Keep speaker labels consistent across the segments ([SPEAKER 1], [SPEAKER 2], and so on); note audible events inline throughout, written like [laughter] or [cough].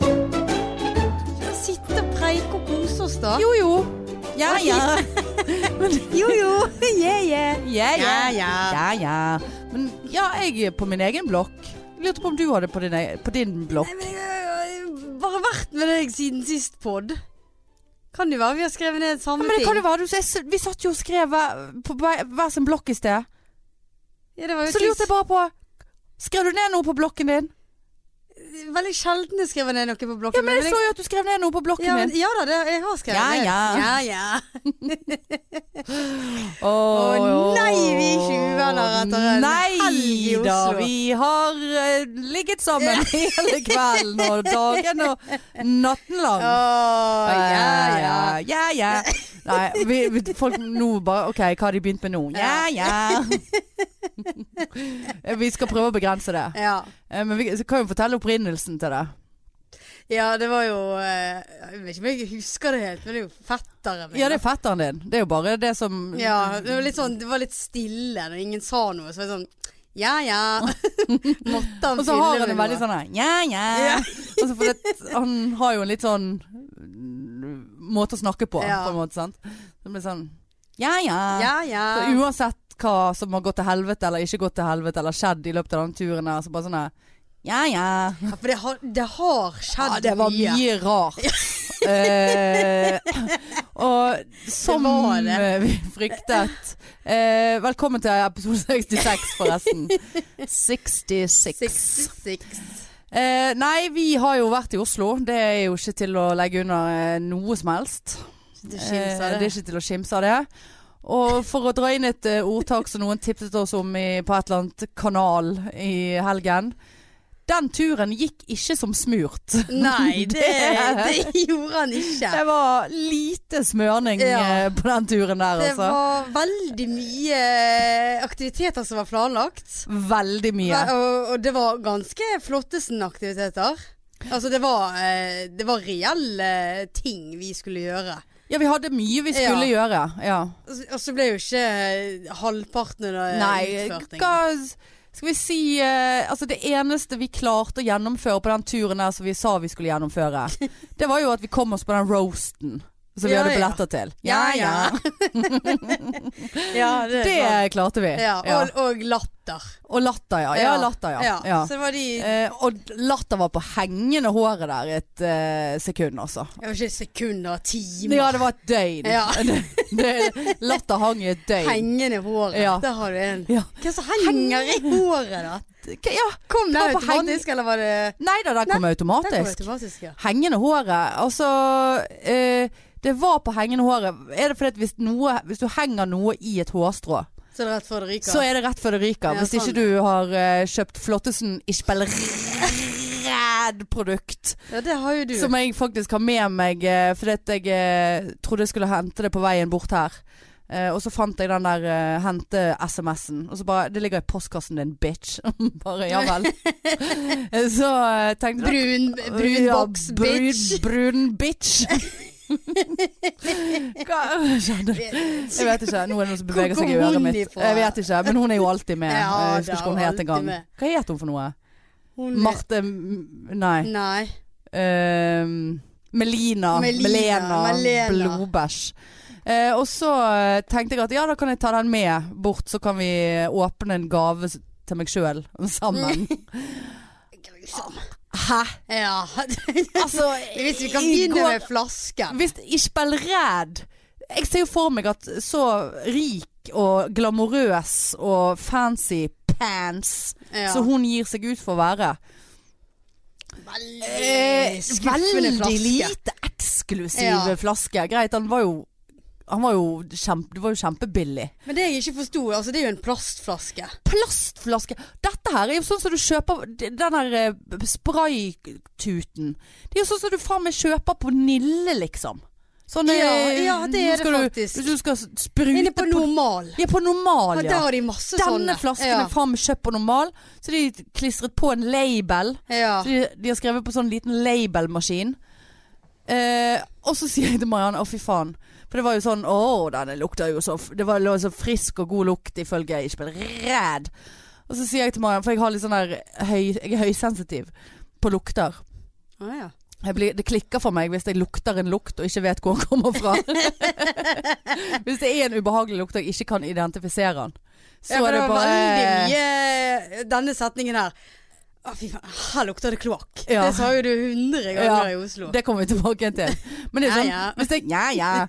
[SPEAKER 1] [laughs] Men,
[SPEAKER 2] Jo, jo. Yeah, yeah.
[SPEAKER 1] ja,
[SPEAKER 2] Ja,
[SPEAKER 1] ja.
[SPEAKER 2] ja.
[SPEAKER 1] ja, ja. Men ja, jeg er på min egen blokk. Jeg Lurte på om du hadde på din, e- på din blokk.
[SPEAKER 2] Nei, [laughs] men jeg har jo bare vært med deg siden sist pod. Kan det være vi har skrevet ned samme
[SPEAKER 1] Ja, men det
[SPEAKER 2] ting?
[SPEAKER 1] kan jo være, du, jeg, s- Vi satt jo og skrev hver- på hver hver sin blokk i sted.
[SPEAKER 2] Ja, det var jo
[SPEAKER 1] Så lurte jeg bare på Skrev du ned noe på blokken din?
[SPEAKER 2] sist- Veldig sjelden jeg skriver ned noe på blokken.
[SPEAKER 1] Ja, men Jeg
[SPEAKER 2] min,
[SPEAKER 1] så jo at du skrev ned noe på blokken
[SPEAKER 2] ja, men,
[SPEAKER 1] min.
[SPEAKER 2] ja da, det, jeg har skrevet
[SPEAKER 1] Ja,
[SPEAKER 2] ned.
[SPEAKER 1] ja.
[SPEAKER 2] ja, ja.
[SPEAKER 1] Å
[SPEAKER 2] Å, nei, vi er ikke uvenner etter en
[SPEAKER 1] Nei
[SPEAKER 2] helg i Oslo.
[SPEAKER 1] da, vi har eh, ligget sammen hele kvelden og dagen og natten lang.
[SPEAKER 2] Åh, ja, ja.
[SPEAKER 1] Eh, ja, ja.
[SPEAKER 2] [laughs]
[SPEAKER 1] Nei, vi, vi, folk nå bare OK, hva har de begynt med nå? Ja,
[SPEAKER 2] [laughs]
[SPEAKER 1] ja. vi skal prøve å begrense det.
[SPEAKER 2] Ja.
[SPEAKER 1] Eh, Men vi kan jo fortelle opprinnelsen til det.
[SPEAKER 2] ja, det var jo eh, Jeg vet ikke om jeg husker det helt, men det er jo fetteren min.
[SPEAKER 1] Ja, det er fetteren din. Det er jo bare det som
[SPEAKER 2] ja, det var litt sånn, det var litt stille når ingen sa noe. Så var det sånn Ja, ja.
[SPEAKER 1] [laughs]
[SPEAKER 2] Måtte han
[SPEAKER 1] Og så har
[SPEAKER 2] fylle
[SPEAKER 1] han en
[SPEAKER 2] med
[SPEAKER 1] veldig
[SPEAKER 2] noe?
[SPEAKER 1] sånn her, ja, ja.
[SPEAKER 2] Ja.
[SPEAKER 1] Altså, for det, han har jo en litt sånn mm, måte å snakke på,
[SPEAKER 2] Ja.
[SPEAKER 1] på en måte, sant? Så det blir sånn ja, ja.
[SPEAKER 2] Ja, ja.
[SPEAKER 1] Så uansett hva som har gått til helvete eller ikke gått til helvete eller skjedd i løpet av den turen her, så bare sånn her ja, ja.
[SPEAKER 2] Ja, for det har, det har skjedd
[SPEAKER 1] ja. Det var mye rart. Eh, og som
[SPEAKER 2] var det.
[SPEAKER 1] eh, vi fryktet eh, Velkommen til episode 66, forresten. 66.
[SPEAKER 2] 66.
[SPEAKER 1] Eh, nei, vi har jo vært i Oslo. Det er jo ikke til å legge under eh, noe som helst.
[SPEAKER 2] Det
[SPEAKER 1] Eh,
[SPEAKER 2] skimser
[SPEAKER 1] det
[SPEAKER 2] det.
[SPEAKER 1] er ikke til å skimse av det. Og for å dra inn et eh, ordtak som noen tipset oss om i, på et eller annet kanal i helgen. Den turen gikk ikke som smurt.
[SPEAKER 2] [laughs]
[SPEAKER 1] [laughs]
[SPEAKER 2] Nei, det,
[SPEAKER 1] Det-
[SPEAKER 2] det gjorde han ikke.
[SPEAKER 1] Det var lite smørning
[SPEAKER 2] Ja.
[SPEAKER 1] eh, på den turen der,
[SPEAKER 2] Det
[SPEAKER 1] altså.
[SPEAKER 2] var veldig mye eh, aktiviteter som var planlagt.
[SPEAKER 1] Veldig mye.
[SPEAKER 2] Og, og det var ganske Flottesen-aktiviteter. Altså, det var, eh, det var reelle ting vi skulle gjøre.
[SPEAKER 1] Ja, vi hadde mye vi skulle gjøre. Ja.
[SPEAKER 2] Og så- Og så ble jo ikke eh, halvparten av det
[SPEAKER 1] Nei,
[SPEAKER 2] utført.
[SPEAKER 1] hva skal vi si eh, Altså det eneste vi klarte å gjennomføre på den turen der som vi sa vi skulle
[SPEAKER 2] [laughs]
[SPEAKER 1] gjennomføre, det var jo at vi kom oss på den roasten som vi
[SPEAKER 2] Ja,
[SPEAKER 1] hadde
[SPEAKER 2] ja.
[SPEAKER 1] billetter til.
[SPEAKER 2] Ja, ja. [laughs]
[SPEAKER 1] [laughs]
[SPEAKER 2] Ja, det,
[SPEAKER 1] Det
[SPEAKER 2] var-
[SPEAKER 1] klarte vi.
[SPEAKER 2] ja,
[SPEAKER 1] Ja.
[SPEAKER 2] og, og latter.
[SPEAKER 1] Og latter, ja. Ja, latter, ja. ja.
[SPEAKER 2] Så det var de
[SPEAKER 1] Eh, og latter var på hengende håret der et eh, sekund, altså.
[SPEAKER 2] Jeg vet ikke sekunder, timer.
[SPEAKER 1] Ja, det var et døgn.
[SPEAKER 2] Ja.
[SPEAKER 1] Det, [laughs] det, latter hang i et døgn.
[SPEAKER 2] Hengende håret.
[SPEAKER 1] Ja.
[SPEAKER 2] Der har du en.
[SPEAKER 1] Ja.
[SPEAKER 2] Hva som henger i håret, da?
[SPEAKER 1] ja.
[SPEAKER 2] Kom
[SPEAKER 1] Det
[SPEAKER 2] den
[SPEAKER 1] var på
[SPEAKER 2] automatisk, eller var det
[SPEAKER 1] Nei da, den kom
[SPEAKER 2] Den kom
[SPEAKER 1] automatisk.
[SPEAKER 2] automatisk, ja.
[SPEAKER 1] Hengende håret, altså eh, Det var på hengende håret. Er det fordi at hvis, noe, hvis du henger noe i et hårstrå,
[SPEAKER 2] Så det er rett før det ryker.
[SPEAKER 1] så er det rett før det ryker.
[SPEAKER 2] Ja,
[SPEAKER 1] hvis
[SPEAKER 2] sånn.
[SPEAKER 1] ikke du har eh, kjøpt Flottesen Ichbelred-produkt,
[SPEAKER 2] Ja, det har jo du.
[SPEAKER 1] som jeg faktisk har med meg eh, fordi at jeg eh, trodde jeg skulle hente det på veien bort her. Eh, og så fant jeg den der eh, hente-SMS-en. Og så bare Det ligger i postkassen din, bitch. [laughs] bare ja
[SPEAKER 2] [laughs]
[SPEAKER 1] vel. [laughs] så eh, tenkte jeg
[SPEAKER 2] brun brun
[SPEAKER 1] ja,
[SPEAKER 2] boks, bitch.
[SPEAKER 1] Brun, brun
[SPEAKER 2] [laughs]
[SPEAKER 1] bitch. Hva skjedde? Jeg vet ikke. Nå er det noen som beveger
[SPEAKER 2] Hvor
[SPEAKER 1] seg i
[SPEAKER 2] kom
[SPEAKER 1] øret
[SPEAKER 2] hun
[SPEAKER 1] mitt.
[SPEAKER 2] ifra?
[SPEAKER 1] Jeg vet ikke, Men hun er jo alltid med.
[SPEAKER 2] [laughs] Ja,
[SPEAKER 1] jeg husker
[SPEAKER 2] da,
[SPEAKER 1] ikke hva hun het
[SPEAKER 2] alltid
[SPEAKER 1] engang.
[SPEAKER 2] med. Mm.
[SPEAKER 1] Hva het hun for noe?
[SPEAKER 2] Hun er-
[SPEAKER 1] Marte M- Nei.
[SPEAKER 2] Nei.
[SPEAKER 1] Ehm, Melina.
[SPEAKER 2] Melina,
[SPEAKER 1] Melena.
[SPEAKER 2] Melena.
[SPEAKER 1] Blodbæsj. Eh, og så eh, tenkte jeg at ja, da kan jeg ta den med bort, så kan vi eh, åpne en gave s- til meg sjøl sammen.
[SPEAKER 2] Mm. Grusom.
[SPEAKER 1] Hæ?
[SPEAKER 2] Ja.
[SPEAKER 1] Altså,
[SPEAKER 2] [laughs] Hvis vi kan
[SPEAKER 1] i
[SPEAKER 2] begynne
[SPEAKER 1] går-
[SPEAKER 2] med flasken.
[SPEAKER 1] Hvis Ishbel Red Jeg ser jo for meg at så rik og glamorøs og fancy pants
[SPEAKER 2] Ja.
[SPEAKER 1] som hun gir seg ut for å være.
[SPEAKER 2] Veldig skuffende
[SPEAKER 1] Eh, veldig
[SPEAKER 2] flaske.
[SPEAKER 1] lite eksklusiv
[SPEAKER 2] Ja.
[SPEAKER 1] flaske. Greit, han var jo han var jo, kjempe, det var jo kjempebillig.
[SPEAKER 2] Men det jeg ikke forsto, altså, det er jo en plastflaske.
[SPEAKER 1] Plastflaske! Dette her er jo sånn som du kjøper Den her eh, spraytuten. Det er jo sånn som du faen meg kjøper på Nille, liksom. Sånn,
[SPEAKER 2] Ja,
[SPEAKER 1] eh,
[SPEAKER 2] ja, det er det
[SPEAKER 1] skal du-
[SPEAKER 2] faktisk.
[SPEAKER 1] Hvis du skal sprute
[SPEAKER 2] Inne på normal.
[SPEAKER 1] Ja, på normal,
[SPEAKER 2] Ja,
[SPEAKER 1] ja.
[SPEAKER 2] der har de masse sånne.
[SPEAKER 1] Denne flasken er faen meg kjøpt på normal, så de klistret på en label.
[SPEAKER 2] Ja.
[SPEAKER 1] Så de, de har skrevet på sånn liten labelmaskin. Eh, og så sier jeg til Marianne å, fy faen. For det var jo sånn Å, denne lukter jo så f- Det var lå så frisk og god lukt ifølge jeg ikke ble redd. Og så sier jeg til Marianne, for jeg har litt sånn der høy, Jeg er høysensitiv på lukter.
[SPEAKER 2] Ja, ja.
[SPEAKER 1] Jeg blir, det klikker for meg hvis jeg lukter en lukt og ikke vet hvor den
[SPEAKER 2] [laughs]
[SPEAKER 1] kommer fra. hvis det er en ubehagelig lukt og jeg ikke kan identifisere den. Så
[SPEAKER 2] ja, for
[SPEAKER 1] er det
[SPEAKER 2] det var veldig
[SPEAKER 1] bare
[SPEAKER 2] mye eh, denne setningen her. Å, fy faen, her lukter det kloakk.
[SPEAKER 1] Ja.
[SPEAKER 2] Det sa jo du hundre
[SPEAKER 1] Ja,
[SPEAKER 2] ganger i Oslo.
[SPEAKER 1] Det kommer vi tilbake til. Men det er
[SPEAKER 2] Ja,
[SPEAKER 1] sånn,
[SPEAKER 2] ja.
[SPEAKER 1] Hvis, jeg, ja,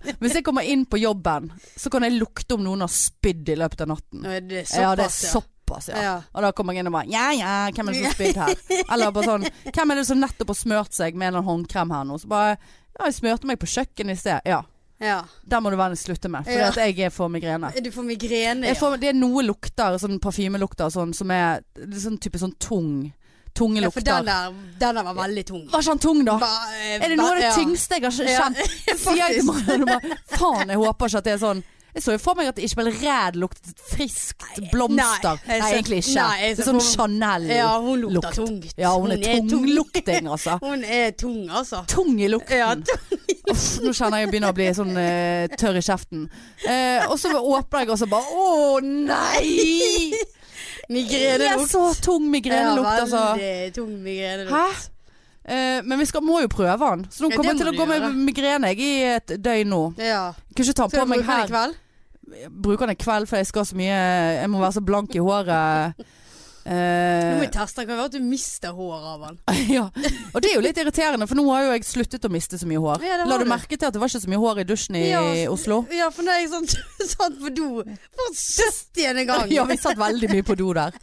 [SPEAKER 1] ja. hvis jeg kommer inn på jobben, så kan jeg lukte om noen har spydd i løpet av natten.
[SPEAKER 2] Nå er det
[SPEAKER 1] ja, det er
[SPEAKER 2] såpass, ja.
[SPEAKER 1] såpass, ja.
[SPEAKER 2] Ja.
[SPEAKER 1] Og da kommer jeg inn og bare Ja ja, hvem er det som har spydd her? Eller bare sånn Hvem er det som nettopp har smørt seg med en eller annen håndkrem her nå? Så bare Ja, jeg smørte meg på kjøkkenet i sted. Ja.
[SPEAKER 2] ja.
[SPEAKER 1] Der må du vennlig slutte med, for
[SPEAKER 2] Ja.
[SPEAKER 1] at jeg får migrene.
[SPEAKER 2] Du får migrene,
[SPEAKER 1] Jeg får, det er noe lukter, sånn parfymelukter og sånn, som er sånn type sånn tung. Tunge
[SPEAKER 2] ja. ja. For
[SPEAKER 1] lukter.
[SPEAKER 2] den der, den der var veldig tung.
[SPEAKER 1] Var ikke han tung, da?
[SPEAKER 2] Ba- eh,
[SPEAKER 1] Er det
[SPEAKER 2] ba-
[SPEAKER 1] noe av det
[SPEAKER 2] ja.
[SPEAKER 1] tyngste jeg har kj-
[SPEAKER 2] Ja, [laughs]
[SPEAKER 1] kjent? Sier jeg til Marianne bare Faen, jeg håper ikke at det er sånn. Jeg så jo for meg at Ishbel Ræd luktet friskt blomster. Nei,
[SPEAKER 2] Nei, jeg ser-
[SPEAKER 1] egentlig ikke.
[SPEAKER 2] nei, jeg
[SPEAKER 1] det
[SPEAKER 2] ser
[SPEAKER 1] er sånn
[SPEAKER 2] for- Ja,
[SPEAKER 1] Chanel-lukt.
[SPEAKER 2] hun lukter tungt.
[SPEAKER 1] Ja, hun er tunglukting,
[SPEAKER 2] [laughs]
[SPEAKER 1] altså.
[SPEAKER 2] Hun er tung, altså.
[SPEAKER 1] Tung i
[SPEAKER 2] Ja,
[SPEAKER 1] lukten.
[SPEAKER 2] tung.
[SPEAKER 1] Uff, nå kjenner jeg jeg begynner å bli sånn eh, tørr i kjeften. Eh, og så åpner jeg og så bare Å
[SPEAKER 2] [laughs]
[SPEAKER 1] nei! Det er
[SPEAKER 2] Migrenelukt.
[SPEAKER 1] så tung migrenelukt, altså.
[SPEAKER 2] Ja, veldig tung migrenelukt.
[SPEAKER 1] Hæ? Eh, men vi skal, må jo prøve den. Så nå
[SPEAKER 2] Ja, det
[SPEAKER 1] kommer jeg til
[SPEAKER 2] må
[SPEAKER 1] å
[SPEAKER 2] du
[SPEAKER 1] gå med
[SPEAKER 2] gjøre.
[SPEAKER 1] migrene jeg, i et døgn nå.
[SPEAKER 2] Ja.
[SPEAKER 1] Kunne ikke ta
[SPEAKER 2] Skal
[SPEAKER 1] på
[SPEAKER 2] du
[SPEAKER 1] meg
[SPEAKER 2] bruke den i
[SPEAKER 1] her.
[SPEAKER 2] kveld?
[SPEAKER 1] Bruker den i kveld, for jeg skal så mye Jeg må være så blank i håret.
[SPEAKER 2] [laughs] Nå må
[SPEAKER 1] Eh,
[SPEAKER 2] vi teste. Det kan være at du mister hår av den.
[SPEAKER 1] [laughs] ja. Og det er jo litt irriterende, for nå har jo jeg sluttet å miste så mye hår.
[SPEAKER 2] Ja, det har
[SPEAKER 1] La du
[SPEAKER 2] du.
[SPEAKER 1] merke til at det var ikke så mye hår i dusjen i
[SPEAKER 2] Ja, [laughs]
[SPEAKER 1] Oslo?
[SPEAKER 2] Ja, for når jeg sånn, satt på do for 70. gang,
[SPEAKER 1] [laughs] Ja, vi satt veldig mye på do
[SPEAKER 2] [laughs]
[SPEAKER 1] der.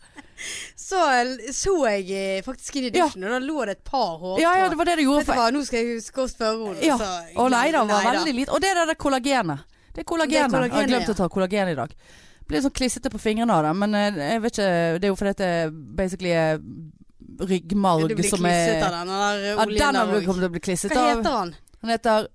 [SPEAKER 2] så så jeg eh, faktisk inn i
[SPEAKER 1] Ja.
[SPEAKER 2] dusjen, og da lå det et par hår
[SPEAKER 1] Ja ja, det var det det
[SPEAKER 2] Vet
[SPEAKER 1] gjorde.
[SPEAKER 2] du
[SPEAKER 1] For...
[SPEAKER 2] hva, nå skal jeg huske å spørre henne.
[SPEAKER 1] Ja.
[SPEAKER 2] så-
[SPEAKER 1] Å nei da, det
[SPEAKER 2] Nei
[SPEAKER 1] var
[SPEAKER 2] da.
[SPEAKER 1] veldig lite. Og det er det der kollagenet. Det er kollagenet.
[SPEAKER 2] Det er kollagenet,
[SPEAKER 1] jeg har glemt
[SPEAKER 2] ja.
[SPEAKER 1] å ta kollagen i dag. Blir sånn klissete på fingrene av det, men eh, jeg vet ikke Det er jo fordi at det basically er ryggmarg
[SPEAKER 2] Du blir
[SPEAKER 1] som er
[SPEAKER 2] klisset av den der eh,
[SPEAKER 1] Ja,
[SPEAKER 2] oljen
[SPEAKER 1] den
[SPEAKER 2] der
[SPEAKER 1] har du
[SPEAKER 2] også.
[SPEAKER 1] kommet til å bli klisset
[SPEAKER 2] Hva
[SPEAKER 1] av.
[SPEAKER 2] heter han?
[SPEAKER 1] Han heter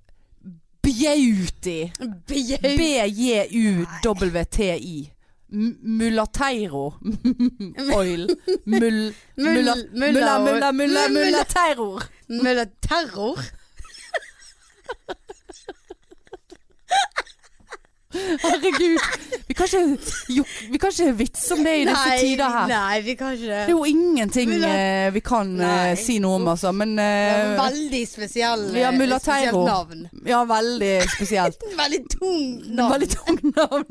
[SPEAKER 1] Beauty.
[SPEAKER 2] Bjau...
[SPEAKER 1] B-J-U-W-T-I. M- Mullateiro [laughs] oil. Mull... Mulla...
[SPEAKER 2] Mull-
[SPEAKER 1] Mulla,
[SPEAKER 2] mulla-
[SPEAKER 1] mulla, mulla,
[SPEAKER 2] mulla-
[SPEAKER 1] mullateiro.
[SPEAKER 2] Mulla Terror?
[SPEAKER 1] Herregud. Vi kan ikke, jo- vi kan ikke vitse om det i disse tider her.
[SPEAKER 2] nei, vi kan ikke
[SPEAKER 1] Det er
[SPEAKER 2] det.
[SPEAKER 1] jo ingenting
[SPEAKER 2] Mulla-
[SPEAKER 1] eh, vi kan eh,
[SPEAKER 2] Nei.
[SPEAKER 1] si noe om, altså. Men
[SPEAKER 2] Det
[SPEAKER 1] eh,
[SPEAKER 2] var veldig spesiell, eh,
[SPEAKER 1] Ja, Mulla
[SPEAKER 2] spesielt
[SPEAKER 1] Terror.
[SPEAKER 2] navn.
[SPEAKER 1] Ja, veldig spesielt.
[SPEAKER 2] Veldig tungt navn.
[SPEAKER 1] Veldig tungt [laughs] navn.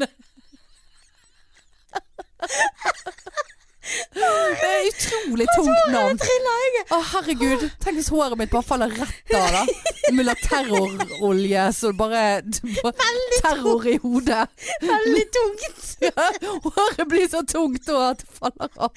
[SPEAKER 1] Det er utrolig tungt navn. Å, herregud. Tenk hvis håret mitt bare faller rett av, [laughs] da. Mulla terrorolje, så det bare, det bare Terror i hodet.
[SPEAKER 2] Veldig tungt.
[SPEAKER 1] Håret blir så tungt og at det faller av.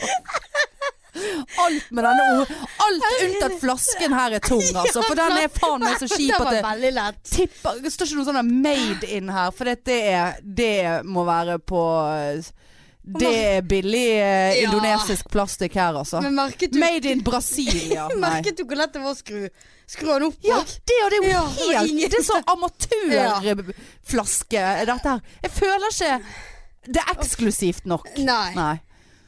[SPEAKER 1] Alt med denne ord Alt unntatt flasken her er tung, altså. For den er faen meg så kjip
[SPEAKER 2] Det
[SPEAKER 1] at
[SPEAKER 2] var
[SPEAKER 1] det
[SPEAKER 2] veldig lett.
[SPEAKER 1] tipper Det står ikke noe sånn der 'made in' her, for det, det, er, det må være på Det er billig eh,
[SPEAKER 2] Ja.
[SPEAKER 1] indonesisk plastikk her, altså.
[SPEAKER 2] Men merket du,
[SPEAKER 1] Made in
[SPEAKER 2] [laughs]
[SPEAKER 1] Brasilia. Nei.
[SPEAKER 2] merket du hvor lett det var å skru, skru den opp?
[SPEAKER 1] Ja,
[SPEAKER 2] og-
[SPEAKER 1] det, og det er jo
[SPEAKER 2] Ja, det var
[SPEAKER 1] helt
[SPEAKER 2] ingen-
[SPEAKER 1] Det er sånn amatørflaske,
[SPEAKER 2] [laughs]
[SPEAKER 1] dette her. Jeg føler ikke det er eksklusivt nok.
[SPEAKER 2] Nei.
[SPEAKER 1] Nei.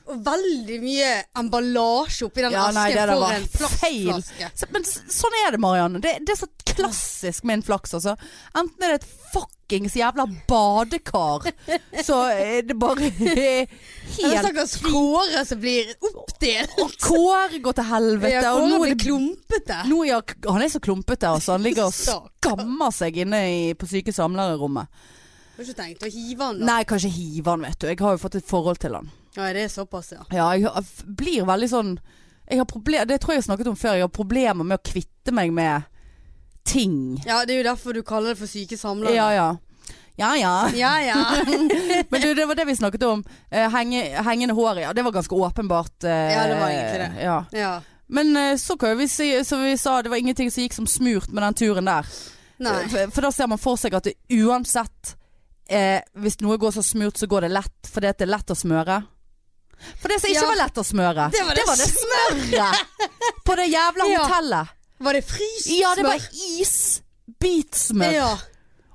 [SPEAKER 2] Og veldig mye emballasje oppi den
[SPEAKER 1] Ja, nei,
[SPEAKER 2] asken
[SPEAKER 1] det der
[SPEAKER 2] for
[SPEAKER 1] var
[SPEAKER 2] en
[SPEAKER 1] feil.
[SPEAKER 2] plastflaske.
[SPEAKER 1] Så, men s- sånn er det, Marianne. Det, det er så klassisk min flaks, altså. Enten er det et fuckings jævla badekar, så er det
[SPEAKER 2] [laughs]
[SPEAKER 1] bare [laughs]
[SPEAKER 2] Det er
[SPEAKER 1] helt
[SPEAKER 2] stakkars håret som blir oppdelt.
[SPEAKER 1] Og Kåre går til helvete,
[SPEAKER 2] Ja,
[SPEAKER 1] og
[SPEAKER 2] håret
[SPEAKER 1] nå
[SPEAKER 2] blir
[SPEAKER 1] er det
[SPEAKER 2] klumpete.
[SPEAKER 1] nå er jeg- han er så klumpete, altså. Han ligger og
[SPEAKER 2] [laughs] Stakkar.
[SPEAKER 1] skammer seg inne i, på syke samlerrommet.
[SPEAKER 2] Har ikke tenkt å hive den. da.
[SPEAKER 1] Nei, kanskje hive han, vet du. Jeg har jo fått et forhold til han.
[SPEAKER 2] Ja, det er såpass, ja.
[SPEAKER 1] Ja, jeg har- f- blir veldig sånn jeg har proble- Det tror jeg jeg har snakket om før. Jeg har problemer med å kvitte meg med ting.
[SPEAKER 2] Ja, Det er jo derfor du kaller det for syke samlere.
[SPEAKER 1] Ja ja. Ja ja.
[SPEAKER 2] ja. ja.
[SPEAKER 1] [laughs] Men du, det var det vi snakket om. Eh, henge, hengende hår, ja. Det var ganske åpenbart. eh,
[SPEAKER 2] Ja, det var egentlig det.
[SPEAKER 1] Ja.
[SPEAKER 2] ja.
[SPEAKER 1] Men eh, så kan jo vi si, som vi sa, det var ingenting som gikk som smurt med den turen der.
[SPEAKER 2] Nei.
[SPEAKER 1] For, for da ser man for seg at det uansett eh, Hvis noe går så smurt, så går det lett. Fordi at det er lett å smøre. For det som ikke
[SPEAKER 2] Ja.
[SPEAKER 1] var lett å smøre,
[SPEAKER 2] Det var det
[SPEAKER 1] smøret på det jævla
[SPEAKER 2] Ja.
[SPEAKER 1] hotellet.
[SPEAKER 2] Var det fryst
[SPEAKER 1] Ja, det var
[SPEAKER 2] smør?
[SPEAKER 1] isbitsmør.
[SPEAKER 2] Ja.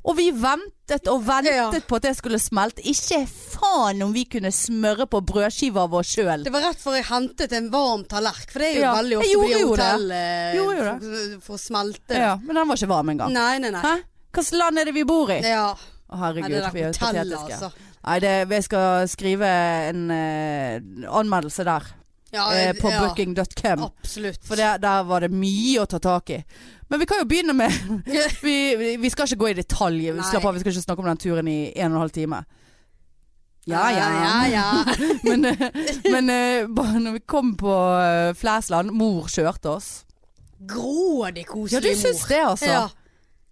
[SPEAKER 1] Og vi ventet og ventet
[SPEAKER 2] Ja.
[SPEAKER 1] på at det skulle smelte. Ikke faen om vi kunne smøre på brødskiva vår sjøl.
[SPEAKER 2] Det var rett før jeg hentet en varm tallerken, for det er jo
[SPEAKER 1] Ja,
[SPEAKER 2] veldig
[SPEAKER 1] jeg
[SPEAKER 2] ofte på de
[SPEAKER 1] gjorde jo det.
[SPEAKER 2] hotell eh,
[SPEAKER 1] Gjorde jo
[SPEAKER 2] for, for å smelte.
[SPEAKER 1] Ja, men den var ikke varm engang.
[SPEAKER 2] Nei, nei, nei.
[SPEAKER 1] Hæ? Hvilket land er det vi bor i?
[SPEAKER 2] Ja.
[SPEAKER 1] Å,
[SPEAKER 2] Nei,
[SPEAKER 1] herregud,
[SPEAKER 2] det der
[SPEAKER 1] vi er jo
[SPEAKER 2] hotellet,
[SPEAKER 1] patetiske.
[SPEAKER 2] altså.
[SPEAKER 1] Nei, det, jeg skal skrive en eh, anmeldelse der.
[SPEAKER 2] Ja,
[SPEAKER 1] eh, på
[SPEAKER 2] ja,
[SPEAKER 1] booking.com.
[SPEAKER 2] Absolutt.
[SPEAKER 1] For det, der var det mye å ta tak i. Men vi kan jo
[SPEAKER 2] [laughs]
[SPEAKER 1] begynne med Vi, vi- vi skal ikke gå i detalj.
[SPEAKER 2] Nei.
[SPEAKER 1] Slapp av, vi skal ikke snakke om den turen i en og en halv time. Ja, ja.
[SPEAKER 2] ja, ja.
[SPEAKER 1] [laughs] Men, eh, men eh, bare når vi kom på eh, Flesland Mor kjørte oss.
[SPEAKER 2] Grådig koselig
[SPEAKER 1] Ja, du syns det, altså?
[SPEAKER 2] Ja.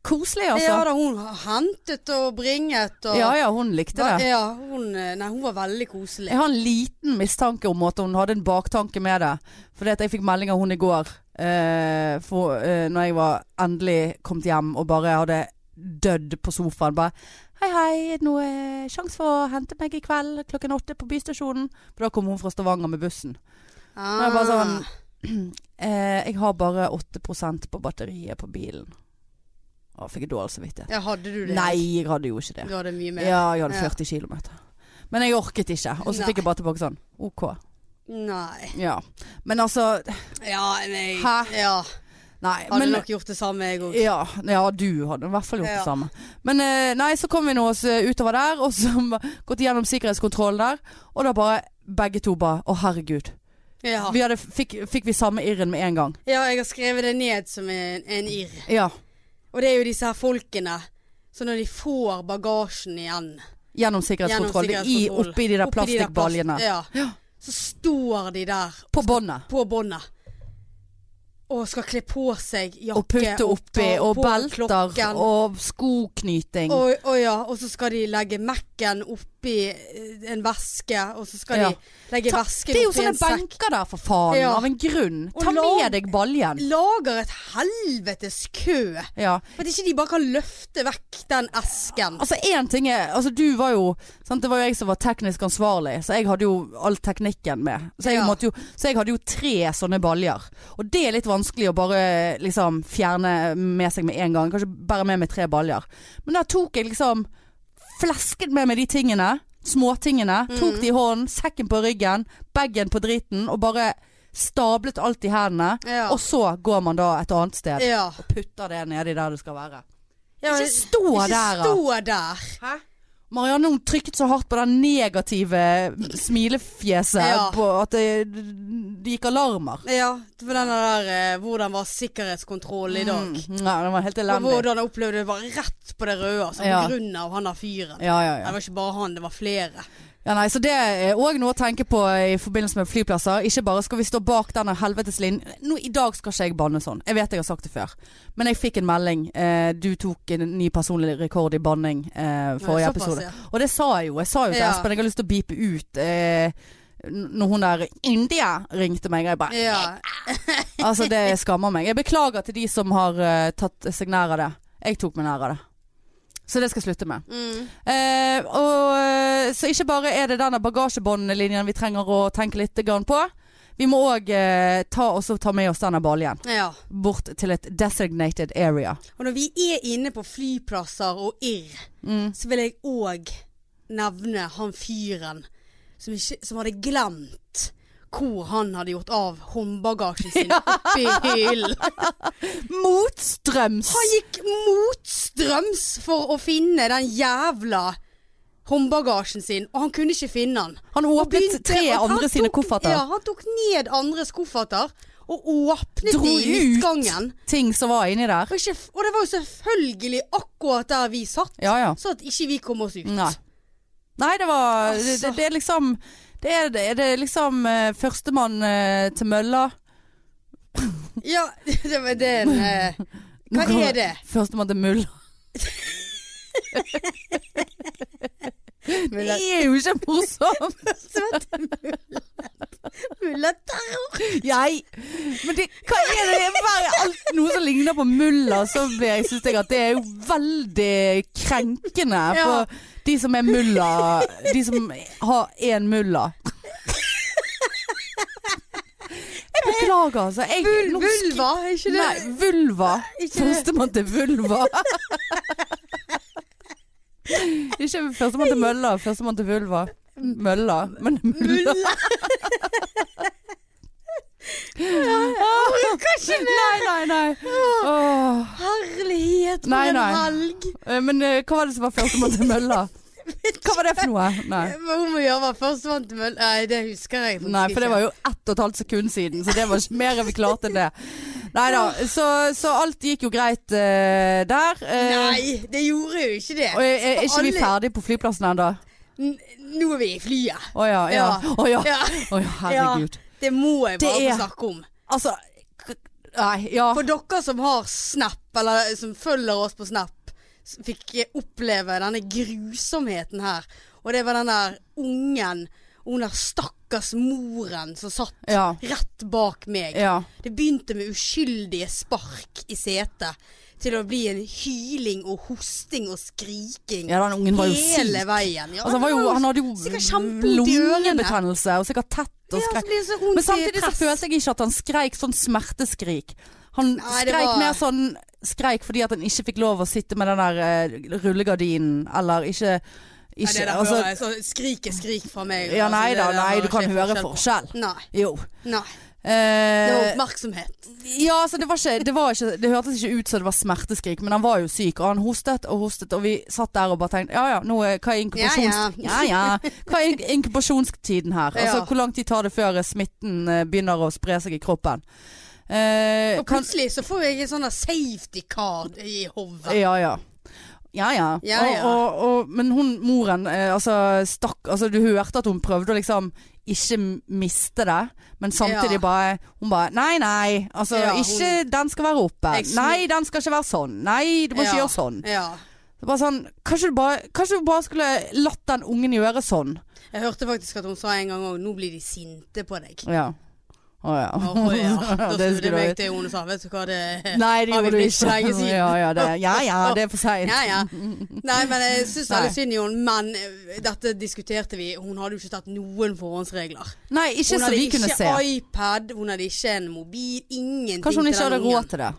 [SPEAKER 1] Koselig,
[SPEAKER 2] ja
[SPEAKER 1] altså.
[SPEAKER 2] da, hun hentet og bringet og
[SPEAKER 1] Ja ja, hun likte det.
[SPEAKER 2] Ja, hun, eh, nei, hun var veldig koselig.
[SPEAKER 1] Jeg har en liten mistanke om at hun hadde en baktanke med det. Fordi at jeg fikk melding av hun i går. Eh, for, eh, når jeg var endelig kommet hjem og bare hadde dødd på sofaen. Bare Hei, hei, er det noe eh, sjanse for å hente meg i kveld klokken åtte på bystasjonen? For da kom hun fra Stavanger med bussen.
[SPEAKER 2] Ah.
[SPEAKER 1] Nå er jeg bare sånn- Eh, jeg har bare 8 på batteriet på bilen. Å, fikk jeg dårlig samvittighet.
[SPEAKER 2] ja, hadde du det?
[SPEAKER 1] Nei, jeg hadde jo ikke det.
[SPEAKER 2] Du hadde mye mer?
[SPEAKER 1] Ja, jeg hadde
[SPEAKER 2] Ja.
[SPEAKER 1] 40 km. Men jeg orket ikke. Og så
[SPEAKER 2] Nei.
[SPEAKER 1] fikk jeg bare tilbake sånn. OK.
[SPEAKER 2] Nei.
[SPEAKER 1] Ja. Men altså
[SPEAKER 2] Ja, nei.
[SPEAKER 1] Hæ?
[SPEAKER 2] Ja.
[SPEAKER 1] Nei,
[SPEAKER 2] Hadde
[SPEAKER 1] men
[SPEAKER 2] nok gjort det samme, jeg òg.
[SPEAKER 1] ja, ja, du hadde i hvert fall gjort
[SPEAKER 2] Ja.
[SPEAKER 1] det samme. Men eh, nei, så kom vi nå oss eh, utover der, og så [laughs] gått gjennom sikkerhetskontrollen der. Og da bare begge to bare Å, herregud.
[SPEAKER 2] Ja.
[SPEAKER 1] Vi hadde, fikk, fikk vi samme irren med en gang.
[SPEAKER 2] ja, jeg har skrevet det ned som en, en irr.
[SPEAKER 1] Ja.
[SPEAKER 2] Og det er jo disse her folkene. Så når de får bagasjen igjen
[SPEAKER 1] Gjennom
[SPEAKER 2] gjennom
[SPEAKER 1] sikkerhetskontrollen. I,
[SPEAKER 2] sikkerhetskontrollen,
[SPEAKER 1] oppi de
[SPEAKER 2] oppi de
[SPEAKER 1] der
[SPEAKER 2] der plast-
[SPEAKER 1] plastikkbaljene.
[SPEAKER 2] Ja.
[SPEAKER 1] Ja.
[SPEAKER 2] Så står de der
[SPEAKER 1] På båndet.
[SPEAKER 2] på båndet. Og skal kle på seg jakke
[SPEAKER 1] Og putte oppi.
[SPEAKER 2] ta
[SPEAKER 1] Og
[SPEAKER 2] på
[SPEAKER 1] belter.
[SPEAKER 2] klokken.
[SPEAKER 1] Og skoknyting.
[SPEAKER 2] Og, og ja, og så skal de legge Mac-en oppi eh, en veske, og så skal
[SPEAKER 1] Ja.
[SPEAKER 2] de legge
[SPEAKER 1] Ta-
[SPEAKER 2] vesken
[SPEAKER 1] det er jo
[SPEAKER 2] oppi
[SPEAKER 1] sånne
[SPEAKER 2] en sekk.
[SPEAKER 1] benker der, for faen.
[SPEAKER 2] Ja.
[SPEAKER 1] Av en grunn.
[SPEAKER 2] Og
[SPEAKER 1] Ta
[SPEAKER 2] lag-
[SPEAKER 1] med deg baljen.
[SPEAKER 2] Lager et helvetes kø.
[SPEAKER 1] Ja.
[SPEAKER 2] For at ikke de bare kan løfte vekk den esken.
[SPEAKER 1] Altså en ting er altså, Du var jo sant, Det var jo jeg som var teknisk ansvarlig Så jeg hadde jo all teknikken med Så jeg,
[SPEAKER 2] Ja.
[SPEAKER 1] måtte jo, så jeg hadde jo tre sånne baljer Og det er litt vanskelig å bare liksom, fjerne med seg med en gang Kanskje bare med med tre baljer Men der tok jeg liksom Flesket med meg de tingene Småtingene
[SPEAKER 2] Mm.
[SPEAKER 1] Tok de i hånden Sekken på ryggen Baggen på driten Og bare stablet alt i hendene
[SPEAKER 2] Ja.
[SPEAKER 1] Og så går man da et annet sted
[SPEAKER 2] Ja.
[SPEAKER 1] Putter det nedi der du skal være
[SPEAKER 2] ja
[SPEAKER 1] Ikke stå
[SPEAKER 2] ikke
[SPEAKER 1] der da
[SPEAKER 2] stå der.
[SPEAKER 1] Marianne hun trykket så hardt på det negative smilefjeset
[SPEAKER 2] Ja.
[SPEAKER 1] på at det, det gikk alarmer.
[SPEAKER 2] Ja, for den der eh, Hvordan var sikkerhetskontrollen i dag?
[SPEAKER 1] Mm, ja, det var helt
[SPEAKER 2] Og
[SPEAKER 1] elendig.
[SPEAKER 2] hvordan jeg opplevde det var rett på det røde, altså
[SPEAKER 1] Ja.
[SPEAKER 2] på grunn av han der fyren.
[SPEAKER 1] Ja,
[SPEAKER 2] Nei,
[SPEAKER 1] ja, ja.
[SPEAKER 2] Det var ikke bare han, det var flere.
[SPEAKER 1] ja nei, så det er òg noe å tenke på i forbindelse med flyplasser. Ikke bare skal vi stå bak denne helvetes linjen. Nå, I dag skal ikke jeg banne sånn. Jeg vet jeg har sagt det før. Men jeg fikk en melding. Eh, du tok en ny personlig rekord i banning eh, forrige
[SPEAKER 2] Såpass,
[SPEAKER 1] episode.
[SPEAKER 2] ja.
[SPEAKER 1] Og det sa jeg jo. Jeg sa jo til
[SPEAKER 2] Ja.
[SPEAKER 1] Espen jeg har lyst til å beepe ut eh, n- når hun der India ringte meg. Og jeg bare
[SPEAKER 2] Ja.
[SPEAKER 1] Altså, det skammer meg. Jeg beklager til de som har eh, tatt seg nær av det. Jeg tok meg nær av det. Så det skal jeg slutte med.
[SPEAKER 2] Mm.
[SPEAKER 1] Eh, og, eh, så ikke bare er det denne bagasjebåndlinjen vi trenger å tenke litt grann på. Vi må òg eh, ta, også ta med oss denne baljen
[SPEAKER 2] ja.
[SPEAKER 1] bort til et designated area.
[SPEAKER 2] Og når vi er inne på flyplasser og irr,
[SPEAKER 1] Mm.
[SPEAKER 2] så vil jeg òg nevne han fyren som, ikke, som hadde glemt hvor han hadde gjort av håndbagasjen
[SPEAKER 1] [laughs]
[SPEAKER 2] sin oppi hyllen.
[SPEAKER 1] Motstrøms!
[SPEAKER 2] Han gikk motstrøms for å finne den jævla håndbagasjen sin, og han kunne ikke finne den.
[SPEAKER 1] Han
[SPEAKER 2] Og
[SPEAKER 1] åpnet
[SPEAKER 2] begynte-
[SPEAKER 1] tre
[SPEAKER 2] og han
[SPEAKER 1] andre sine
[SPEAKER 2] tok-
[SPEAKER 1] kofferter.
[SPEAKER 2] Ja, han tok ned andres kofferter og åpnet
[SPEAKER 1] Dro
[SPEAKER 2] de i
[SPEAKER 1] ut
[SPEAKER 2] midtgangen.
[SPEAKER 1] ting som var inni der.
[SPEAKER 2] Og, ikke, og det var jo selvfølgelig akkurat der vi satt,
[SPEAKER 1] Ja ja.
[SPEAKER 2] så at ikke vi kom oss ut.
[SPEAKER 1] Nei. Nei, det var
[SPEAKER 2] Altså.
[SPEAKER 1] det, det er liksom Det er, det er liksom eh, førstemann eh, til mølla.
[SPEAKER 2] Ja, det var det en eh, Hva er det?
[SPEAKER 1] [laughs] Førstemann
[SPEAKER 2] [laughs]
[SPEAKER 1] til mulla. Det
[SPEAKER 2] Mulla-
[SPEAKER 1] er jo ikke
[SPEAKER 2] [laughs]
[SPEAKER 1] morsomt!
[SPEAKER 2] Mullaterror.
[SPEAKER 1] Jeg Men det, hva er det? Hver, alt noe som ligner på mulla, så blir jeg, syns jeg at det er jo veldig krenkende
[SPEAKER 2] Ja.
[SPEAKER 1] for de som er mulla. De som har én mulla.
[SPEAKER 2] [laughs]
[SPEAKER 1] Jeg beklager, altså. Jeg,
[SPEAKER 2] Vul,
[SPEAKER 1] nå sk-
[SPEAKER 2] vulva, er ikke det?
[SPEAKER 1] Nei, vulva.
[SPEAKER 2] Ikke det.
[SPEAKER 1] Førstemann til vulva. Ikke førstemann til mølla, førstemann til vulva. Mølla, men mulla.
[SPEAKER 2] Mulla. Kanskje
[SPEAKER 1] Nei, nei, nei. Åh.
[SPEAKER 2] Herlighet, for
[SPEAKER 1] Nei,
[SPEAKER 2] en
[SPEAKER 1] nei.
[SPEAKER 2] helg.
[SPEAKER 1] Eh, Men eh, hva var det som var førstemann til mølla? Hva var det for noe? Nei.
[SPEAKER 2] Men Hun må gjøre [laughs] hva først vant til møll... Nei, det husker jeg faktisk
[SPEAKER 1] Nei, for det var jo ett og et halvt sekund siden, så det var ikke mer vi klarte enn det. Nei da, så, så alt gikk jo greit eh, der.
[SPEAKER 2] ikke.
[SPEAKER 1] eh,
[SPEAKER 2] Nei, det gjorde jo ikke det.
[SPEAKER 1] og er, er ikke vi
[SPEAKER 2] Alle-
[SPEAKER 1] ferdige på flyplassen ennå?
[SPEAKER 2] N nå er vi i flyet.
[SPEAKER 1] Å ja. Å ja.
[SPEAKER 2] Ja.
[SPEAKER 1] Å ja.
[SPEAKER 2] Ja,
[SPEAKER 1] Å ja, [laughs] herregud.
[SPEAKER 2] det må jeg
[SPEAKER 1] Det
[SPEAKER 2] bare
[SPEAKER 1] er-
[SPEAKER 2] få snakke om.
[SPEAKER 1] Altså k- Nei, ja.
[SPEAKER 2] For dere som har Snap, eller som følger oss på Snap, s- fikk eh, oppleve denne grusomheten her. Og det var den der ungen, og hun der stakkars moren som satt
[SPEAKER 1] Ja.
[SPEAKER 2] rett bak meg.
[SPEAKER 1] ja.
[SPEAKER 2] Det begynte med uskyldige spark i setet, til å bli en hyling og hosting og skriking
[SPEAKER 1] Ja, den ungen var jo syk.
[SPEAKER 2] hele veien. Ja,
[SPEAKER 1] Altså, han, var jo, han hadde
[SPEAKER 2] sikkert
[SPEAKER 1] jo
[SPEAKER 2] kjempevondt i
[SPEAKER 1] lungebetennelse og sikkert tett og
[SPEAKER 2] ja, så
[SPEAKER 1] skrek.
[SPEAKER 2] blir det så vondt
[SPEAKER 1] Men samtidig
[SPEAKER 2] i
[SPEAKER 1] så
[SPEAKER 2] press.
[SPEAKER 1] følte jeg ikke at han skreik sånn smerteskrik. Han
[SPEAKER 2] Nei, det
[SPEAKER 1] skreik
[SPEAKER 2] var-
[SPEAKER 1] mer sånn skreik fordi at han ikke fikk lov å sitte med den der eh, rullegardinen, eller ikke,
[SPEAKER 2] Nei,
[SPEAKER 1] ikke
[SPEAKER 2] det der
[SPEAKER 1] altså,
[SPEAKER 2] hører jeg. Så skrik er skrik fra meg.
[SPEAKER 1] Ja,
[SPEAKER 2] altså,
[SPEAKER 1] nei
[SPEAKER 2] det
[SPEAKER 1] da,
[SPEAKER 2] der
[SPEAKER 1] nei,
[SPEAKER 2] har
[SPEAKER 1] du
[SPEAKER 2] ikke
[SPEAKER 1] kan
[SPEAKER 2] jeg
[SPEAKER 1] høre
[SPEAKER 2] på.
[SPEAKER 1] forskjell.
[SPEAKER 2] Nei.
[SPEAKER 1] Jo.
[SPEAKER 2] nei. Det var
[SPEAKER 1] Eh,
[SPEAKER 2] oppmerksomhet.
[SPEAKER 1] ja, så det var ikke Det, var ikke, det hørtes ikke ut som det var smerteskrik, men han var jo syk, og han hostet og hostet, og vi satt der og bare tenkte ja ja, nå er, hva er inkubasjons...
[SPEAKER 2] Ja, ja.
[SPEAKER 1] ja. Hva er inkubasjonstiden her? Altså
[SPEAKER 2] Ja.
[SPEAKER 1] hvor lang tid tar det før eh, smitten eh, begynner å spre seg i kroppen? Eh,
[SPEAKER 2] Og plutselig så får jeg en sånn der safety card i hodet.
[SPEAKER 1] Ja, ja. Ja, ja.
[SPEAKER 2] Ja, ja.
[SPEAKER 1] Og, og, og, men hun moren, eh, altså stakk Altså du hørte at hun prøvde å liksom ikke miste det, men samtidig
[SPEAKER 2] Ja.
[SPEAKER 1] bare Hun bare Nei, nei. Altså
[SPEAKER 2] Ja, hun-
[SPEAKER 1] ikke Den skal være oppe.
[SPEAKER 2] Jeg snu-
[SPEAKER 1] Nei, den skal ikke være sånn. Nei, du må ikke
[SPEAKER 2] Ja.
[SPEAKER 1] gjøre sånn.
[SPEAKER 2] Ja.
[SPEAKER 1] Det var sånn kanskje du, bare, kanskje du bare skulle latt den ungen gjøre sånn.
[SPEAKER 2] Jeg hørte faktisk at hun sa en gang òg 'nå blir de sinte på deg'.
[SPEAKER 1] Ja. Å [laughs] ja.
[SPEAKER 2] Å
[SPEAKER 1] [laughs]
[SPEAKER 2] ja. Da snudde
[SPEAKER 1] Det
[SPEAKER 2] jeg
[SPEAKER 1] skulle
[SPEAKER 2] meg
[SPEAKER 1] du-
[SPEAKER 2] til henne og sa 'vet du hva, det
[SPEAKER 1] Nei, det
[SPEAKER 2] Har vi
[SPEAKER 1] gjorde du
[SPEAKER 2] blitt for
[SPEAKER 1] ikke.
[SPEAKER 2] lenge siden?
[SPEAKER 1] [laughs] Ja ja, det, ja, ja, det er for seint.
[SPEAKER 2] Ja, ja. Nei, men jeg syns
[SPEAKER 1] Nei.
[SPEAKER 2] veldig synd i henne. Men eh, dette diskuterte vi. Hun hadde jo ikke tatt noen forhåndsregler.
[SPEAKER 1] Nei, ikke
[SPEAKER 2] Hun
[SPEAKER 1] som
[SPEAKER 2] hadde
[SPEAKER 1] vi kunne
[SPEAKER 2] ikke
[SPEAKER 1] se.
[SPEAKER 2] iPad, hun hadde ikke en mobil, ingenting
[SPEAKER 1] Kanskje hun
[SPEAKER 2] til
[SPEAKER 1] ikke
[SPEAKER 2] den
[SPEAKER 1] hadde
[SPEAKER 2] ungen.
[SPEAKER 1] råd til det.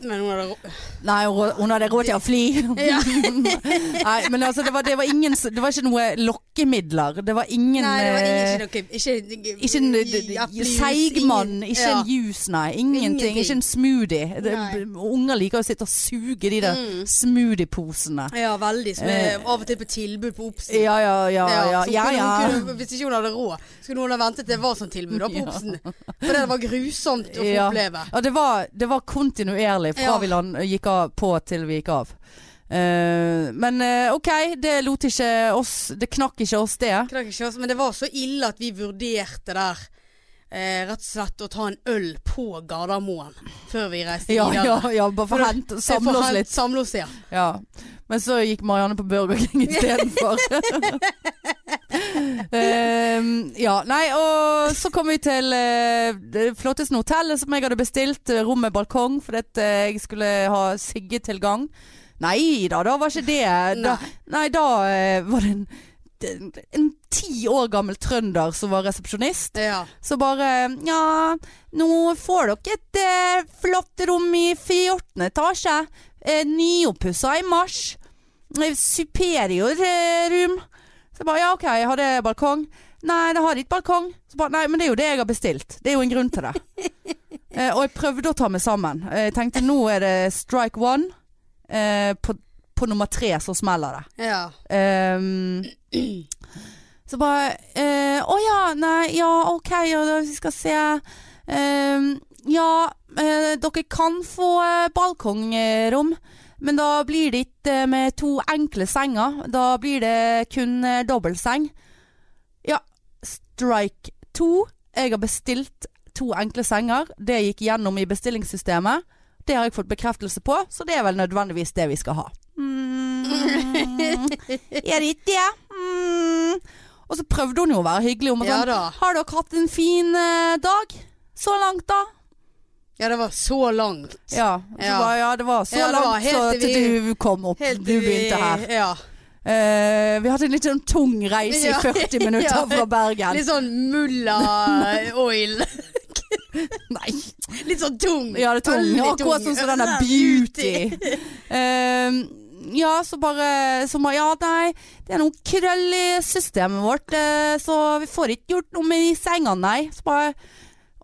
[SPEAKER 2] Men hun hadde rå-
[SPEAKER 1] Nei, hun rå- hun hadde råd til å fly.
[SPEAKER 2] [laughs] Ja.
[SPEAKER 1] [laughs] Nei, men altså, det var, det, var ingen, s- det var ikke noe lokkemidler. Det var ingen,
[SPEAKER 2] Nei, det var
[SPEAKER 1] eh,
[SPEAKER 2] ingen, ikke noe Ikke,
[SPEAKER 1] ikke en d- d- seigmann, ikke en juice, nei.
[SPEAKER 2] Ingenting.
[SPEAKER 1] Ingenting. Ikke en smoothie. Det,
[SPEAKER 2] Nei. Mm.
[SPEAKER 1] b- unger liker jo å sitte og suge de der smoothie-posene.
[SPEAKER 2] Ja, veldig. Som
[SPEAKER 1] Eh.
[SPEAKER 2] er av og til på tilbud på Obsen.
[SPEAKER 1] Ja, ja, ja. ja,
[SPEAKER 2] så
[SPEAKER 1] ja,
[SPEAKER 2] kunne
[SPEAKER 1] ja.
[SPEAKER 2] Hun kunne, hvis ikke hun hadde råd, skulle hun ha ventet til det var sånn tilbud da, på
[SPEAKER 1] Ja.
[SPEAKER 2] Obsen. For det var grusomt å få
[SPEAKER 1] Ja.
[SPEAKER 2] oppleve.
[SPEAKER 1] ja det, var, det var kontinuerlig fra
[SPEAKER 2] Ja.
[SPEAKER 1] vi land, gikk av på til vi gikk av. Eh, men eh, OK, det lot ikke oss Det knakk ikke oss, det.
[SPEAKER 2] Knakk ikke oss, Men det var så ille at vi vurderte der eh, rett og slett å ta en øl på Gardermoen før vi reiste
[SPEAKER 1] Ja,
[SPEAKER 2] videre.
[SPEAKER 1] ja, ja bare for å hente, samle
[SPEAKER 2] For
[SPEAKER 1] oss
[SPEAKER 2] han-
[SPEAKER 1] litt.
[SPEAKER 2] Samle oss, ja.
[SPEAKER 1] Ja. Men så gikk Marianne på Burger [laughs] King istedenfor. um, ja, nei, og så kom vi til eh, det flotteste hotellet som jeg hadde bestilt. eh, Rom med balkong, fordi at eh, jeg skulle ha siggetilgang. Nei da, da var ikke det. Da, nei, da eh, var det en en- en ti år gammel trønder som var resepsjonist.
[SPEAKER 2] ja.
[SPEAKER 1] Så bare Ja, nå får dere et eh, flott rom i 14. etasje. Eh, Nyoppussa i mars. Eh, Superior eh, room. Så jeg bare Ja, OK, har det balkong? Nei, det har ikke balkong. Så bare, Nei, men det er jo det jeg har bestilt. Det er jo en grunn til det. eh, og jeg prøvde å ta meg sammen. Eh, Jeg tenkte nå er det strike one. Eh, på, på nummer tre så smeller det.
[SPEAKER 2] ja.
[SPEAKER 1] Ehm, så bare eh, Å ja, nei, ja, OK, ja, da, vi skal se. Ehm, ja, eh, dere kan få eh, balkongrom, men da blir det ikke eh, med to enkle senger. Da blir det kun eh, dobbeltseng. Ja, strike to. Jeg har bestilt to enkle senger. Det gikk gjennom i bestillingssystemet. Det har jeg fått bekreftelse på, så det er vel nødvendigvis det vi skal ha.
[SPEAKER 2] [laughs]
[SPEAKER 1] Mm. Er det ikke det? Mm. Og så prøvde hun jo å være hyggelig. Om,
[SPEAKER 2] ja
[SPEAKER 1] sånn,
[SPEAKER 2] da.
[SPEAKER 1] har dere hatt en fin eh, dag? Så langt, da?
[SPEAKER 2] Ja, det var så langt.
[SPEAKER 1] Ja. Så
[SPEAKER 2] Ja.
[SPEAKER 1] Var, ja det var så
[SPEAKER 2] Ja, det var
[SPEAKER 1] langt så,
[SPEAKER 2] helt til
[SPEAKER 1] til
[SPEAKER 2] vi-
[SPEAKER 1] du kom opp.
[SPEAKER 2] Helt
[SPEAKER 1] du
[SPEAKER 2] til vi-
[SPEAKER 1] begynte her.
[SPEAKER 2] Ja.
[SPEAKER 1] Eh, vi hadde en litt sånn tung reise
[SPEAKER 2] [laughs] Ja.
[SPEAKER 1] i 40 minutter
[SPEAKER 2] Ja.
[SPEAKER 1] fra Bergen.
[SPEAKER 2] Litt sånn mulla-oil. [laughs]
[SPEAKER 1] Nei.
[SPEAKER 2] Litt sånn tung.
[SPEAKER 1] Ja, det er tung.
[SPEAKER 2] Veldig
[SPEAKER 1] Akkurat
[SPEAKER 2] tung.
[SPEAKER 1] sånn som denne beauty. [laughs] Eh, ja, så bare så ma- Ja, nei, det er noe krøll i systemet vårt, eh, så vi får ikke gjort noe med de sengene, nei. Så bare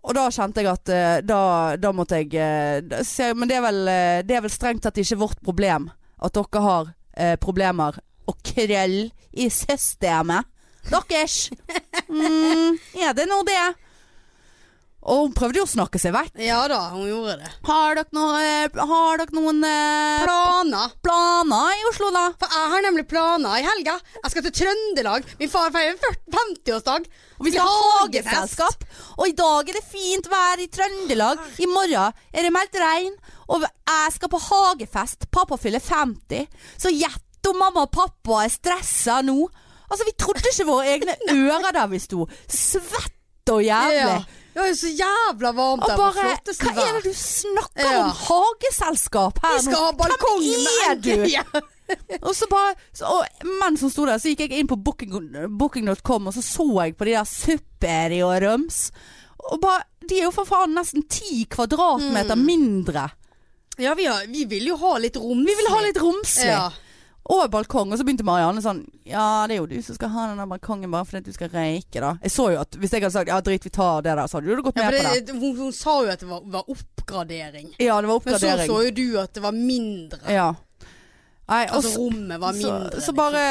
[SPEAKER 1] og da kjente jeg at eh, da, da måtte jeg eh, da- så jeg- Men det er, vel, eh, det er vel strengt tatt ikke vårt problem at dere har eh, problemer og krøll i systemet. Deres! Mm, er det nå det? Og hun prøvde jo å snakke seg vekk.
[SPEAKER 2] Ja da, hun gjorde det.
[SPEAKER 1] Har dere, noe, eh, har dere noen eh,
[SPEAKER 2] Planer.
[SPEAKER 1] planer i Oslo, da?
[SPEAKER 2] For jeg har nemlig planer i helga. Jeg skal til Trøndelag. Min far feirer 40 50-årsdag.
[SPEAKER 1] Og vi skal ha hageselskap. Og i dag er det fint vær i Trøndelag. I morgen er det meldt regn. Og jeg skal på hagefest. Pappa fyller 50. Så gjett om mamma og pappa er stressa nå. Altså, vi trodde ikke
[SPEAKER 2] [laughs]
[SPEAKER 1] våre egne ører der vi sto. Svett og jævlig.
[SPEAKER 2] Ja. Det var jo så jævla varmt
[SPEAKER 1] Og
[SPEAKER 2] der på
[SPEAKER 1] bare
[SPEAKER 2] flotteste
[SPEAKER 1] Hva er det du snakker
[SPEAKER 2] Ja.
[SPEAKER 1] om? Hageselskap her
[SPEAKER 2] Vi skal ha balkong
[SPEAKER 1] Hvem er du?
[SPEAKER 2] Ja.
[SPEAKER 1] Og så bare så, og Mens hun sto der, så gikk jeg inn på booking- booking.com, og så så jeg på de der Superi og Røms. Og bare De er jo for faen nesten ti kvadratmeter
[SPEAKER 2] Mm.
[SPEAKER 1] mindre.
[SPEAKER 2] Ja, vi, har, vi vil jo ha litt rom.
[SPEAKER 1] Vi vil ha litt romslig.
[SPEAKER 2] Ja.
[SPEAKER 1] Og balkong. Og så begynte Marianne sånn Ja, det er jo du som skal ha den der balkongen bare fordi at du skal røyke, da. Jeg så jo at hvis jeg hadde sagt ja, drit, vi tar det der, så hadde du gått
[SPEAKER 2] Ja, for
[SPEAKER 1] med på det.
[SPEAKER 2] det, hun, hun sa jo at det var, var oppgradering.
[SPEAKER 1] Ja, det var
[SPEAKER 2] Men så
[SPEAKER 1] oppgradering.
[SPEAKER 2] så jo du at det var mindre.
[SPEAKER 1] Ja. Nei, og
[SPEAKER 2] Altså
[SPEAKER 1] så-
[SPEAKER 2] rommet var mindre.
[SPEAKER 1] Så, så bare,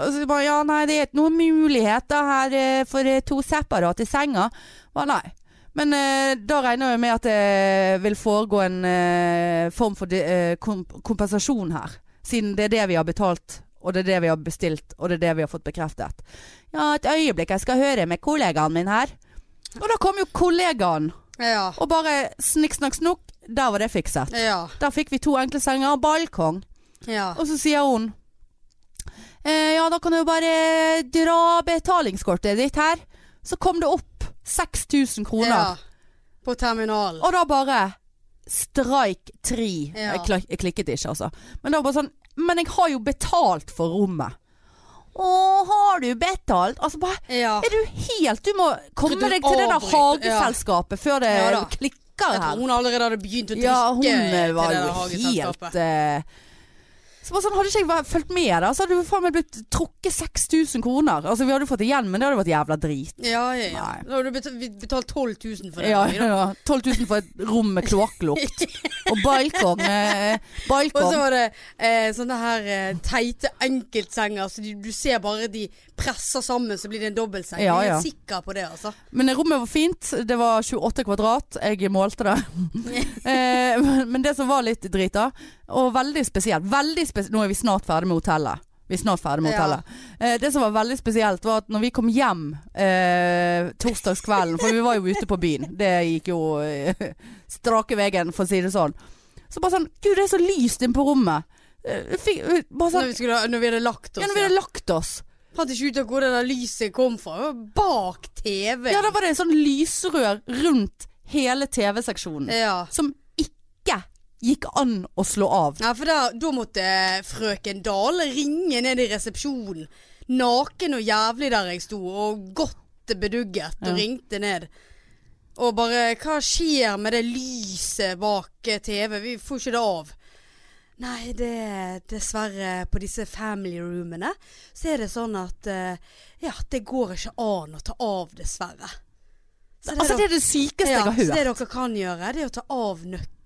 [SPEAKER 1] og så bare Ja, nei, det er ikke noen muligheter her eh, for eh, to separate senger. Hva, nei. Men eh, da regner jeg med at det vil foregå en eh, form for de, eh, kom, kompensasjon her. Siden det er det vi har betalt, og det er det vi har bestilt, og det er det vi har fått bekreftet. Ja, et øyeblikk, jeg skal høre med kollegaen min her. Og da kom jo kollegaen,
[SPEAKER 2] liksom. Ja.
[SPEAKER 1] og bare snikk, snakk, snukk. Der var det fikset.
[SPEAKER 2] Ja.
[SPEAKER 1] Der fikk vi to enkle senger og balkong.
[SPEAKER 2] ja.
[SPEAKER 1] Og så sier hun eh, Ja, da kan du jo bare dra betalingskortet ditt her. Så kom det opp 6000 kroner.
[SPEAKER 2] ja. På terminalen.
[SPEAKER 1] Og da bare Strike 3.
[SPEAKER 2] Ja.
[SPEAKER 1] Jeg, klik, jeg klikket ikke, altså. Men da bare sånn Men jeg har jo betalt for rommet. Å, har du betalt? Altså bare
[SPEAKER 2] Ja.
[SPEAKER 1] Er du helt Du må komme
[SPEAKER 2] Tror du
[SPEAKER 1] deg til det der
[SPEAKER 2] avbryter- ja.
[SPEAKER 1] hageselskapet før det
[SPEAKER 2] Ja da.
[SPEAKER 1] klikker
[SPEAKER 2] Jeg
[SPEAKER 1] her.
[SPEAKER 2] tror hun allerede hadde begynt å drikke
[SPEAKER 1] Ja, hun eh,
[SPEAKER 2] til
[SPEAKER 1] var
[SPEAKER 2] det der
[SPEAKER 1] jo helt
[SPEAKER 2] hageselskapet.
[SPEAKER 1] eh, så bare sånn, Hadde ikke jeg vært- fulgt med der, så hadde jo faen meg blitt trukket 6000 kroner. Altså Vi hadde jo fått det igjen, men det hadde vært jævla drit.
[SPEAKER 2] Ja, ja, ja.
[SPEAKER 1] Nei.
[SPEAKER 2] Da har du betalt, vi betalt 12 000 for det.
[SPEAKER 1] Ja,
[SPEAKER 2] vi da.
[SPEAKER 1] ja, ja. 12 000 for et rom med
[SPEAKER 2] [laughs]
[SPEAKER 1] kloakklukt. Og balkong. Eh,
[SPEAKER 2] Og så
[SPEAKER 1] balkong.
[SPEAKER 2] var det eh, sånne her eh, teite enkeltsenger. Så du, du ser bare de presser sammen, så blir det en dobbeltseng.
[SPEAKER 1] Ja,
[SPEAKER 2] Jeg er
[SPEAKER 1] ja.
[SPEAKER 2] helt sikker på det, altså.
[SPEAKER 1] Men rommet var fint. Det var 28 kvadrat. Jeg målte
[SPEAKER 2] [laughs]
[SPEAKER 1] det. eh, men- men det som var litt drit, da, og veldig spesielt veldig spe Nå er vi snart ferdig med hotellet. Vi er snart ferdig med
[SPEAKER 2] Ja.
[SPEAKER 1] hotellet. Eh, det som var veldig spesielt, var at når vi kom hjem eh, torsdagskvelden For vi var jo ute på byen. Det gikk jo eh, strake veien, for å si det sånn. Så bare sånn Gud, det er så lyst inne på rommet. Eh, fikk, bare
[SPEAKER 2] Når
[SPEAKER 1] sånn
[SPEAKER 2] vi, skulle, når vi hadde lagt oss.
[SPEAKER 1] Ja, når vi hadde lagt oss.
[SPEAKER 2] Fant ikke ut av hvor det der lyset kom fra. Det var bak TV.
[SPEAKER 1] Ja, da var det sånn lysrør rundt hele TV-seksjonen.
[SPEAKER 2] ja.
[SPEAKER 1] som ikke gikk an å slå av.
[SPEAKER 2] Ja, for da, da måtte eh, frøken Dahl ringe ned i resepsjonen. Naken og jævlig der jeg sto, og godt bedugget, og
[SPEAKER 1] Ja.
[SPEAKER 2] ringte ned. Og bare Hva skjer med det lyset bak eh, TV? Vi får ikke det av. Nei, det er dessverre på disse family roomene så er det sånn at eh, Ja, det går ikke an å ta av, dessverre. Så
[SPEAKER 1] altså,
[SPEAKER 2] da-
[SPEAKER 1] det er det sykeste jeg har
[SPEAKER 2] så
[SPEAKER 1] hørt.
[SPEAKER 2] det dere kan gjøre, det er å ta av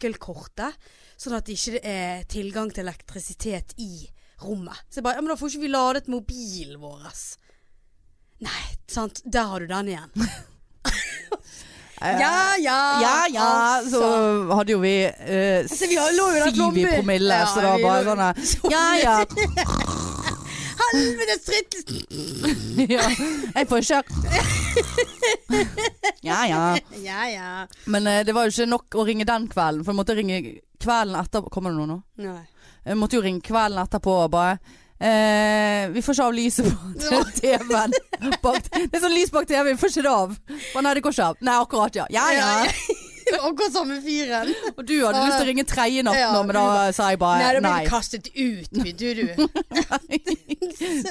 [SPEAKER 2] nøkkelkortet, sånn at det ikke er tilgang til elektrisitet i rommet. Så jeg bare, ja, men da får ikke vi ladet mobilen vår. Nei, sant, der har du den
[SPEAKER 1] [laughs]
[SPEAKER 2] igjen.
[SPEAKER 1] Eh,
[SPEAKER 2] Ja, ja,
[SPEAKER 1] ja, ja, så
[SPEAKER 2] altså.
[SPEAKER 1] hadde jo vi eh,
[SPEAKER 2] Altså, vi har- lå jo der
[SPEAKER 1] syv i
[SPEAKER 2] klumper.
[SPEAKER 1] promille,
[SPEAKER 2] Ja,
[SPEAKER 1] så det var
[SPEAKER 2] vi
[SPEAKER 1] bare
[SPEAKER 2] lå-
[SPEAKER 1] sånn eh,
[SPEAKER 2] [laughs]
[SPEAKER 1] Ja, ja.
[SPEAKER 2] Helvetes dritt!
[SPEAKER 1] ja. Jeg får ikke
[SPEAKER 2] [laughs]
[SPEAKER 1] Ja, ja.
[SPEAKER 2] Ja, ja.
[SPEAKER 1] Men eh, det var jo ikke nok å ringe den kvelden, for jeg måtte ringe kvelden etter Kommer det noe nå?
[SPEAKER 2] Nei.
[SPEAKER 1] Jeg måtte jo ringe kvelden etterpå og bare eh, Vi får ikke av lyset
[SPEAKER 2] [laughs]
[SPEAKER 1] på [laughs] TV-en. bak- Det er sånn lys bak TV, vi får ikke det av. Å, nei, det går ikke av. Nei, akkurat, ja. Ja, ja.
[SPEAKER 2] [laughs] Det var Akkurat samme fyren.
[SPEAKER 1] Og du hadde lyst til å ringe tredje natt nå, men da sa jeg
[SPEAKER 2] Nei,
[SPEAKER 1] bare
[SPEAKER 2] da ble
[SPEAKER 1] nei.
[SPEAKER 2] du kastet ut, begynte du.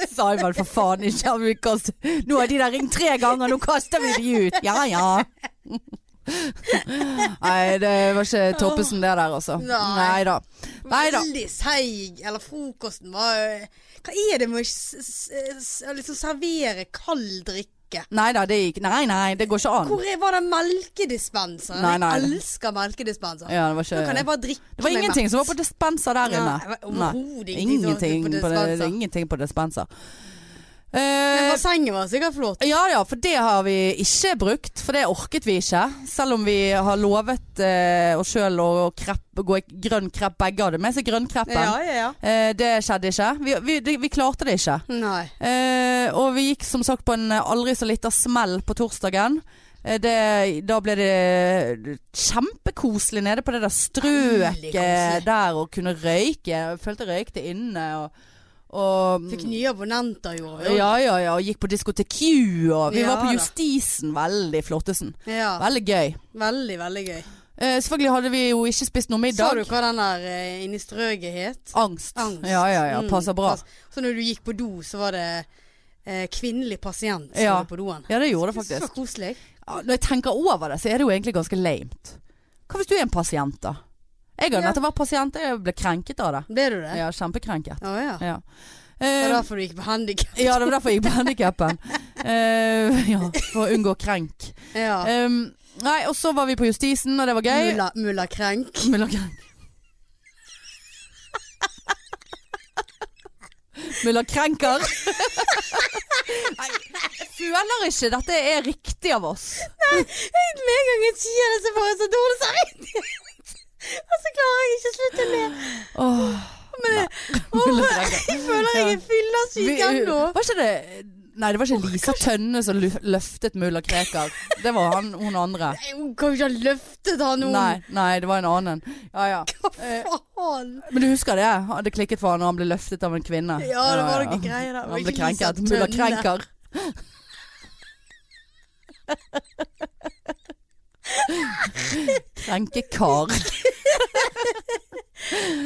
[SPEAKER 1] [laughs] Sa jeg vel for faen ikke. har vi kastet- Nå har de der ringt tre ganger, nå kaster vi de ut. Ja ja. [laughs] Nei, det var ikke Toppesen det der, altså.
[SPEAKER 2] Nei.
[SPEAKER 1] Nei da. Nei da.
[SPEAKER 2] Veldig seig. Eller frokosten var eh, Hva er det med å s- s- s- liksom servere kald drikke? melke.
[SPEAKER 1] Nei da, det gikk Nei, nei, det går ikke an.
[SPEAKER 2] Hvor er, var den melkedispenseren?
[SPEAKER 1] Nei, nei.
[SPEAKER 2] Jeg elsker melkedispenser.
[SPEAKER 1] Ja, det
[SPEAKER 2] Nå
[SPEAKER 1] var
[SPEAKER 2] kan
[SPEAKER 1] ikke
[SPEAKER 2] jeg bare drikke
[SPEAKER 1] Det var
[SPEAKER 2] meg
[SPEAKER 1] ingenting
[SPEAKER 2] mett.
[SPEAKER 1] som var på dispenser der inne.
[SPEAKER 2] Nei, Overhodet ingenting,
[SPEAKER 1] Ingenting på, det,
[SPEAKER 2] dispenser.
[SPEAKER 1] ingenting på dispenser.
[SPEAKER 2] Men
[SPEAKER 1] Eh,
[SPEAKER 2] bassenget var sikkert flott.
[SPEAKER 1] ja ja, for det har vi ikke brukt. For det orket vi ikke. Selv om vi har lovet eh, oss sjøl å krepp, gå i grønn krepp. Begge hadde med seg grønnkreppen.
[SPEAKER 2] Ja, ja, ja.
[SPEAKER 1] Eh, det skjedde ikke. Vi, vi, det, vi klarte det ikke.
[SPEAKER 2] Nei.
[SPEAKER 1] Eh, og vi gikk som sagt på en eh, aldri så liten smell på torsdagen. Eh, det, da ble det kjempekoselig nede på det der
[SPEAKER 2] Veldig
[SPEAKER 1] strøket
[SPEAKER 2] koselig.
[SPEAKER 1] der og kunne røyke. Jeg følte jeg røykte inne. Og, og
[SPEAKER 2] Fikk nye abonnenter, gjorde vi.
[SPEAKER 1] Mm. ja, ja, ja. Og gikk på diskotek Q. Og vi
[SPEAKER 2] Ja
[SPEAKER 1] var på
[SPEAKER 2] da.
[SPEAKER 1] Justisen. Veldig flottesen.
[SPEAKER 2] Ja,
[SPEAKER 1] Veldig gøy.
[SPEAKER 2] Veldig, veldig gøy.
[SPEAKER 1] Eh, selvfølgelig hadde vi jo ikke spist noe
[SPEAKER 2] Sa du
[SPEAKER 1] middag.
[SPEAKER 2] hva den der eh, inni strøket het?
[SPEAKER 1] Angst.
[SPEAKER 2] Angst.
[SPEAKER 1] Ja, ja, ja.
[SPEAKER 2] Mm,
[SPEAKER 1] Passer bra.
[SPEAKER 2] pass. Så når du gikk på do, så var det eh, kvinnelig pasient som
[SPEAKER 1] Ja.
[SPEAKER 2] var på doen?
[SPEAKER 1] Ja, det gjorde det faktisk.
[SPEAKER 2] Så koselig.
[SPEAKER 1] Ja, Når jeg tenker over det, så er det jo egentlig ganske lamet. Hva hvis du er en pasient, da? Jeg har
[SPEAKER 2] Ja.
[SPEAKER 1] nettopp vært pasient, jeg ble krenket av det.
[SPEAKER 2] Ble du det?
[SPEAKER 1] Ja, kjempekrenket.
[SPEAKER 2] Å ja.
[SPEAKER 1] Ja.
[SPEAKER 2] Det
[SPEAKER 1] Eh,
[SPEAKER 2] var derfor du gikk på handikap.
[SPEAKER 1] ja, det var derfor jeg gikk på handikappen. Eh, ja, for å unngå krenk.
[SPEAKER 2] Ja.
[SPEAKER 1] Um, nei, og så var vi på Justisen, og det var gøy.
[SPEAKER 2] Mulla, mulla Krenk.
[SPEAKER 1] Mulla krenk. Mulla krenker. Nei, jeg føler ikke dette er riktig av oss.
[SPEAKER 2] Med en gang jeg sier det, så får jeg så dårlig samvittighet. [laughs] Og så klarer jeg ikke å slutte å le.
[SPEAKER 1] Åh.
[SPEAKER 2] [laughs] Åh,
[SPEAKER 1] Mulla Krenk.
[SPEAKER 2] jeg føler jeg er
[SPEAKER 1] Vi- eh,
[SPEAKER 2] fyllesyk ennå.
[SPEAKER 1] Var ikke det Nei, det var ikke Lisa Tønne som lu- løftet mulla Krekar. Det var han, hun andre.
[SPEAKER 2] Nei, Hun kan jo ikke ha løftet han om.
[SPEAKER 1] Nei, nei, det var en annen. Ja, ja.
[SPEAKER 2] Hva faen?
[SPEAKER 1] Men du husker det? Det klikket for han og han ble løftet av en kvinne.
[SPEAKER 2] Ja, det var noen greier der.
[SPEAKER 1] Han ble
[SPEAKER 2] Ikke Lisa
[SPEAKER 1] krenket. Mulla
[SPEAKER 2] Tønne. [laughs]
[SPEAKER 1] Krenker. Krenkekar.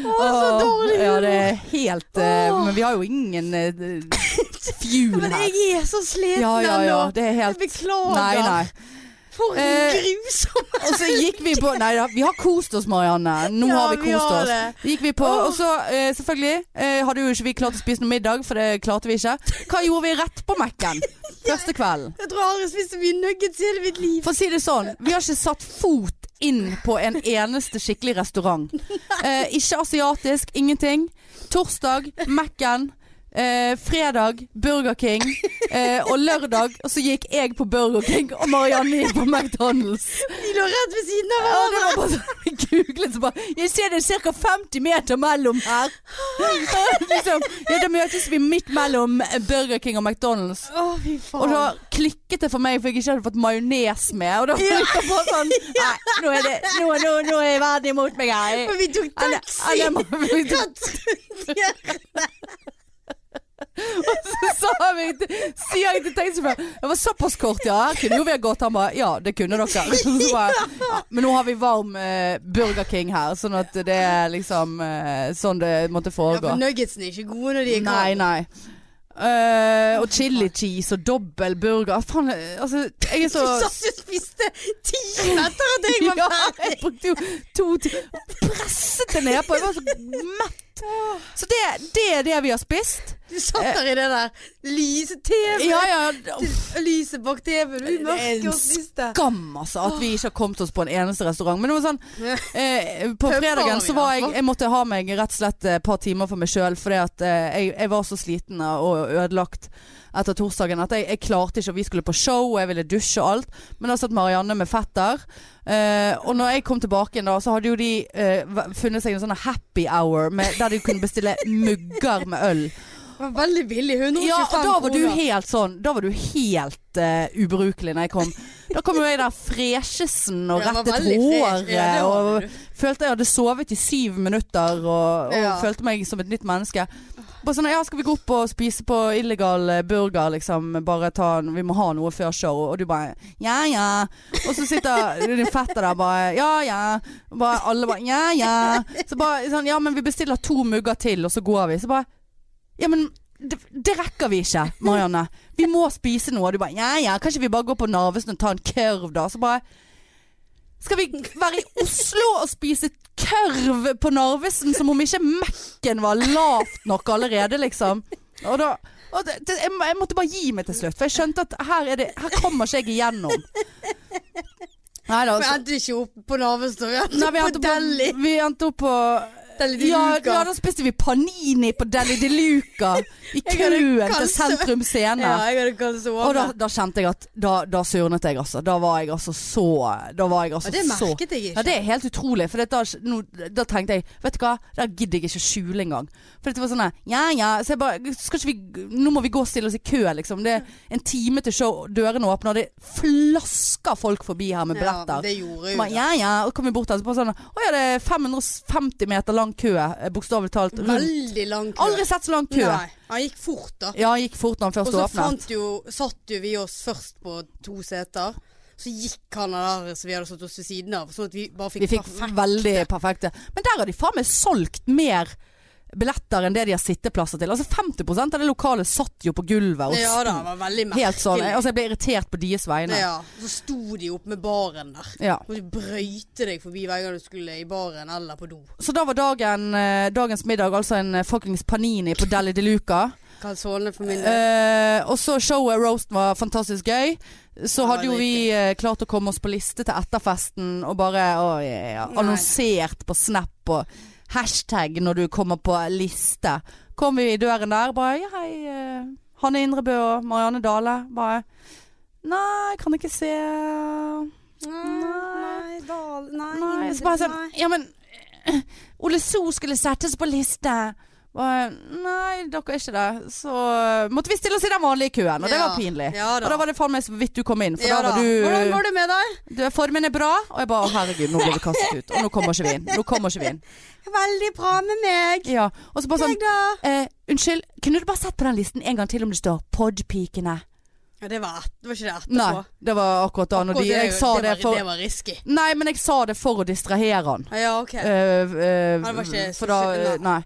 [SPEAKER 2] Å, så dårlig
[SPEAKER 1] Ja,
[SPEAKER 2] humor.
[SPEAKER 1] det er helt eh,
[SPEAKER 2] Åh.
[SPEAKER 1] Men vi har jo ingen
[SPEAKER 2] [laughs]
[SPEAKER 1] eh, fuel
[SPEAKER 2] Men
[SPEAKER 1] her.
[SPEAKER 2] jeg er så sliten
[SPEAKER 1] Ja, ja, ja.
[SPEAKER 2] ennå.
[SPEAKER 1] Det er helt
[SPEAKER 2] Jeg beklager.
[SPEAKER 1] Nei, nei.
[SPEAKER 2] For
[SPEAKER 1] Eh,
[SPEAKER 2] en grusom
[SPEAKER 1] Og så gikk vi på Nei da, vi har kost oss, Marianne. Nå
[SPEAKER 2] Ja,
[SPEAKER 1] har vi
[SPEAKER 2] vi
[SPEAKER 1] kost
[SPEAKER 2] har
[SPEAKER 1] oss.
[SPEAKER 2] det.
[SPEAKER 1] Så Gikk vi på, og så eh, selvfølgelig eh, hadde jo ikke vi klart å spise noe middag, for det klarte vi ikke. Hva gjorde vi rett på
[SPEAKER 2] [laughs]
[SPEAKER 1] Mac-en første kvelden?
[SPEAKER 2] Jeg tror jeg aldri har spist så mye nuggets i hele mitt liv.
[SPEAKER 1] For å si det sånn, vi har ikke satt fot inn på en eneste skikkelig restaurant. Eh, ikke asiatisk, ingenting. Torsdag, Mac-en. Eh, fredag Burger King. Eh, og lørdag og så gikk jeg på Burger King, og Marianne gikk på McDonald's.
[SPEAKER 2] De lå rett ved siden av
[SPEAKER 1] Ja,
[SPEAKER 2] hverandre.
[SPEAKER 1] det var bare sånn Vi googlet så bare Jeg ser det er ca. 50 meter mellom her. [laughs] liksom, ja, da møtes vi midt mellom eh, Burger King og McDonald's.
[SPEAKER 2] Å, fy faen.
[SPEAKER 1] Og da klikket det for meg, for jeg ikke hadde fått majones med. Og da var jeg bare sånn Nei, nå er, det, nå, nå, nå er verden imot meg her.
[SPEAKER 2] Men vi tok
[SPEAKER 1] Alle-
[SPEAKER 2] taxi.
[SPEAKER 1] alle [laughs] må- [laughs] Så sa vi til- sier jeg til taxisjåføren Det var såpass kort, ja. Her kunne jo vi ha gått. Han bare Ja, det kunne dere. [laughs] Så bare, ja, men nå har vi varm eh, Burger King her, sånn at det er liksom eh, sånn det måtte
[SPEAKER 2] Ja,
[SPEAKER 1] foregå.
[SPEAKER 2] for nuggetsene er ikke gode når de er
[SPEAKER 1] Nei, nei. Eh, og chili cheese og dobbel burger. Faen, eh, altså Jeg
[SPEAKER 2] Du
[SPEAKER 1] er så
[SPEAKER 2] [laughs] satt og spiste time etter at jeg var
[SPEAKER 1] [laughs] ja,
[SPEAKER 2] ferdig.
[SPEAKER 1] jeg brukte jo to timer Presset det nedpå. Jeg var så mett. Så det, det er det vi har spist.
[SPEAKER 2] Du satt der i det der lyse TV.
[SPEAKER 1] Ja, ja.
[SPEAKER 2] Lyset bak TV-en. Vi
[SPEAKER 1] Det er
[SPEAKER 2] mørke
[SPEAKER 1] en
[SPEAKER 2] og spiste.
[SPEAKER 1] skam, altså, at vi ikke har kommet oss på en eneste restaurant. Men det var sånn, eh, på
[SPEAKER 2] Puffa
[SPEAKER 1] fredagen så
[SPEAKER 2] vi,
[SPEAKER 1] var
[SPEAKER 2] altså.
[SPEAKER 1] jeg Jeg måtte ha meg rett og slett eh, et par timer for meg sjøl, fordi at eh, jeg, jeg var så sliten og ødelagt etter torsdagen at jeg, jeg klarte ikke, og vi skulle på show, og jeg ville dusje og alt. Men da satt Marianne med fetter. Eh, og når jeg kom tilbake igjen da, så hadde jo de eh, v- funnet seg en sånn happy hour med, der de kunne bestille mugger med øl.
[SPEAKER 2] Det var veldig billig. 125
[SPEAKER 1] Ja, og da var du
[SPEAKER 2] kroner.
[SPEAKER 1] helt sånn Da var du helt eh, ubrukelig når jeg kom. Da kom jo jeg der freshesen og
[SPEAKER 2] Ja, det var
[SPEAKER 1] rettet
[SPEAKER 2] veldig fresh.
[SPEAKER 1] håret.
[SPEAKER 2] Ja, det var
[SPEAKER 1] og
[SPEAKER 2] du.
[SPEAKER 1] følte jeg hadde sovet i syv minutter og, og
[SPEAKER 2] Ja.
[SPEAKER 1] følte meg som et nytt menneske. Bare sånn, ja, skal vi gå opp og spise på illegal eh, burger, liksom. Bare ta en, Vi må ha noe før show. Og du bare ja, ja. Og så sitter din fetter der bare ja, ja. Og bare, alle bare ja, ja. Så bare sånn, ja, men vi bestiller to mugger til, og så går vi. Så bare ja, men det, det rekker vi ikke, Marianne. Vi må spise noe. Og du bare ja, ja, kanskje vi bare går på Narvesen og tar en kurv, da. Så bare Skal vi være i Oslo og spise kurv på Narvesen som om ikke Mekken var lavt nok allerede, liksom? Og da Og det, det, jeg, må- jeg måtte bare gi meg til slutt, for jeg skjønte at her, er det, her kommer ikke jeg igjennom. Nei da.
[SPEAKER 2] Vi
[SPEAKER 1] så-
[SPEAKER 2] endte ikke opp på Navestad, vi endte
[SPEAKER 1] Nei, vi
[SPEAKER 2] opp
[SPEAKER 1] endte
[SPEAKER 2] på
[SPEAKER 1] på,
[SPEAKER 2] Delhi.
[SPEAKER 1] vi endte opp på
[SPEAKER 2] Delhi de
[SPEAKER 1] ja,
[SPEAKER 2] Luca.
[SPEAKER 1] ja, da spiste vi panini på Deli de Luca
[SPEAKER 2] [laughs]
[SPEAKER 1] i
[SPEAKER 2] Jeg hadde
[SPEAKER 1] køen til
[SPEAKER 2] kaldt sø-
[SPEAKER 1] Sentrum Scene.
[SPEAKER 2] Ja, jeg hadde kalt det så
[SPEAKER 1] Og da,
[SPEAKER 2] over.
[SPEAKER 1] da kjente jeg at da, da surnet jeg, altså. Da var jeg altså så Da var jeg altså
[SPEAKER 2] Ja, det
[SPEAKER 1] så
[SPEAKER 2] merket jeg
[SPEAKER 1] ja,
[SPEAKER 2] ikke.
[SPEAKER 1] det er helt utrolig. For det, da, nå, da tenkte jeg Vet du hva, der gidder jeg ikke skjule engang. For det var sånn her, Ja ja. Så jeg bare skal ikke vi, Nå må vi gå og stille oss i kø, liksom. Det er en time til show, dørene åpner, og det flasker folk forbi her med
[SPEAKER 2] Ja,
[SPEAKER 1] billetter.
[SPEAKER 2] det gjorde jo
[SPEAKER 1] Bare,
[SPEAKER 2] det.
[SPEAKER 1] ja ja. Og kom vi bort der, så bare sånn Å ja, det er 550 meter lang kø, eh, bokstavelig talt. Rundt.
[SPEAKER 2] Veldig lang kø.
[SPEAKER 1] Aldri sett så lang kø.
[SPEAKER 2] Nei, han gikk fort da.
[SPEAKER 1] Ja, gikk fort når han
[SPEAKER 2] Og
[SPEAKER 1] først
[SPEAKER 2] så
[SPEAKER 1] åpnet.
[SPEAKER 2] fant jo, satt jo vi oss først på to seter. Så gikk han der som vi hadde satt oss ved siden av, sånn at vi bare fikk,
[SPEAKER 1] Vi fikk
[SPEAKER 2] perfekt.
[SPEAKER 1] veldig perfekte. Men der har de faen meg solgt mer billetter enn det de har sitteplasser til. Altså 50 av det lokale satt jo på gulvet og
[SPEAKER 2] Ja da, det
[SPEAKER 1] sto
[SPEAKER 2] var veldig merkelig.
[SPEAKER 1] helt sånn. Altså jeg ble irritert på deres vegne.
[SPEAKER 2] ja, så sto de opp med baren der.
[SPEAKER 1] Ja.
[SPEAKER 2] Og de brøyte deg forbi hver gang du skulle i baren eller på do.
[SPEAKER 1] Så da var dagen, eh, dagens middag altså en eh, fuckings panini på Deli de Luca.
[SPEAKER 2] Kalsone for min del.
[SPEAKER 1] Eh, og så showet Roasten var fantastisk gøy. Så
[SPEAKER 2] Ja,
[SPEAKER 1] hadde jo
[SPEAKER 2] det er
[SPEAKER 1] vi eh, klart å komme oss på liste til etterfesten og bare å, ja, ja,
[SPEAKER 2] Nei.
[SPEAKER 1] annonsert på Snap og hashtag når du kommer på liste. Kom vi i døren der, bare ja, hei. eh, Hanne Indrebø og Marianne Dale. Bare Nei, kan ikke se Nei,
[SPEAKER 2] Dal, nei,
[SPEAKER 1] Nei. Så bare sånn Ja, men eh, Ole So skulle settes på liste. Bare, nei, dere er ikke det. Så eh, måtte vi stille oss i den vanlige køen, og det var pinlig.
[SPEAKER 2] Ja
[SPEAKER 1] Og
[SPEAKER 2] da.
[SPEAKER 1] da var det faen meg så vidt du kom inn. For
[SPEAKER 2] ja,
[SPEAKER 1] da var
[SPEAKER 2] da. Hvordan
[SPEAKER 1] du,
[SPEAKER 2] går det med deg?
[SPEAKER 1] du Formen er bra. Og jeg bare å herregud, nå blir vi kastet ut. Og nå kommer ikke vi inn. Nå kommer ikke vi inn.
[SPEAKER 2] Veldig bra med meg.
[SPEAKER 1] Ja. Og så bare sånn
[SPEAKER 2] Deg da?
[SPEAKER 1] eh, Unnskyld, kunne du bare sett på den listen en gang til om det står Podpikene?
[SPEAKER 2] Ja, det var, et, det var ikke det etterpå.
[SPEAKER 1] Nei, det var akkurat da. Når
[SPEAKER 2] Å,
[SPEAKER 1] de, jeg sa
[SPEAKER 2] var-
[SPEAKER 1] det
[SPEAKER 2] Det
[SPEAKER 1] for
[SPEAKER 2] var risky.
[SPEAKER 1] Nei, men jeg sa det for å distrahere han.
[SPEAKER 2] Ah, Ja, ok.
[SPEAKER 1] Eh, eh,
[SPEAKER 2] Han var ikke
[SPEAKER 1] for da,
[SPEAKER 2] så-
[SPEAKER 1] nei.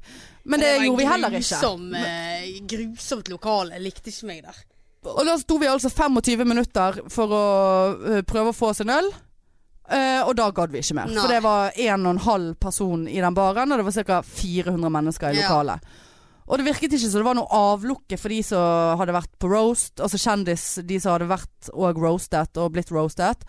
[SPEAKER 1] Men det,
[SPEAKER 2] var en
[SPEAKER 1] gjorde vi heller ikke.
[SPEAKER 2] Grusom, eh, grusomt lokale. Jeg likte ikke meg der.
[SPEAKER 1] Og da sto vi altså 25 minutter for å øh, prøve å få oss en øl. Eh, og da gadd vi ikke mer.
[SPEAKER 2] Nei.
[SPEAKER 1] For det var en og en halv person i den baren, og det var ca. 400 mennesker i
[SPEAKER 2] Ja.
[SPEAKER 1] lokalet. Og det virket ikke som det var noe avlukke for de som hadde vært på roast. Altså kjendis, de som hadde vært og roastet og blitt roastet.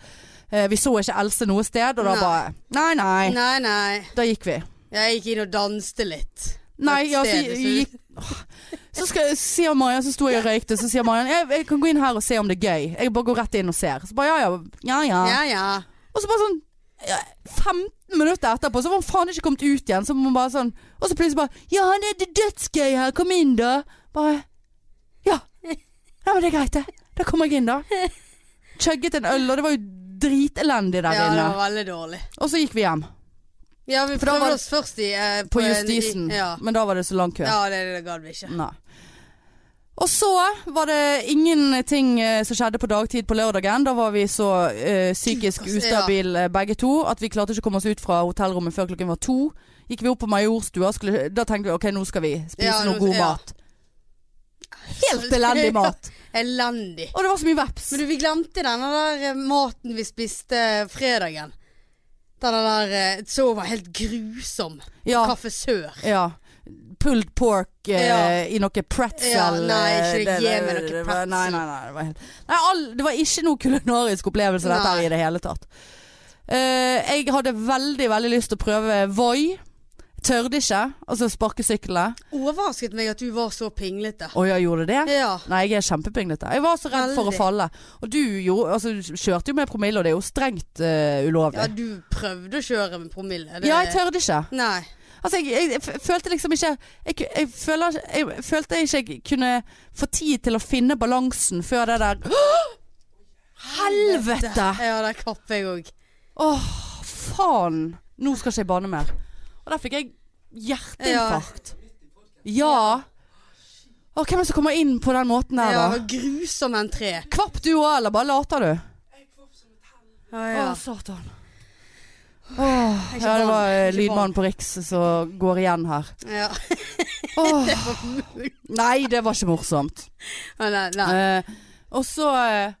[SPEAKER 1] Eh, vi så ikke Else noe sted, og da
[SPEAKER 2] Nei.
[SPEAKER 1] bare Nei, nei.
[SPEAKER 2] Nei, nei.
[SPEAKER 1] Da gikk vi.
[SPEAKER 2] Jeg gikk inn og danste litt.
[SPEAKER 1] Nei,
[SPEAKER 2] Et
[SPEAKER 1] ja, så,
[SPEAKER 2] sted, så-
[SPEAKER 1] gikk, Åh. så skal, jeg- sier Marian, så sto jeg og røykte, så sier Marian jeg, jeg kan gå inn her og se om det er gøy. Jeg bare går rett inn og ser. Så bare ja, ja, ja. ja.
[SPEAKER 2] Ja, ja.
[SPEAKER 1] Og så bare sånn ja, 15 minutter etterpå, så var han faen ikke kommet ut igjen. Så må man bare sånn, og så plutselig bare Ja, han er det er dødsgøy her, kom inn da. Bare Ja. Ja, men det er greit, det. Da kommer jeg inn, da. Chugget en øl, og det var jo dritelendig der
[SPEAKER 2] ja, det
[SPEAKER 1] inne.
[SPEAKER 2] var veldig dårlig.
[SPEAKER 1] Og så gikk vi hjem.
[SPEAKER 2] Ja, vi
[SPEAKER 1] For da var-
[SPEAKER 2] prøvde oss først i eh,
[SPEAKER 1] På
[SPEAKER 2] en- i-
[SPEAKER 1] Justisen.
[SPEAKER 2] Ja,
[SPEAKER 1] Men da var det så lang kø.
[SPEAKER 2] ja Mm. det, det gadd vi ikke.
[SPEAKER 1] Nei. Og så var det ingenting eh, som skjedde på dagtid på lørdagen. Da var vi så eh, psykisk
[SPEAKER 2] Sjukass, ja.
[SPEAKER 1] ustabile eh, begge to at vi klarte ikke å komme oss ut fra hotellrommet før klokken var to. Gikk vi opp på Majorstua, skulle, da tenkte vi ok, nå skal vi spise
[SPEAKER 2] Ja,
[SPEAKER 1] noe
[SPEAKER 2] nå-
[SPEAKER 1] god
[SPEAKER 2] ja.
[SPEAKER 1] mat. Helt elendig mat.
[SPEAKER 2] Elendig.
[SPEAKER 1] Og det var så mye veps.
[SPEAKER 2] Men du, vi glemte denne der eh, maten vi spiste eh, fredagen. Denne der eh, så var helt grusom.
[SPEAKER 1] Ja,
[SPEAKER 2] Kaffesør.
[SPEAKER 1] ja. Pulled pork eh,
[SPEAKER 2] Ja.
[SPEAKER 1] i noe pretzel.
[SPEAKER 2] Ja, nei, ikke
[SPEAKER 1] eh,
[SPEAKER 2] det. Gi meg noe
[SPEAKER 1] det var- Nei,
[SPEAKER 2] pretzel.
[SPEAKER 1] nei, nei. Det var, helt, nei all, det var ikke noe kulinarisk opplevelse dette her
[SPEAKER 2] Nei.
[SPEAKER 1] i det hele tatt. Eh, jeg hadde veldig, veldig lyst til å prøve Voi. Tørde ikke. Altså sparkesyklene.
[SPEAKER 2] Overrasket meg at du var så pinglete.
[SPEAKER 1] Å ja, gjorde det?
[SPEAKER 2] Ja.
[SPEAKER 1] Nei, jeg er kjempepinglete. Jeg var så redd for å
[SPEAKER 2] Veldig.
[SPEAKER 1] falle. Og du jo, altså, du kjørte jo med promille, og det er jo strengt eh,
[SPEAKER 2] ja,
[SPEAKER 1] ulovlig.
[SPEAKER 2] du prøvde å kjøre med promille.
[SPEAKER 1] Ja, jeg tørde ikke.
[SPEAKER 2] Nei.
[SPEAKER 1] Altså, jeg, jeg, jeg følte liksom ikke jeg, ku- jeg, føler, jeg følte ikke jeg kunne få tid til å finne balansen før det der [gasps] Åh! Helvete!
[SPEAKER 2] Ja, der kapp jeg òg.
[SPEAKER 1] Åh, faen! Nå skal ikke jeg banne mer. Og der fikk jeg hjerteinfarkt. Ja. Åh, hvem er det som kommer inn på den måten
[SPEAKER 2] Ja,
[SPEAKER 1] der,
[SPEAKER 2] det
[SPEAKER 1] da?
[SPEAKER 2] var grusom entré.
[SPEAKER 1] Kvapp du òg, eller bare later du?
[SPEAKER 2] Ja,
[SPEAKER 1] Å,
[SPEAKER 2] ja.
[SPEAKER 1] satan. Åh,
[SPEAKER 2] Ikke
[SPEAKER 1] ja, det
[SPEAKER 2] vann,
[SPEAKER 1] var eh,
[SPEAKER 2] ikke vann.
[SPEAKER 1] lydmannen på Riks som går igjen
[SPEAKER 2] [laughs]
[SPEAKER 1] her.
[SPEAKER 2] ja.
[SPEAKER 1] Åh,
[SPEAKER 2] Det var mulig.
[SPEAKER 1] nei, det var ikke morsomt.
[SPEAKER 2] Å, Nei, nei.
[SPEAKER 1] Eh, og så eh,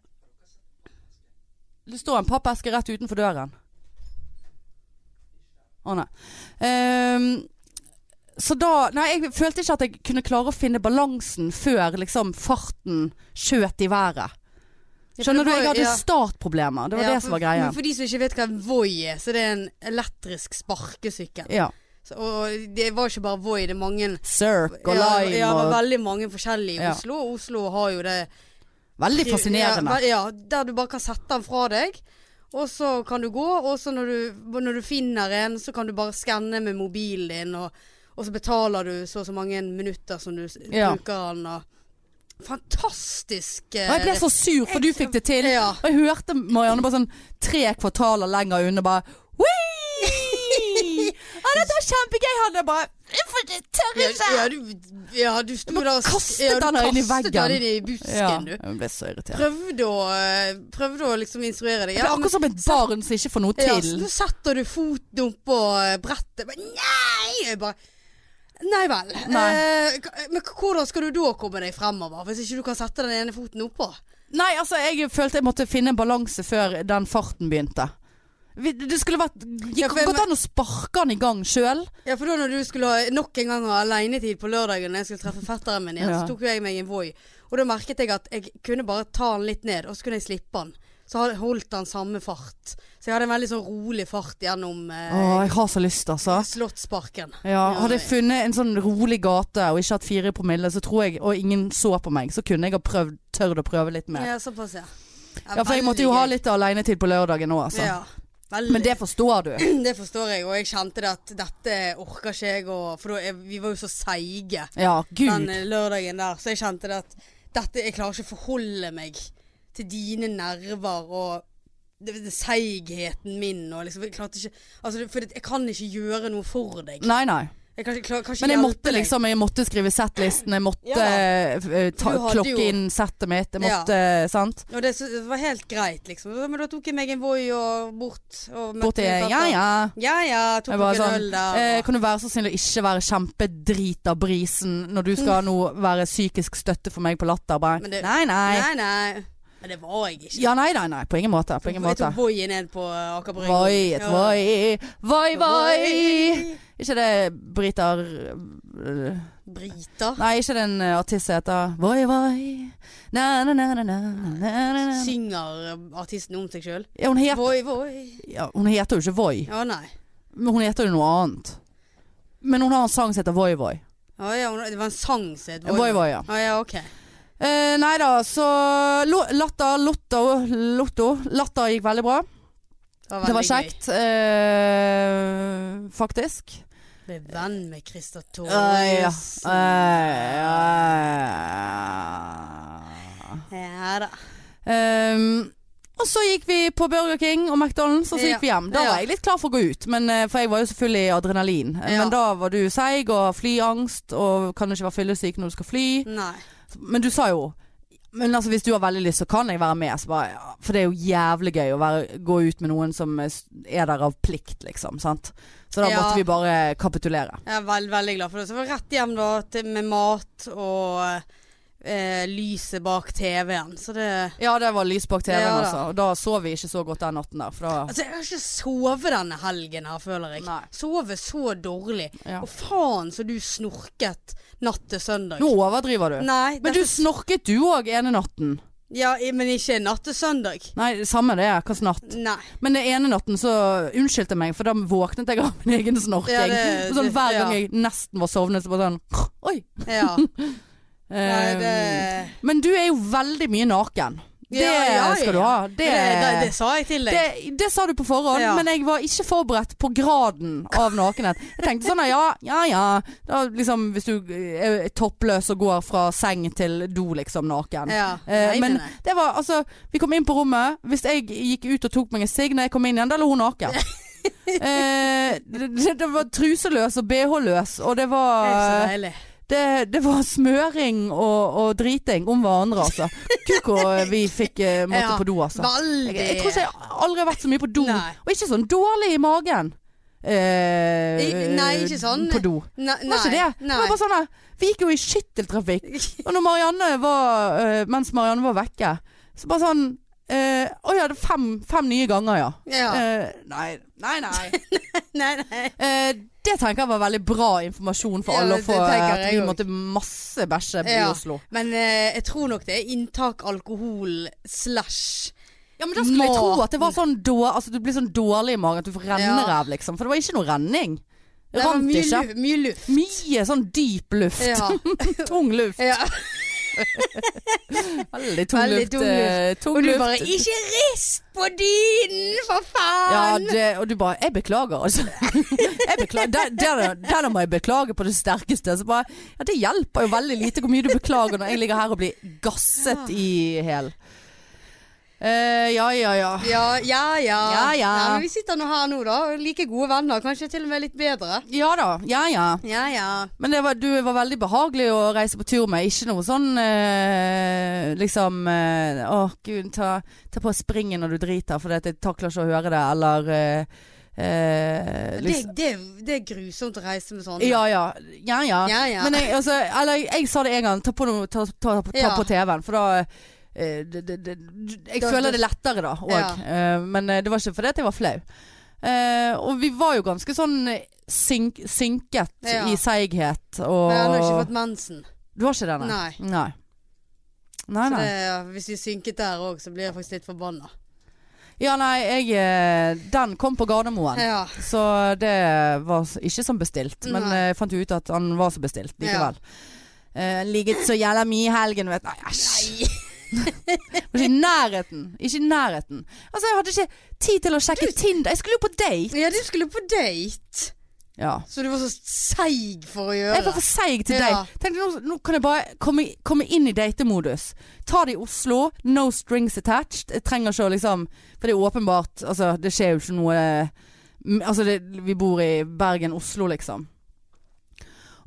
[SPEAKER 1] Det står en pappeske rett utenfor døren. Å nei. Ehm, Så da Nei, jeg følte ikke at jeg kunne klare å finne balansen før liksom farten skjøt i været. Skjønner du? Jeg hadde startproblemer. Det var det som var greia.
[SPEAKER 2] For de som ikke vet hva en Voi er, så det er en elektrisk sparkesykkel.
[SPEAKER 1] Ja.
[SPEAKER 2] Så, og det var ikke bare Voi, det er mange
[SPEAKER 1] Circ og
[SPEAKER 2] ja,
[SPEAKER 1] lime
[SPEAKER 2] ja, det var
[SPEAKER 1] og
[SPEAKER 2] veldig mange forskjellige i
[SPEAKER 1] Ja.
[SPEAKER 2] Oslo. og Oslo har jo det
[SPEAKER 1] Veldig fascinerende.
[SPEAKER 2] Ja, ve- ja, der du bare kan sette den fra deg. Og så kan du gå, og så når du, når du finner en, så kan du bare skanne med mobilen din, og, og så betaler du så og så mange minutter som du s-
[SPEAKER 1] Ja.
[SPEAKER 2] bruker den. Og fantastisk eh,
[SPEAKER 1] Og jeg ble så sur, for du fikk det til.
[SPEAKER 2] Ja.
[SPEAKER 1] Og jeg hørte Marianne bare sånn tre kvartaler lenger unna bare «Wii!» [laughs] Ja, dette var kjempegøy! Han er bare Jeg får det tør
[SPEAKER 2] Ja,
[SPEAKER 1] ikke!
[SPEAKER 2] ja, du, ja, du sto
[SPEAKER 1] bare
[SPEAKER 2] der og s-
[SPEAKER 1] kastet
[SPEAKER 2] ja, du
[SPEAKER 1] den her inn i
[SPEAKER 2] kastet
[SPEAKER 1] veggen.
[SPEAKER 2] den inn i busken,
[SPEAKER 1] Ja,
[SPEAKER 2] du.
[SPEAKER 1] jeg ble så irritert.
[SPEAKER 2] Prøvde å, eh, prøvde å liksom instruere deg.
[SPEAKER 1] Det er akkurat som et barn som ikke får noe
[SPEAKER 2] Ja, så
[SPEAKER 1] til.
[SPEAKER 2] nå setter du foten opp på eh, brettet. Men nei! Jeg bare Nei vel.
[SPEAKER 1] Nei.
[SPEAKER 2] Eh, k- men k- hvordan skal du da komme deg fremover, hvis ikke du kan sette den ene foten oppå?
[SPEAKER 1] Nei, altså, jeg følte jeg måtte finne en balanse før den farten begynte. Vi- Det skulle vært
[SPEAKER 2] Ja,
[SPEAKER 1] Gikk
[SPEAKER 2] for jeg-
[SPEAKER 1] godt an å sparke den i gang sjøl.
[SPEAKER 2] Ja, for da når du skulle ha nok en gang ha alenetid på lørdagen når jeg skulle treffe fetteren min igjen,
[SPEAKER 1] Ja.
[SPEAKER 2] så tok jo jeg meg en Voi. Og da merket jeg at jeg kunne bare ta den litt ned, og så kunne jeg slippe den. Så hadde- holdt den samme fart. Så jeg hadde en veldig sånn rolig fart gjennom
[SPEAKER 1] Å,
[SPEAKER 2] eh,
[SPEAKER 1] jeg har så lyst, altså.
[SPEAKER 2] Slottsparken.
[SPEAKER 1] Ja, hadde jeg funnet en sånn rolig gate og ikke hatt fire promille, så tror jeg, og ingen så på meg, så kunne jeg ha prøvd, tørd å prøve litt mer.
[SPEAKER 2] Ja, såpass, ja.
[SPEAKER 1] Ja, for jeg måtte jo ha litt alenetid på lørdagen òg, altså.
[SPEAKER 2] Ja, veldig.
[SPEAKER 1] Men det forstår
[SPEAKER 2] [clears throat]
[SPEAKER 1] du.
[SPEAKER 2] Det forstår jeg, og jeg kjente det at dette orker ikke jeg å For da, er- vi var jo så seige
[SPEAKER 1] Ja,
[SPEAKER 2] den eh,
[SPEAKER 1] gud.
[SPEAKER 2] lørdagen der, så jeg kjente det at dette Jeg klarer ikke å forholde meg til dine nerver og det, det, seigheten min og liksom Jeg klarte ikke Altså, det- for det, jeg kan ikke gjøre noe for deg.
[SPEAKER 1] Nei, nei.
[SPEAKER 2] Jeg kan ikke, klar, kan ikke
[SPEAKER 1] Men jeg
[SPEAKER 2] hjelpe
[SPEAKER 1] måtte
[SPEAKER 2] deg.
[SPEAKER 1] liksom Jeg måtte skrive settlisten, jeg måtte
[SPEAKER 2] Ja da.
[SPEAKER 1] eh, f- eh, ta,
[SPEAKER 2] Du hadde jo-
[SPEAKER 1] klokke inn settet mitt, jeg
[SPEAKER 2] Ja.
[SPEAKER 1] måtte eh, Sant?
[SPEAKER 2] Og det, så, det var helt greit, liksom. Men da tok jeg meg en Voi og bort. Og møtte
[SPEAKER 1] Borti
[SPEAKER 2] min
[SPEAKER 1] Ja,
[SPEAKER 2] fatter.
[SPEAKER 1] ja.
[SPEAKER 2] Ja ja, tok
[SPEAKER 1] Jeg
[SPEAKER 2] meg
[SPEAKER 1] bare
[SPEAKER 2] en øl
[SPEAKER 1] sånn,
[SPEAKER 2] der.
[SPEAKER 1] eh,
[SPEAKER 2] og-
[SPEAKER 1] kan du være så snill å ikke være kjempedrit av brisen når
[SPEAKER 2] [laughs]
[SPEAKER 1] du skal nå være psykisk støtte for meg på latter? Bare,
[SPEAKER 2] Men det-
[SPEAKER 1] nei, nei.
[SPEAKER 2] nei, nei. Men det var jeg ikke.
[SPEAKER 1] Ja, nei, nei, nei. På ingen måte. På ingen
[SPEAKER 2] Jeg tok
[SPEAKER 1] måte.
[SPEAKER 2] Voi ned på eh, Aker Brygge.
[SPEAKER 1] Voi, et
[SPEAKER 2] Ja.
[SPEAKER 1] voi. Voi, voi. Ikke det briter øh,
[SPEAKER 2] Briter.
[SPEAKER 1] Nei, ikke den øh, artist som heter Voi, voi. Na, na, na, na, na, na, na, na.
[SPEAKER 2] Synger eh, artisten om seg sjøl?
[SPEAKER 1] Ja, hun, het,
[SPEAKER 2] Voi, voi.
[SPEAKER 1] ja, hun heter jo ikke Voi,
[SPEAKER 2] Å nei.
[SPEAKER 1] men hun heter jo noe annet. Men hun har en sang som heter Voi, voi.
[SPEAKER 2] Å, ja, hun- det var en sang som het
[SPEAKER 1] Voi, voi, ja.
[SPEAKER 2] Å, ja, ok.
[SPEAKER 1] Eh, nei da, så lo- Latter, Lotto, Lotto. Latter gikk veldig bra. Det var
[SPEAKER 2] veldig
[SPEAKER 1] kjekt, eh, faktisk.
[SPEAKER 2] gøy. Ble venn med Christer
[SPEAKER 1] Ai, ja.
[SPEAKER 2] Thoresen.
[SPEAKER 1] Ai, ja.
[SPEAKER 2] Ja da.
[SPEAKER 1] Ehm, og så gikk vi på Burger King og McDonald's, og så
[SPEAKER 2] Ja.
[SPEAKER 1] gikk vi hjem. Da
[SPEAKER 2] Ja.
[SPEAKER 1] var jeg litt klar for å gå ut, men, eh, for jeg var jo selvfølgelig i adrenalin. Eh,
[SPEAKER 2] Ja.
[SPEAKER 1] Men da var du seig og har flyangst og kan ikke være fyllesyk når du skal fly.
[SPEAKER 2] Nei.
[SPEAKER 1] Men du sa jo men altså, hvis du har veldig lyst, så kan jeg være med. Så bare, ja, for det er jo jævlig gøy å være, gå ut med noen som eh, er der av plikt, liksom. Sant? Så da
[SPEAKER 2] Ja.
[SPEAKER 1] måtte vi bare kapitulere.
[SPEAKER 2] Jeg er veld, veldig glad for det. Så jeg var rett hjem da til, med mat og eh, lyset bak TV-en. Så det
[SPEAKER 1] Ja, det var lys bak TV-en,
[SPEAKER 2] Ja da.
[SPEAKER 1] altså. Og da sov vi ikke så godt den natten der, for da
[SPEAKER 2] Altså, jeg har ikke sovet denne helgen her, føler jeg.
[SPEAKER 1] Nei.
[SPEAKER 2] Sovet så dårlig.
[SPEAKER 1] ja.
[SPEAKER 2] Og faen så du snorket natt til søndag.
[SPEAKER 1] Nå overdriver du.
[SPEAKER 2] Nei, altså-
[SPEAKER 1] Men du
[SPEAKER 2] dette-
[SPEAKER 1] snorket du òg ene natten.
[SPEAKER 2] Ja, i- men ikke natt til søndag.
[SPEAKER 1] Nei, samme det, hva snart.
[SPEAKER 2] Nei.
[SPEAKER 1] Men den ene natten så unnskyldte jeg meg, for da våknet jeg av min egen snorking.
[SPEAKER 2] Ja, det-
[SPEAKER 1] Og sånn, hver
[SPEAKER 2] det-
[SPEAKER 1] gang
[SPEAKER 2] ja.
[SPEAKER 1] jeg nesten var sovnet, så bare sånn Oi!
[SPEAKER 2] Ja.
[SPEAKER 1] [laughs]
[SPEAKER 2] Nei, det
[SPEAKER 1] Eh, Men du er jo veldig mye naken. Det
[SPEAKER 2] Ja, ja, ja.
[SPEAKER 1] skal du ha. Det,
[SPEAKER 2] det, det, det sa jeg til deg.
[SPEAKER 1] det, det sa du på forhånd,
[SPEAKER 2] Ja.
[SPEAKER 1] men jeg var ikke forberedt på graden av nakenhet. Jeg tenkte sånn ja, ja ja. Da, liksom, hvis du er toppløs og går fra seng til do liksom naken.
[SPEAKER 2] Ja.
[SPEAKER 1] Eh,
[SPEAKER 2] Nei,
[SPEAKER 1] men
[SPEAKER 2] nei, nei.
[SPEAKER 1] det var altså Vi kom inn på rommet. Hvis jeg gikk ut og tok meg en sigg når jeg kom inn igjen, da lå hun naken. [laughs] eh, det, det- det var truseløs og bh-løs, og det
[SPEAKER 2] Det er så
[SPEAKER 1] var,
[SPEAKER 2] deilig.
[SPEAKER 1] det, det var smøring og, og driting om hverandre, altså. Kuk og vi fikk eh, måtte
[SPEAKER 2] Ja,
[SPEAKER 1] på do, altså.
[SPEAKER 2] Veldig
[SPEAKER 1] Jeg, jeg tror ikke jeg aldri har vært så mye på do.
[SPEAKER 2] Nei.
[SPEAKER 1] Og ikke sånn dårlig i magen. Eh,
[SPEAKER 2] I- nei, ikke sånn.
[SPEAKER 1] På do.
[SPEAKER 2] Nei,
[SPEAKER 1] Det var ikke det.
[SPEAKER 2] nei.
[SPEAKER 1] Det var bare sånn der, Vi gikk jo i
[SPEAKER 2] [laughs]
[SPEAKER 1] skytteltrafikk. Og når Marianne var, eh, mens Marianne var vekke, så bare sånn Eh, Å ja, det er fem, fem nye ganger, ja.
[SPEAKER 2] Ja.
[SPEAKER 1] Eh, nei, nei. nei.
[SPEAKER 2] [laughs] Nei, nei.
[SPEAKER 1] Eh, det tenker jeg var veldig bra informasjon for
[SPEAKER 2] Ja,
[SPEAKER 1] alle å
[SPEAKER 2] det
[SPEAKER 1] få.
[SPEAKER 2] tenker
[SPEAKER 1] At vi
[SPEAKER 2] jeg også.
[SPEAKER 1] måtte masse bæsje i
[SPEAKER 2] Ja.
[SPEAKER 1] Oslo.
[SPEAKER 2] Men eh, jeg tror nok det er inntak alkohol slash
[SPEAKER 1] Ja, men Da skulle jeg tro
[SPEAKER 2] Maten.
[SPEAKER 1] at det var sånn dår, altså, du blir sånn dårlig i magen at du får renneræv, liksom. For det var ikke noe renning.
[SPEAKER 2] Det var
[SPEAKER 1] Rant
[SPEAKER 2] mye,
[SPEAKER 1] ikke.
[SPEAKER 2] lu- mye luft.
[SPEAKER 1] Mye sånn dyp luft. [laughs]
[SPEAKER 2] Ja.
[SPEAKER 1] Tung luft.
[SPEAKER 2] ja.
[SPEAKER 1] Veldig tung
[SPEAKER 2] Veldig
[SPEAKER 1] luft.
[SPEAKER 2] tung
[SPEAKER 1] eh, Tung
[SPEAKER 2] Og du
[SPEAKER 1] luft.
[SPEAKER 2] bare 'Ikke rist på dynen, for
[SPEAKER 1] ja,
[SPEAKER 2] faen!'
[SPEAKER 1] det, og du bare 'Jeg beklager', altså. [laughs] Jeg beklager. Der, der, der må jeg beklage på det sterkeste. Så bare, ja, det hjelper jo veldig lite hvor mye du beklager når jeg ligger her og blir gasset i hæl. Eh, ja, ja, ja.
[SPEAKER 2] Ja, ja, ja.
[SPEAKER 1] Ja, ja.
[SPEAKER 2] Nei, men vi sitter nå her nå, da. og Like gode venner. Kanskje til og med litt bedre.
[SPEAKER 1] Ja da. Ja, ja.
[SPEAKER 2] Ja, ja.
[SPEAKER 1] Men det var, du var veldig behagelig å reise på tur med. Ikke noe sånn eh, liksom eh, Å, gud, ta, ta på springen når du driter, for jeg takler ikke å høre det. Eller eh, eh,
[SPEAKER 2] Det,
[SPEAKER 1] liksom.
[SPEAKER 2] det, det er grusomt å reise med sånn. sånne.
[SPEAKER 1] Ja ja. Ja ja.
[SPEAKER 2] ja. ja.
[SPEAKER 1] Men jeg, altså, eller, jeg, jeg sa det en gang. Ta på, noe, ta, ta, ta,
[SPEAKER 2] Ja.
[SPEAKER 1] på TV-en, for da eh, det, det, det, Jeg
[SPEAKER 2] Da-
[SPEAKER 1] føler
[SPEAKER 2] da-
[SPEAKER 1] det lettere da òg.
[SPEAKER 2] Ja.
[SPEAKER 1] men eh, det var ikke fordi at jeg var flau. Eh, og vi var jo ganske sånn sink, sinket
[SPEAKER 2] Ja.
[SPEAKER 1] i seighet og
[SPEAKER 2] Men jeg har ikke fått mensen.
[SPEAKER 1] du har ikke det, nei?
[SPEAKER 2] Nei.
[SPEAKER 1] Nei. Nei,
[SPEAKER 2] Så
[SPEAKER 1] nei.
[SPEAKER 2] det, hvis vi synket der òg, så blir jeg faktisk litt forbanna.
[SPEAKER 1] Ja, nei, jeg eh, Den kom på Gardermoen.
[SPEAKER 2] Ja.
[SPEAKER 1] Så det var s- ikke som bestilt. Men
[SPEAKER 2] Nei.
[SPEAKER 1] eh, jeg fant jo ut at han var så bestilt likevel. Eh, ligget så jævla mye i helgen, vet Nei, æsj. Var Ikke i nærheten. Ikke i nærheten. Altså, jeg hadde ikke tid til å sjekke Tinder. Jeg skulle jo på date.
[SPEAKER 2] ja, du skulle på date,
[SPEAKER 1] Ja.
[SPEAKER 2] så du var så seig for å gjøre.
[SPEAKER 1] Jeg var for seig til
[SPEAKER 2] Ja.
[SPEAKER 1] date. Tenkte nå, nå kan jeg bare komme, komme inn i datemodus. Ta det i Oslo. No strings attached. Jeg trenger ikke å liksom For det er åpenbart Altså, det skjer jo ikke noe m- Altså, det, vi bor i Bergen, Oslo, liksom.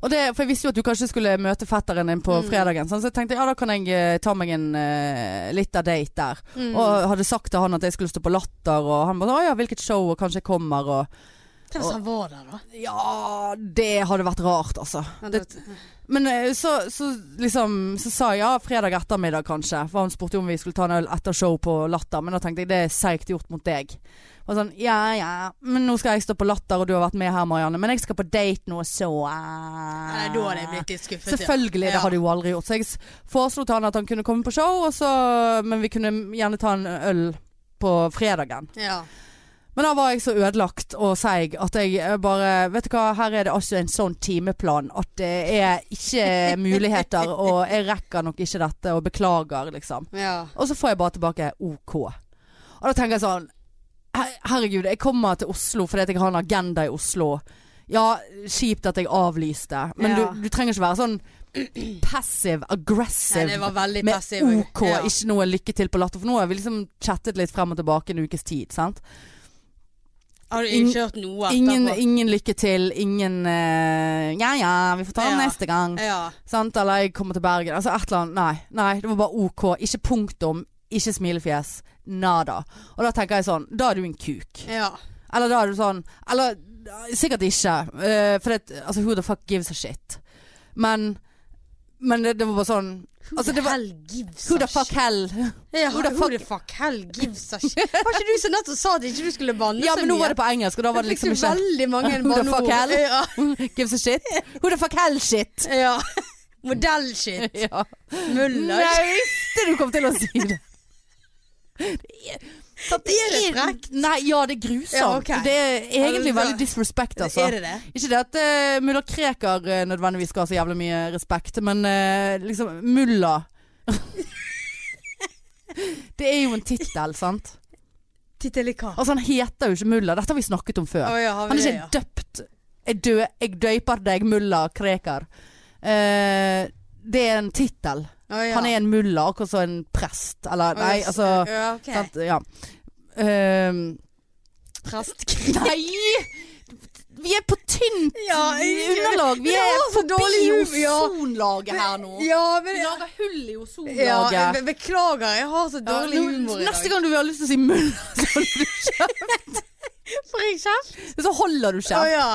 [SPEAKER 1] Og det, for Jeg visste jo at du kanskje skulle møte fetteren din på
[SPEAKER 2] Mm.
[SPEAKER 1] fredagen, sånn, så jeg tenkte ja, da kan jeg eh, ta meg en uh, lita date der.
[SPEAKER 2] Mm.
[SPEAKER 1] Og hadde sagt til han at jeg skulle stå på Latter, og han bare 'Å ja, hvilket show?' og kanskje jeg kommer, og
[SPEAKER 2] Tenk hvis han var der, da.
[SPEAKER 1] Ja, det hadde vært rart, altså.
[SPEAKER 2] Ja,
[SPEAKER 1] Det-
[SPEAKER 2] det-
[SPEAKER 1] Men eh, så, så liksom Så sa jeg ja, fredag ettermiddag kanskje. For han spurte jo om vi skulle ta en øl etter show på Latter. Men da tenkte jeg det er seigt gjort mot deg. Og sånn, ja ja, men nå skal jeg stå på Latter, og du har vært med her, Marianne. Men jeg skal på date nå, så
[SPEAKER 2] Nei,
[SPEAKER 1] eh.
[SPEAKER 2] da hadde jeg blitt litt skuffet. ja.
[SPEAKER 1] Selvfølgelig, det
[SPEAKER 2] Ja.
[SPEAKER 1] hadde jeg jo aldri gjort. Så jeg s- foreslo til han at han kunne komme på show, og så, men vi kunne gjerne ta en øl på fredagen.
[SPEAKER 2] Ja.
[SPEAKER 1] Men da var jeg så ødelagt og seig at jeg eh, bare Vet du hva, her er det altså en sånn timeplan at det er ikke
[SPEAKER 2] [laughs]
[SPEAKER 1] muligheter, og jeg rekker nok ikke dette, og beklager, liksom.
[SPEAKER 2] ja.
[SPEAKER 1] Og så får jeg bare tilbake OK. Og da tenker jeg sånn her- Herregud, jeg kommer til Oslo fordi at jeg har en agenda i Oslo. Ja, kjipt at jeg avlyste, men
[SPEAKER 2] Ja.
[SPEAKER 1] du, du trenger ikke være sånn [clears throat] passive
[SPEAKER 2] Nei,
[SPEAKER 1] aggressive
[SPEAKER 2] det var veldig
[SPEAKER 1] med
[SPEAKER 2] passiv.
[SPEAKER 1] OK,
[SPEAKER 2] Ja.
[SPEAKER 1] ikke noe lykke til på latter. For nå har vi liksom chattet litt frem og tilbake en ukes tid. sant?
[SPEAKER 2] Har du
[SPEAKER 1] Ingen-
[SPEAKER 2] ikke hørt noe
[SPEAKER 1] Ingen,
[SPEAKER 2] etterpå?
[SPEAKER 1] ingen lykke til, ingen eh, Ja ja, vi får ta det
[SPEAKER 2] Ja.
[SPEAKER 1] neste gang.
[SPEAKER 2] Ja.
[SPEAKER 1] Sant? Eller jeg kommer til Bergen. Altså et eller annet. Nei, nei, det var bare OK. Ikke punktum. Ikke smilefjes. Nada. Og da tenker jeg sånn, da er du en kuk.
[SPEAKER 2] ja.
[SPEAKER 1] Eller da er du sånn Eller sikkert ikke. eh, for det, altså, who the fuck gives a shit? Men, men det, det var bare sånn Altså, det var-
[SPEAKER 2] Hell gives
[SPEAKER 1] Who
[SPEAKER 2] a
[SPEAKER 1] the fuck
[SPEAKER 2] shit?
[SPEAKER 1] hell?
[SPEAKER 2] Ja,
[SPEAKER 1] who the
[SPEAKER 2] who the fuck
[SPEAKER 1] [laughs]
[SPEAKER 2] hell gives a shit? Var ikke du som nettopp sa at ikke du skulle banne
[SPEAKER 1] Ja,
[SPEAKER 2] så
[SPEAKER 1] men nå
[SPEAKER 2] mye?
[SPEAKER 1] var det på engelsk, og da var det liksom
[SPEAKER 2] Fikk du
[SPEAKER 1] [laughs] ikke
[SPEAKER 2] veldig mange
[SPEAKER 1] Who the
[SPEAKER 2] banneord.
[SPEAKER 1] fuck hell?
[SPEAKER 2] Ja.
[SPEAKER 1] Gives a shit? Who the fuck hell shit?
[SPEAKER 2] [laughs] ja.
[SPEAKER 1] [laughs]
[SPEAKER 2] Modellshit.
[SPEAKER 1] Ja. Nei,
[SPEAKER 2] Muller.
[SPEAKER 1] jeg visste du kom til å si
[SPEAKER 2] [laughs]
[SPEAKER 1] det. Så
[SPEAKER 2] det er frekt.
[SPEAKER 1] Nei, ja, det er grusomt.
[SPEAKER 2] Ja, ok.
[SPEAKER 1] Det er egentlig
[SPEAKER 2] Ja, men da-
[SPEAKER 1] veldig disrespect, altså.
[SPEAKER 2] Er det det?
[SPEAKER 1] Ikke det at eh, mulla Krekar eh, nødvendigvis skal ha så jævlig mye respekt, men eh, liksom mulla [laughs] Det er jo en tittel, sant?
[SPEAKER 2] Titt eller hva?
[SPEAKER 1] Altså, han heter jo ikke mulla. Dette har vi snakket om før.
[SPEAKER 2] Å ja, har
[SPEAKER 1] Han
[SPEAKER 2] vi
[SPEAKER 1] er
[SPEAKER 2] det,
[SPEAKER 1] ikke
[SPEAKER 2] ja.
[SPEAKER 1] døpt jeg, dø, jeg døyper deg mulla Krekar. Eh, det er en tittel.
[SPEAKER 2] Å ja.
[SPEAKER 1] Han er en mulla, akkurat som en prest. Eller
[SPEAKER 2] Å,
[SPEAKER 1] nei,
[SPEAKER 2] ja,
[SPEAKER 1] altså
[SPEAKER 2] ja, ok.
[SPEAKER 1] sant, Ja. Ehm,
[SPEAKER 2] Prest.
[SPEAKER 1] nei! Vi er på tynt
[SPEAKER 2] Ja, jeg-
[SPEAKER 1] [laughs] underlag. Vi
[SPEAKER 2] Men det
[SPEAKER 1] er
[SPEAKER 2] var så
[SPEAKER 1] forbi
[SPEAKER 2] dårlig humor, ja.
[SPEAKER 1] ozonlaget her nå.
[SPEAKER 2] Ja, men
[SPEAKER 1] Vi lager hull i ozonlaget.
[SPEAKER 2] ja, jeg be- Beklager, jeg har så
[SPEAKER 1] Ja,
[SPEAKER 2] dårlig
[SPEAKER 1] nå-
[SPEAKER 2] humor i dag.
[SPEAKER 1] Neste gang du har lyst til å si mulla, [laughs] så, holder du kjeft.
[SPEAKER 2] Får jeg kjeft?
[SPEAKER 1] så holder du
[SPEAKER 2] Å
[SPEAKER 1] kjeft.
[SPEAKER 2] ja.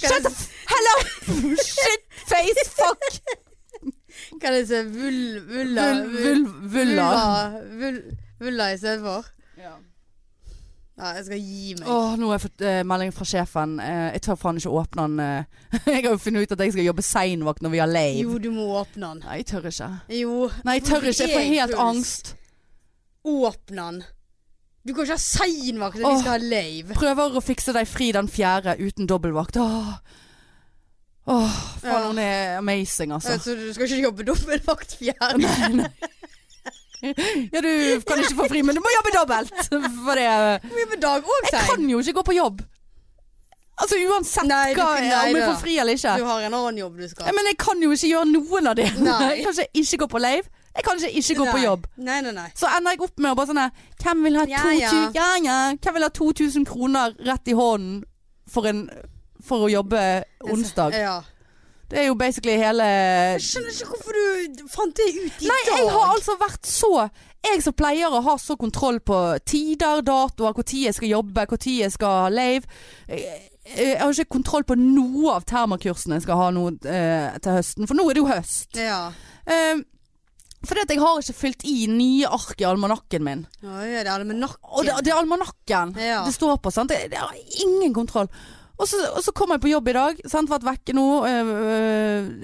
[SPEAKER 2] Kan
[SPEAKER 1] Shut the
[SPEAKER 2] jeg,
[SPEAKER 1] f...
[SPEAKER 2] [laughs]
[SPEAKER 1] Hello! Shit face fuck!
[SPEAKER 2] kan jeg se vul... Vulla...
[SPEAKER 1] Vul- vul- Vulla.
[SPEAKER 2] Vul... ulla istedenfor.
[SPEAKER 1] Ja.
[SPEAKER 2] Nei, jeg skal gi meg.
[SPEAKER 1] Åh, nå har jeg fått eh, melding fra sjefen. Eh, jeg tør faen ikke åpne den. eh. [laughs] jeg har jo funnet ut at jeg skal jobbe seinvakt når vi har lave.
[SPEAKER 2] Jo, du må åpne den.
[SPEAKER 1] Nei, jeg tør ikke.
[SPEAKER 2] Jo.
[SPEAKER 1] Nei, jeg tør ikke. Jeg får helt
[SPEAKER 2] puls.
[SPEAKER 1] angst.
[SPEAKER 2] Åpne den. Du kan ikke ha seinvakt når
[SPEAKER 1] Åh.
[SPEAKER 2] vi skal ha lave.
[SPEAKER 1] Prøver å fikse deg fri den fjerde uten dobbeltvakt. Åh. Åh, faen,
[SPEAKER 2] Ja.
[SPEAKER 1] hun er amazing, altså.
[SPEAKER 2] Så du skal ikke jobbe dobbeltvakt
[SPEAKER 1] [laughs]
[SPEAKER 2] fjerde?
[SPEAKER 1] Ja, du kan ikke få fri, men du må jobbe dobbelt. [laughs] For det Jeg
[SPEAKER 2] Mye på dag òg, sein.
[SPEAKER 1] kan jo ikke gå på jobb. Altså uansett
[SPEAKER 2] Nei, du
[SPEAKER 1] hva,
[SPEAKER 2] kan- nei,
[SPEAKER 1] om jeg
[SPEAKER 2] da.
[SPEAKER 1] får fri eller ikke.
[SPEAKER 2] Du har en annen jobb du
[SPEAKER 1] Ja,
[SPEAKER 2] skal.
[SPEAKER 1] Men jeg kan jo ikke gjøre noen av det. [laughs]
[SPEAKER 2] Nei.
[SPEAKER 1] Jeg kan ikke ikke gå på lave. Jeg kan ikke ikke gå på
[SPEAKER 2] Nei.
[SPEAKER 1] jobb.
[SPEAKER 2] Nei, nei, nei.
[SPEAKER 1] Så ender jeg opp med å bare sånn her, Hvem vil ha
[SPEAKER 2] Ja,
[SPEAKER 1] 2000 ja,
[SPEAKER 2] ja.
[SPEAKER 1] ja. Hvem vil ha 2000 kroner rett i hånden for, en, for å jobbe onsdag?
[SPEAKER 2] Ja.
[SPEAKER 1] Det er jo basically hele
[SPEAKER 2] Jeg skjønner ikke hvorfor du fant det ut i
[SPEAKER 1] Nei,
[SPEAKER 2] dag.
[SPEAKER 1] jeg har altså vært så Jeg som pleier å ha så kontroll på tider, datoer, når jeg skal jobbe, når jeg skal ha lave. Jeg, jeg har ikke kontroll på noe av termakursene jeg skal ha nå eh, til høsten, for nå er det jo høst.
[SPEAKER 2] Ja.
[SPEAKER 1] Eh, fordi at jeg har ikke fylt i nye ark i almanakken min.
[SPEAKER 2] Å ja, det er det med
[SPEAKER 1] Og det,
[SPEAKER 2] nakken.
[SPEAKER 1] det er almanakken
[SPEAKER 2] Ja.
[SPEAKER 1] det står på. Sant? Det, det har ingen kontroll. Og så, og så kom jeg på jobb i dag. Sant? Vært vekke nå. Øh,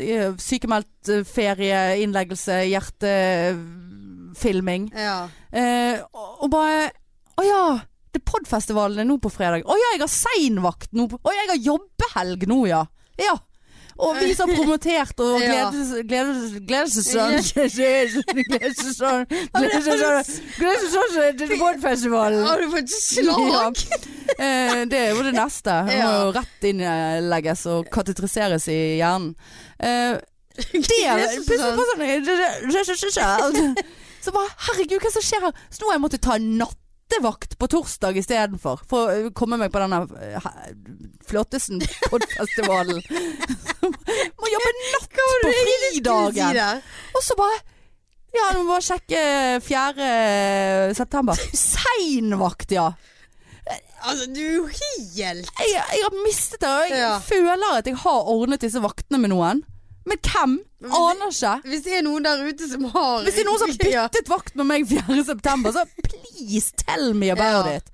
[SPEAKER 1] øh, sykemeldt øh, ferie, innleggelse, eh, hjertefilming.
[SPEAKER 2] Ja.
[SPEAKER 1] Eh, og, og bare Å ja! Det er podfestivalen er nå på fredag. Å ja, jeg har seinvakt nå. på- Å ja, jeg har jobbehelg nå, ja. Ja. Og vi som har promotert og
[SPEAKER 2] Ja.
[SPEAKER 1] gledes- gledes- gledessesong [laughs] Gledessesong Gledessesong til podfestivalen.
[SPEAKER 2] Har du fått slag?
[SPEAKER 1] Eh, det er jo det neste. Det må jo rett innlegges og katetriseres i hjernen. Eh, det
[SPEAKER 2] Jesus,
[SPEAKER 1] plutselig
[SPEAKER 2] sånn.
[SPEAKER 1] bare sånn Så bare herregud, hva som skjer her? Så nå har jeg måttet ta nattevakt på torsdag istedenfor. For å komme meg på denne eh, he- flottesen podfestivalen. Må jobbe natt på
[SPEAKER 2] Si
[SPEAKER 1] fridagen.
[SPEAKER 2] det.
[SPEAKER 1] Og så bare Ja, nå må vi bare sjekke 4. september. Seinvakt, ja.
[SPEAKER 2] Altså, du er jo helt
[SPEAKER 1] jeg, jeg har mistet det. og Jeg
[SPEAKER 2] Ja.
[SPEAKER 1] føler at jeg har ordnet disse vaktene med noen. Men hvem?
[SPEAKER 2] Men hvis-
[SPEAKER 1] Aner ikke.
[SPEAKER 2] Hvis det er noen der ute som har
[SPEAKER 1] Hvis det er noen som har
[SPEAKER 2] Ja.
[SPEAKER 1] byttet vakt med meg 4. september, så please tell me about
[SPEAKER 2] Ja.
[SPEAKER 1] it.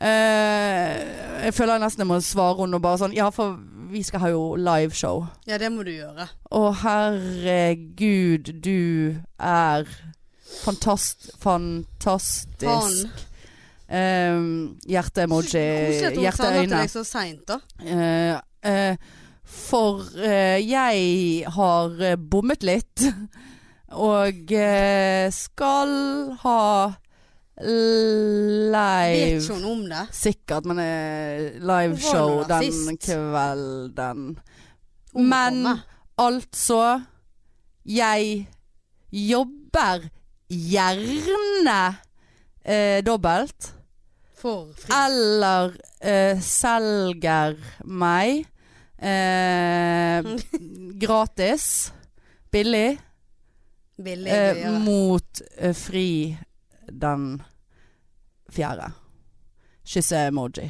[SPEAKER 1] Eh, jeg føler jeg nesten jeg må svare henne og bare sånn Ja, for vi skal ha jo liveshow.
[SPEAKER 2] ja, det må du gjøre.
[SPEAKER 1] Å herregud, du er fantast... Fantastisk. Um,
[SPEAKER 2] Koselig
[SPEAKER 1] Hjerte-emoji.
[SPEAKER 2] at hun sender til
[SPEAKER 1] Hjerteøyne.
[SPEAKER 2] deg så seint, da.
[SPEAKER 1] Eh, eh, for eh, jeg har eh, bommet litt. [laughs] Og eh, skal ha
[SPEAKER 2] Vet ikke
[SPEAKER 1] live
[SPEAKER 2] hun om det?
[SPEAKER 1] Sikkert, men eh, liveshow
[SPEAKER 2] Hvor var det
[SPEAKER 1] den
[SPEAKER 2] sist?
[SPEAKER 1] kvelden.
[SPEAKER 2] Hun
[SPEAKER 1] Men
[SPEAKER 2] kommer.
[SPEAKER 1] altså Jeg jobber gjerne eh, dobbelt.
[SPEAKER 2] For fri.
[SPEAKER 1] Eller eh, selger meg eh,
[SPEAKER 2] Mm.
[SPEAKER 1] gratis, billig,
[SPEAKER 2] Billig
[SPEAKER 1] eh,
[SPEAKER 2] greier.
[SPEAKER 1] mot eh, fri den fjerde. Kysse-emoji.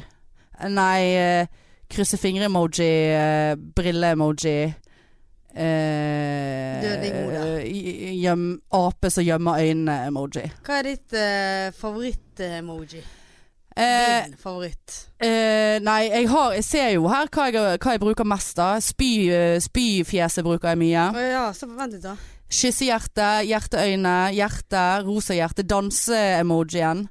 [SPEAKER 1] Eh, Nei, eh, krysse fingre-emoji, eh, brille-emoji. Eh,
[SPEAKER 2] Død i hodet.
[SPEAKER 1] eh, gjem- ape som gjemmer øynene-emoji.
[SPEAKER 2] Hva er ditt eh, favoritt-emoji?
[SPEAKER 1] Eh,
[SPEAKER 2] Din favoritt.
[SPEAKER 1] Eh, nei, jeg, har, jeg ser jo her hva jeg, hva jeg bruker mest da. Spy, eh, Spyfjeset bruker jeg mye.
[SPEAKER 2] Å ja, så vent litt, da.
[SPEAKER 1] Kyssehjerte, hjerteøyne, hjerte, rosa hjerte, danse-emojien.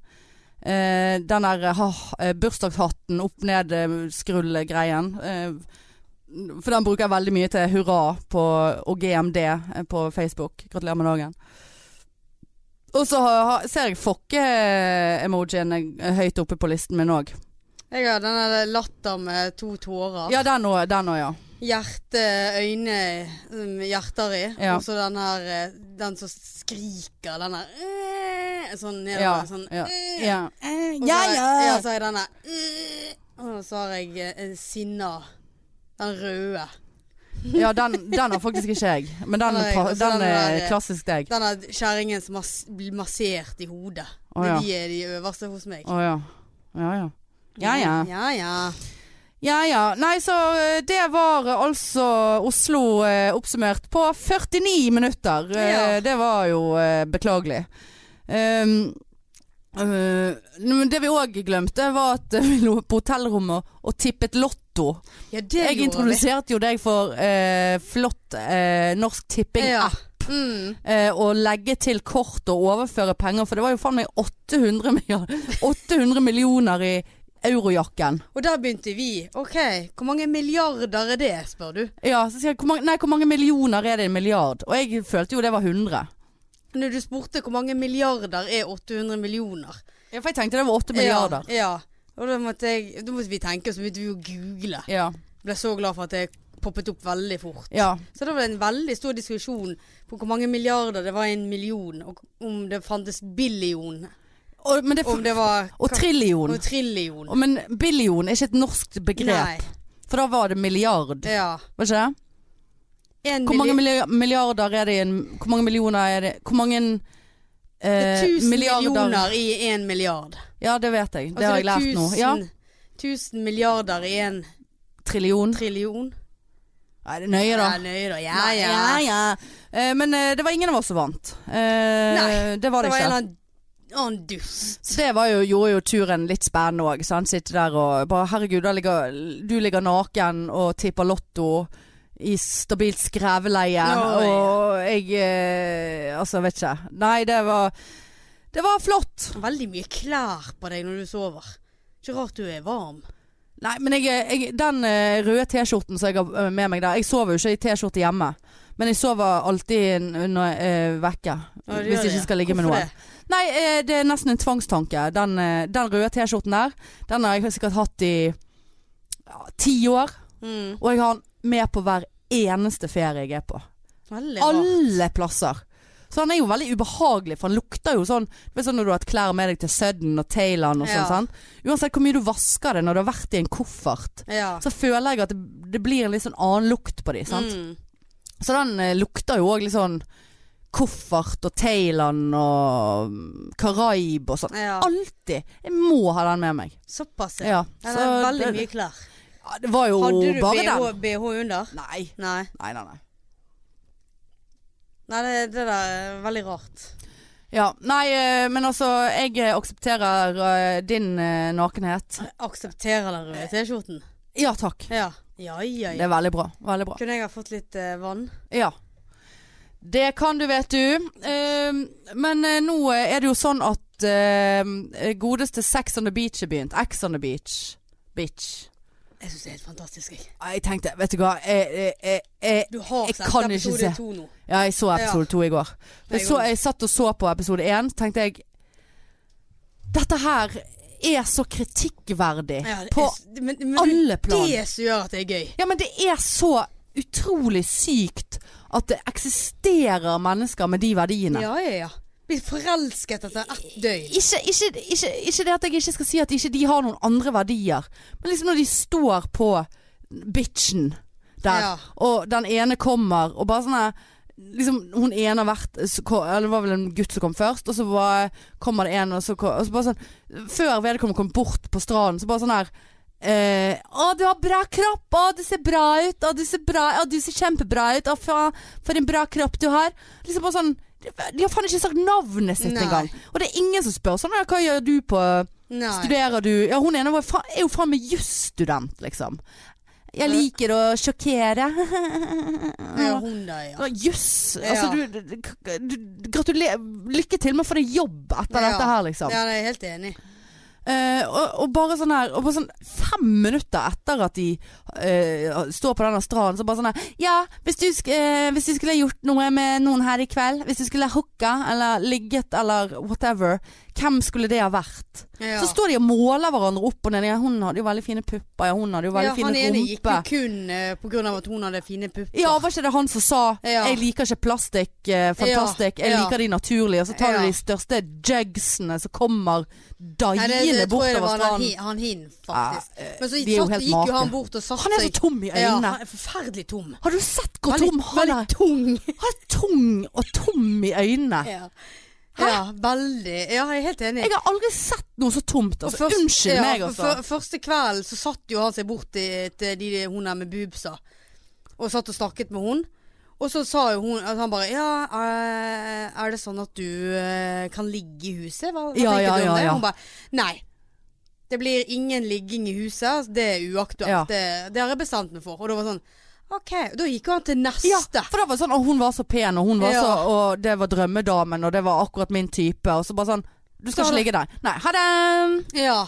[SPEAKER 1] Eh, den der ha- eh, bursdagshatten, opp ned eh, skrull-greien. Eh, for den bruker jeg veldig mye til hurra på, og GMD eh, på Facebook. Gratulerer med dagen. Og så har- har- ser jeg fokke-emojien eh, høyt oppe på listen min òg.
[SPEAKER 2] Jeg har den der latter med to tårer.
[SPEAKER 1] Ja, den òg, den òg, ja.
[SPEAKER 2] Hjerte, øyne, mm, hjerter i.
[SPEAKER 1] Ja.
[SPEAKER 2] Og så den her eh, Den som skriker, den her eh, Sånn nedover.
[SPEAKER 1] Ja,
[SPEAKER 2] Sånn
[SPEAKER 1] ja,
[SPEAKER 2] eh. Og så
[SPEAKER 1] Ja.
[SPEAKER 2] har jeg- ja, så har jeg denne eh, Og så har jeg eh, en sinna. Den røde.
[SPEAKER 1] Ja, den, den har faktisk ikke jeg. Men den,
[SPEAKER 2] Nei,
[SPEAKER 1] pa-
[SPEAKER 2] altså,
[SPEAKER 1] den
[SPEAKER 2] den
[SPEAKER 1] er
[SPEAKER 2] der-
[SPEAKER 1] klassisk deg.
[SPEAKER 2] Den der kjerringen som mas blir massert i hodet.
[SPEAKER 1] Å,
[SPEAKER 2] Det
[SPEAKER 1] ja.
[SPEAKER 2] er de er de øverste hos meg.
[SPEAKER 1] Å ja. Ja ja. Ja ja.
[SPEAKER 2] ja, ja.
[SPEAKER 1] Ja ja. Nei, så eh, det var eh, altså Oslo eh, oppsummert på 49 minutter. Eh,
[SPEAKER 2] Ja.
[SPEAKER 1] Det var jo eh, beklagelig. Um, Eh, men det vi òg glemte, var at eh, [laughs] vi lå på hotellrommet og tippet lotto.
[SPEAKER 2] Ja, det
[SPEAKER 1] Jeg
[SPEAKER 2] gjorde vi.
[SPEAKER 1] introduserte jo deg for eh, flott eh, Norsk
[SPEAKER 2] Ja.
[SPEAKER 1] Tipping-app.
[SPEAKER 2] Mm.
[SPEAKER 1] eh, og legge til kort og overføre penger, for det var jo faen meg 800, [laughs] milliard- 800 millioner i eurojakken.
[SPEAKER 2] Og da begynte vi. OK, hvor mange milliarder er det, spør du?
[SPEAKER 1] Ja, så sier jeg hvor mange, nei, hvor mange millioner er det i en milliard? Og jeg følte jo det var 100.
[SPEAKER 2] Når du spurte hvor mange milliarder er 800 millioner.
[SPEAKER 1] Ja, for jeg tenkte det var 8 milliarder.
[SPEAKER 2] Ja, ja. Og da måtte, jeg, da måtte vi tenke, og så begynte vi å google.
[SPEAKER 1] Ja.
[SPEAKER 2] Ble så glad for at det poppet opp veldig fort.
[SPEAKER 1] ja.
[SPEAKER 2] Så det var en veldig stor diskusjon på hvor mange milliarder det var i en million, og om det fantes billion,
[SPEAKER 1] Og, men det,
[SPEAKER 2] om det var
[SPEAKER 1] og trillion.
[SPEAKER 2] og trillion.
[SPEAKER 1] Og, men billion er ikke et norsk begrep. For da var det milliard,
[SPEAKER 2] Nei. Ja.
[SPEAKER 1] var ikke det?
[SPEAKER 2] En
[SPEAKER 1] Hvor mange
[SPEAKER 2] milli-
[SPEAKER 1] milli- milliarder er det i en Hvor mange millioner er det Hvor mange
[SPEAKER 2] det
[SPEAKER 1] eh,
[SPEAKER 2] er tusen
[SPEAKER 1] milliarder
[SPEAKER 2] millioner i en milliard.
[SPEAKER 1] Ja, det vet jeg. Det
[SPEAKER 2] Altså,
[SPEAKER 1] har jeg lært nå. Ja.
[SPEAKER 2] tusen- Tusen milliarder i en
[SPEAKER 1] Trillion.
[SPEAKER 2] trillion.
[SPEAKER 1] Nei, det er nøye, da.
[SPEAKER 2] Ja, nøye da. Ja,
[SPEAKER 1] Nei,
[SPEAKER 2] ja.
[SPEAKER 1] ja, ja. Eh, men eh, det var ingen av oss som vant. Eh,
[SPEAKER 2] Nei,
[SPEAKER 1] det var
[SPEAKER 2] Det
[SPEAKER 1] det
[SPEAKER 2] var en
[SPEAKER 1] ikke.
[SPEAKER 2] eller annen- annen dust.
[SPEAKER 1] Så det var jo, gjorde jo turen litt spennende òg. Sitte der og bare Herregud, da ligger, du ligger naken og tipper lotto i stabilt skreveleie.
[SPEAKER 2] Oi.
[SPEAKER 1] Og jeg eh, Altså, vet ikke. Nei, det var Det var flott.
[SPEAKER 2] Veldig mye klær på deg når du sover. Ikke rart du er varm.
[SPEAKER 1] Nei, men jeg, jeg, den eh, røde T-skjorten som jeg har eh, med meg der Jeg sover jo ikke i T-skjorte hjemme. Men jeg sover alltid når jeg er eh, vekke.
[SPEAKER 2] Ja, du gjør
[SPEAKER 1] hvis jeg
[SPEAKER 2] det.
[SPEAKER 1] ikke skal ligge med
[SPEAKER 2] Hvorfor
[SPEAKER 1] noen. Nei, eh, det er nesten en tvangstanke. Den, eh, den røde T-skjorten der, den har jeg sikkert hatt i ja, ti år.
[SPEAKER 2] det? Mm.
[SPEAKER 1] Og jeg har den med på hver eneste ferie jeg er på.
[SPEAKER 2] Veldig bra.
[SPEAKER 1] Alle plasser. Så han er jo veldig ubehagelig, for han lukter jo sånn Du vet sånn når du har hatt klær med deg til Sudden og Thailand og sånn.
[SPEAKER 2] Ja.
[SPEAKER 1] Sant? Uansett hvor mye du vasker det når du har vært i en koffert,
[SPEAKER 2] Ja.
[SPEAKER 1] så føler jeg at det, det blir en litt sånn annen lukt på de. Sant?
[SPEAKER 2] Mm.
[SPEAKER 1] Så den eh, lukter jo òg litt sånn koffert og Thailand og mm, Karaib og sånn.
[SPEAKER 2] Ja.
[SPEAKER 1] Alltid. Jeg må ha den med meg.
[SPEAKER 2] Såpass, ja.
[SPEAKER 1] Ja.
[SPEAKER 2] Ja,
[SPEAKER 1] Så
[SPEAKER 2] det er veldig
[SPEAKER 1] det,
[SPEAKER 2] mye klær.
[SPEAKER 1] ja, det var jo
[SPEAKER 2] Hadde du
[SPEAKER 1] bare
[SPEAKER 2] BH,
[SPEAKER 1] den.
[SPEAKER 2] BH under?
[SPEAKER 1] Nei.
[SPEAKER 2] Nei.
[SPEAKER 1] Nei, nei, nei.
[SPEAKER 2] Nei, det, det der er veldig rart.
[SPEAKER 1] Ja, nei, eh, men altså, jeg eh, aksepterer eh, din eh, nakenhet.
[SPEAKER 2] Jeg aksepterer den røde T-skjorten.
[SPEAKER 1] Ja takk.
[SPEAKER 2] Ja. Ja, ja,
[SPEAKER 1] Det
[SPEAKER 2] ja.
[SPEAKER 1] er veldig bra. Veldig bra.
[SPEAKER 2] Kunne jeg ha fått litt eh, vann?
[SPEAKER 1] Ja. Det kan du, vet du. Eh, men eh, nå er det jo sånn at eh, godeste Sex on the Beach er begynt. X on the Beach. Bitch.
[SPEAKER 2] Jeg syns det er helt fantastisk. Jeg,
[SPEAKER 1] Ah, Jeg tenkte, vet du hva Eh, jeg, jeg, jeg,
[SPEAKER 2] du har
[SPEAKER 1] Jeg
[SPEAKER 2] sett
[SPEAKER 1] kan ikke se.
[SPEAKER 2] episode to nå.
[SPEAKER 1] Ja, jeg så episode to i går. Jeg, så, jeg satt og så på episode én, tenkte jeg Dette her er så kritikkverdig
[SPEAKER 2] Ja, det
[SPEAKER 1] på
[SPEAKER 2] er s- men, men,
[SPEAKER 1] alle plan.
[SPEAKER 2] Det som gjør at det er gøy.
[SPEAKER 1] Ja, men det er så utrolig sykt at det eksisterer mennesker med de verdiene.
[SPEAKER 2] Ja, ja, ja. Blir forelsket etter ett døgn.
[SPEAKER 1] Ikke, ikke, ikke, ikke det at jeg ikke skal si at ikke de har noen andre verdier, men liksom når de står på bitchen der,
[SPEAKER 2] Ja.
[SPEAKER 1] og den ene kommer, og bare sånn her Liksom, hun ene har vært så ko- Eller det var vel en gutt som kom først Og så bare, kommer det en og så, ko- og så bare sånn Før vedkommende kom bort på stranden Så bare sånn her eh, Å du har bra kropp, å du ser bra ut Å du ser, bra, å, du ser kjempebra ut Å faen, for en bra kropp du har Liksom bare sånn De har faen ikke sagt navnet sitt
[SPEAKER 2] Nei.
[SPEAKER 1] engang og det er ingen som spør sånn, «Ja, hva gjør du på
[SPEAKER 2] Nei.
[SPEAKER 1] Studerer du Ja, hun ene var fa- er jo faen meg jusstudent, liksom. Jeg liker å sjokkere.
[SPEAKER 2] Ja, hun der, ja.
[SPEAKER 1] Ja, Juss!
[SPEAKER 2] Ja.
[SPEAKER 1] Altså, du, du, du Gratulerer. Lykke til med å få deg jobb etter
[SPEAKER 2] Ja.
[SPEAKER 1] dette her, liksom.
[SPEAKER 2] Ja, det er jeg helt enig. i.
[SPEAKER 1] Eh, og, og bare sånn her og bare sånn Fem minutter etter at de eh, står på denne stranden, så bare sånn her Ja, hvis du, sk eh, hvis du skulle gjort noe med noen her i kveld, hvis du skulle hooka eller ligget eller whatever, hvem skulle det ha vært?
[SPEAKER 2] Ja.
[SPEAKER 1] Så står de og måler hverandre opp og ned. Ja, hun hadde jo veldig fine pupper, ja, hun hadde jo veldig
[SPEAKER 2] ja, han
[SPEAKER 1] fin
[SPEAKER 2] ene gikk jo
[SPEAKER 1] rumpe.
[SPEAKER 2] kun eh, på grunn av at hun hadde fine pupper.
[SPEAKER 1] Ja, var ikke det han som sa
[SPEAKER 2] Ja.
[SPEAKER 1] 'jeg liker ikke plastikk, eh, fantastisk, jeg
[SPEAKER 2] ja.
[SPEAKER 1] liker de naturlige', og så tar
[SPEAKER 2] Ja.
[SPEAKER 1] du de største jugsene som kommer
[SPEAKER 2] Nei, det,
[SPEAKER 1] daiende
[SPEAKER 2] det tror jeg det
[SPEAKER 1] bortover
[SPEAKER 2] var han,
[SPEAKER 1] stranden.
[SPEAKER 2] hin- han hin, faktisk.
[SPEAKER 1] Ja, eh,
[SPEAKER 2] Men så
[SPEAKER 1] de er jo
[SPEAKER 2] satt,
[SPEAKER 1] helt
[SPEAKER 2] gikk
[SPEAKER 1] make.
[SPEAKER 2] jo han bort og satte
[SPEAKER 1] Han er så
[SPEAKER 2] seg
[SPEAKER 1] tom i
[SPEAKER 2] Ja,
[SPEAKER 1] øynene.
[SPEAKER 2] han er forferdelig tom.
[SPEAKER 1] Har du sett hvor
[SPEAKER 2] Veldig-
[SPEAKER 1] tom han er?
[SPEAKER 2] Veldig tung.
[SPEAKER 1] Han er tung og tom i øynene.
[SPEAKER 2] Ja. ja, veldig. Ja, jeg er helt enig.
[SPEAKER 1] Jeg har aldri sett noe så tomt.
[SPEAKER 2] Og
[SPEAKER 1] Altså.
[SPEAKER 2] først-
[SPEAKER 1] Unnskyld
[SPEAKER 2] ja,
[SPEAKER 1] meg, altså.
[SPEAKER 2] fyr- første kvelden så eh, satt jo han seg bort til, til de, hun der med boobsa, og satt og snakket med hun. Og så sa jo hun at han bare Ja, eh, er det sånn at du eh, kan ligge i huset? Hva, hva
[SPEAKER 1] Ja,
[SPEAKER 2] tenker
[SPEAKER 1] ja,
[SPEAKER 2] du om
[SPEAKER 1] ja,
[SPEAKER 2] det?
[SPEAKER 1] ja.
[SPEAKER 2] Hun bare Nei. Det blir ingen ligging i huset. altså, Det er uaktuelt.
[SPEAKER 1] Ja.
[SPEAKER 2] Det, det har jeg bestemt meg for. Og da var det sånn OK. Da gikk jo han til
[SPEAKER 1] Ja,
[SPEAKER 2] neste.
[SPEAKER 1] for det var sånn, og hun var så pen, og, hun var
[SPEAKER 2] Ja.
[SPEAKER 1] så, og det var drømmedamen, og det var akkurat min type. Og så bare sånn Du skal
[SPEAKER 2] Så-
[SPEAKER 1] ikke ligge der. Nei, ha det!
[SPEAKER 2] Ja.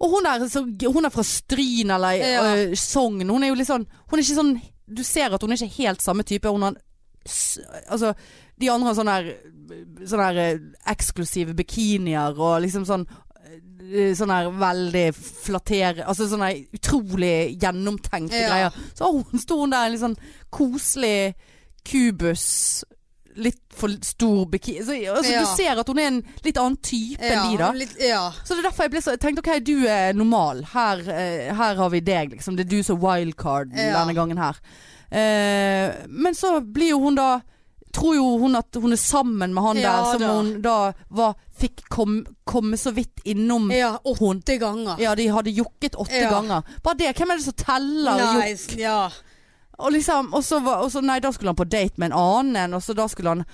[SPEAKER 1] Og hun er, så, hun er fra Stryn eller
[SPEAKER 2] Ja.
[SPEAKER 1] øh, Sogn. Hun er jo litt sånn Hun er ikke sånn Du ser at hun er ikke helt samme type. Hun har en s- Altså, de andre har sånne her Sånne her øh, eksklusive bikinier og liksom sånn øh, Sånn her veldig flattere Altså sånne her utrolig gjennomtenkte
[SPEAKER 2] Ja.
[SPEAKER 1] greier. Så hun [laughs] sto hun der i en litt sånn koselig kubus. Litt for stor bikini så, altså,
[SPEAKER 2] Ja.
[SPEAKER 1] Du ser at hun er en litt annen type
[SPEAKER 2] ja,
[SPEAKER 1] enn de, da.
[SPEAKER 2] Litt, ja.
[SPEAKER 1] Så det er derfor jeg ble så, jeg tenkte ok, du er normal. Her, eh, her har vi deg, liksom. Det er du som er wildcard
[SPEAKER 2] Ja.
[SPEAKER 1] denne gangen her. Eh, men så blir jo hun da Tror jo hun at hun er sammen med han
[SPEAKER 2] Ja
[SPEAKER 1] der som
[SPEAKER 2] da.
[SPEAKER 1] hun da var, fikk kom, komme så vidt innom
[SPEAKER 2] ja.
[SPEAKER 1] hun.
[SPEAKER 2] Åtte ganger.
[SPEAKER 1] Ja, de hadde jukket åtte
[SPEAKER 2] Ja.
[SPEAKER 1] ganger. Bare det. Hvem er det som teller jukk?
[SPEAKER 2] Nei, s- ja.
[SPEAKER 1] Og liksom, og så, var- og så Nei, da skulle han på date med en annen en, og så da skulle han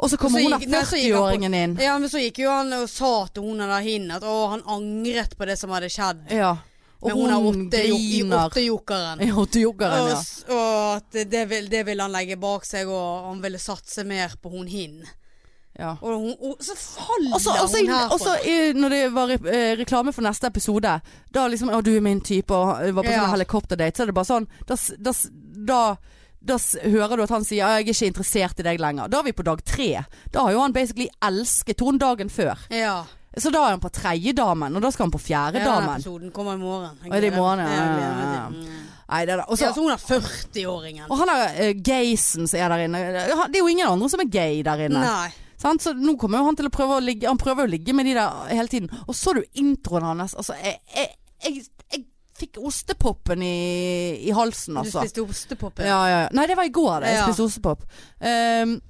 [SPEAKER 1] Og så kommer
[SPEAKER 2] så
[SPEAKER 1] hun
[SPEAKER 2] gikk-
[SPEAKER 1] der
[SPEAKER 2] nei, så gikk han på-
[SPEAKER 1] 40-åringen inn.
[SPEAKER 2] ja, men så gikk jo han og sa til hun der hin at å, han angret på det som hadde skjedd.
[SPEAKER 1] Ja. Og
[SPEAKER 2] Men hun har
[SPEAKER 1] hun
[SPEAKER 2] åtte, jo- i
[SPEAKER 1] griner.
[SPEAKER 2] åtte jokeren.
[SPEAKER 1] Ja, åtte joggeren,
[SPEAKER 2] Og,
[SPEAKER 1] ja.
[SPEAKER 2] s- og at det vil, det vil han legge bak seg, og han ville satse mer på hun hin.
[SPEAKER 1] ja.
[SPEAKER 2] Og, hun, og så faller
[SPEAKER 1] Og så- og så-
[SPEAKER 2] hun her
[SPEAKER 1] og så
[SPEAKER 2] for
[SPEAKER 1] i- når det var re- eh, reklame for neste episode, da liksom Å, du er min type, og han var på
[SPEAKER 2] Ja.
[SPEAKER 1] sånn helikopterdate, så er det bare sånn Da, s- da, s- da, da s- hører du at han sier «Ja, 'jeg er ikke interessert i deg lenger'. Da er vi på dag tre. Da har jo han basically elsket henne dagen før.
[SPEAKER 2] Ja.
[SPEAKER 1] Så da er han på tredje damen, og da skal han på
[SPEAKER 2] ja
[SPEAKER 1] fjerde
[SPEAKER 2] den
[SPEAKER 1] damen.
[SPEAKER 2] episoden kommer i morgen. Jeg
[SPEAKER 1] Å, er det i
[SPEAKER 2] gleder-
[SPEAKER 1] morgen, ja,
[SPEAKER 2] jeg gleder meg
[SPEAKER 1] ja,
[SPEAKER 2] til- Mm.
[SPEAKER 1] Nei, det er det. Og
[SPEAKER 2] Ja,
[SPEAKER 1] så
[SPEAKER 2] så hun er 40-åringen.
[SPEAKER 1] og han der eh, gaysen som er der inne, han- det er jo ingen andre som er gay der inne.
[SPEAKER 2] Nei.
[SPEAKER 1] Sant? Så nå kommer jo han til å prøve å ligge Han prøver jo å ligge med de der hele tiden. Og så du introen hans. Altså, jeg, jeg, jeg, jeg fikk ostepopen i, i halsen,
[SPEAKER 2] Du
[SPEAKER 1] altså.
[SPEAKER 2] spiste ostepop?
[SPEAKER 1] Ja, ja, ja. Nei, det var i går, det. Jeg
[SPEAKER 2] Ja.
[SPEAKER 1] spiste ostepop. Um,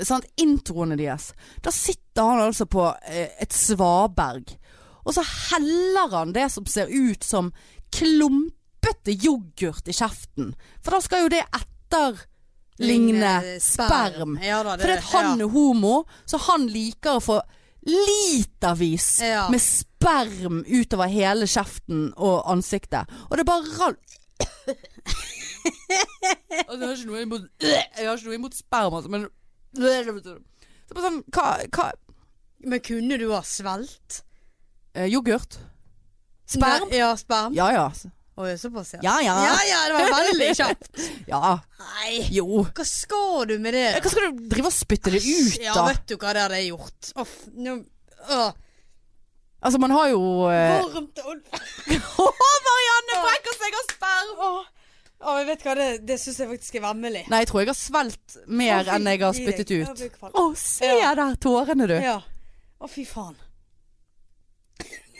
[SPEAKER 1] sant? Introene deres. Da sitter han altså på eh, et svaberg. Og så heller han det som ser ut som klumpete yoghurt i kjeften. For da skal jo det etterligne sperm.
[SPEAKER 2] Ja, da, det,
[SPEAKER 1] Fordi at han er homo, så han liker å få litervis
[SPEAKER 2] Ja.
[SPEAKER 1] med sperm utover hele kjeften og ansiktet. Og det bare [laughs] rall... altså, jeg, har ikke noe imot, Øh, jeg har ikke noe imot sperm, altså, men så bare sånn, hva, hva
[SPEAKER 2] ja. Men kunne du ha svelt?
[SPEAKER 1] eh, Yoghurt? Sperm?
[SPEAKER 2] Nei, Ja, sperm.
[SPEAKER 1] Ja ja.
[SPEAKER 2] Oi, såpass,
[SPEAKER 1] Ja, ja.
[SPEAKER 2] ja ja. Det var
[SPEAKER 1] [laughs]
[SPEAKER 2] veldig kjapt.
[SPEAKER 1] Ja.
[SPEAKER 2] Nei.
[SPEAKER 1] Jo. Eh,
[SPEAKER 2] Hva skal du med det?
[SPEAKER 1] Hva skal du drive og spytte det ut,
[SPEAKER 2] Ja,
[SPEAKER 1] da?
[SPEAKER 2] vet du hva det hadde jeg gjort? Å, f- nå, å,
[SPEAKER 1] Altså, man har jo eh,
[SPEAKER 2] varmt og
[SPEAKER 1] Marianne brekker seg av sperm!
[SPEAKER 2] Å, å, jeg vet hva, det, det syns jeg faktisk er vemmelig.
[SPEAKER 1] [laughs] Nei, jeg tror jeg har svelget mer enn jeg har spyttet ut. Å, se
[SPEAKER 2] Ja.
[SPEAKER 1] der, tårene du.
[SPEAKER 2] Ja. Å, fy faen.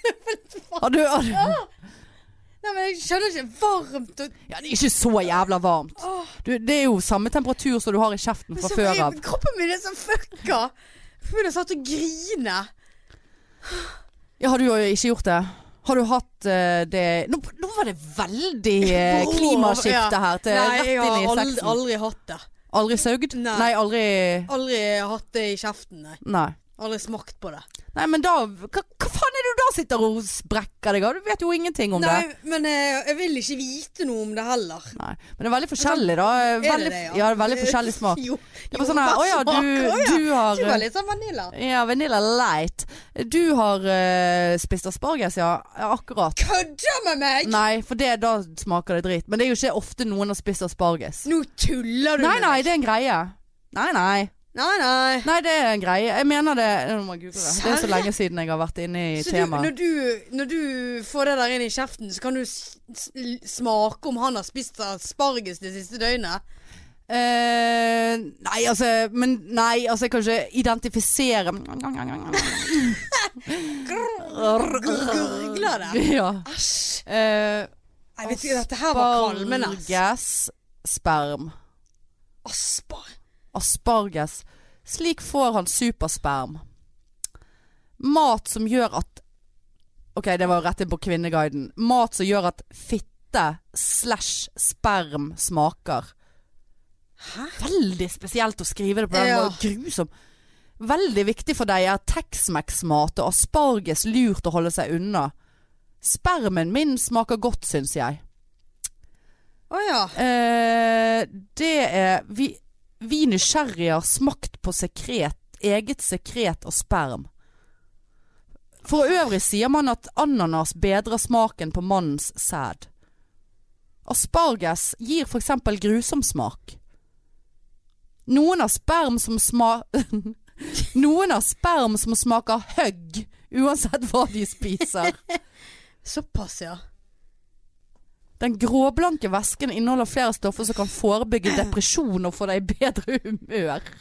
[SPEAKER 1] Har du, har du
[SPEAKER 2] Nei, men jeg skjønner ikke. Varmt og
[SPEAKER 1] ja, det er ikke så jævla varmt.
[SPEAKER 2] Åh.
[SPEAKER 1] Du, det er jo samme temperatur som du har i kjeften fra
[SPEAKER 2] så-
[SPEAKER 1] før
[SPEAKER 2] jeg-
[SPEAKER 1] av.
[SPEAKER 2] Kroppen min er så fucka. Jeg begynner snart å grine.
[SPEAKER 1] Ja, har du jo ikke gjort det? Har du hatt eh, det nå, nå var det
[SPEAKER 2] [laughs]
[SPEAKER 1] veldig eh,
[SPEAKER 2] Åh,
[SPEAKER 1] klimaskifte
[SPEAKER 2] ja.
[SPEAKER 1] her. Til,
[SPEAKER 2] Nei,
[SPEAKER 1] rett
[SPEAKER 2] jeg har
[SPEAKER 1] inn i
[SPEAKER 2] aldri,
[SPEAKER 1] sexen.
[SPEAKER 2] aldri hatt det.
[SPEAKER 1] Aldri saugd?
[SPEAKER 2] Nei.
[SPEAKER 1] Nei, aldri
[SPEAKER 2] Aldri hatt det i kjeften. Nei.
[SPEAKER 1] Nei.
[SPEAKER 2] Aldri smakt på det.
[SPEAKER 1] Nei, men da hva, hva faen er det du da sitter og sprekker deg av? Du vet jo ingenting om det.
[SPEAKER 2] Nei, men eh, jeg, jeg vil ikke vite noe om det heller.
[SPEAKER 1] Nei. Men det er veldig forskjellig, da.
[SPEAKER 2] Er
[SPEAKER 1] Veldig,
[SPEAKER 2] det det,
[SPEAKER 1] ja?
[SPEAKER 2] [laughs]
[SPEAKER 1] veldig forskjellig smak.
[SPEAKER 2] Jo,
[SPEAKER 1] Det er bare sånn her, Å ja,
[SPEAKER 2] Å, ja.
[SPEAKER 1] du, du har
[SPEAKER 2] Det var litt sånn vanilla.
[SPEAKER 1] Ja, Vanilla Light. Du har eh, spist asparges, ja. Ja, Akkurat.
[SPEAKER 2] Kødder med meg!
[SPEAKER 1] Nei, for det, da smaker det drit. Men det er jo ikke ofte noen har spist asparges.
[SPEAKER 2] Nå tuller du
[SPEAKER 1] Nei,
[SPEAKER 2] med
[SPEAKER 1] nei,
[SPEAKER 2] meg.
[SPEAKER 1] det er en greie. Nei, nei.
[SPEAKER 2] Nei, nei.
[SPEAKER 1] Nei, det er en greie. Jeg mener det Nå må jeg google det. Det er
[SPEAKER 2] Serr?
[SPEAKER 1] så lenge siden jeg har vært inne i
[SPEAKER 2] Så du, når,
[SPEAKER 1] temaet.
[SPEAKER 2] du, når du får det der inn i kjeften, så kan du s s smake om han har spist asparges det siste døgnet?
[SPEAKER 1] Eh, nei, altså Men nei, altså, jeg kan ikke identifisere [laughs]
[SPEAKER 2] Gurgler det?
[SPEAKER 1] Ja.
[SPEAKER 2] Æsj.
[SPEAKER 1] Eh,
[SPEAKER 2] Jeg vet ikke, dette her var kvalmende.
[SPEAKER 1] Asparges, sperm.
[SPEAKER 2] Aspar...
[SPEAKER 1] Asparges. Slik får han supersperm. Mat som gjør at Ok, det var rett inn på Kvinneguiden. Mat som gjør at fitte slash sperm smaker.
[SPEAKER 2] Hæ?
[SPEAKER 1] Veldig spesielt å skrive det på den
[SPEAKER 2] Ja.
[SPEAKER 1] måten. Grusom. Veldig viktig for deg er Tex-Mex-mat og asparges lurt å holde seg unna. Spermen min smaker godt, syns jeg.
[SPEAKER 2] Å ja.
[SPEAKER 1] Eh, det er Vi, vi nysgjerrige har smakt på sekret, eget sekret og sperm. For øvrig sier man at ananas bedrer smaken på mannens sæd. Asparges gir for eksempel grusom smak. Noen har sperm som sma... [laughs] Noen har sperm som smaker høgg, uansett hva de spiser.
[SPEAKER 2] Såpass, ja.
[SPEAKER 1] Den gråblanke væsken inneholder flere stoffer som kan
[SPEAKER 2] [clears throat]
[SPEAKER 1] forebygge depresjon og få deg i bedre humør.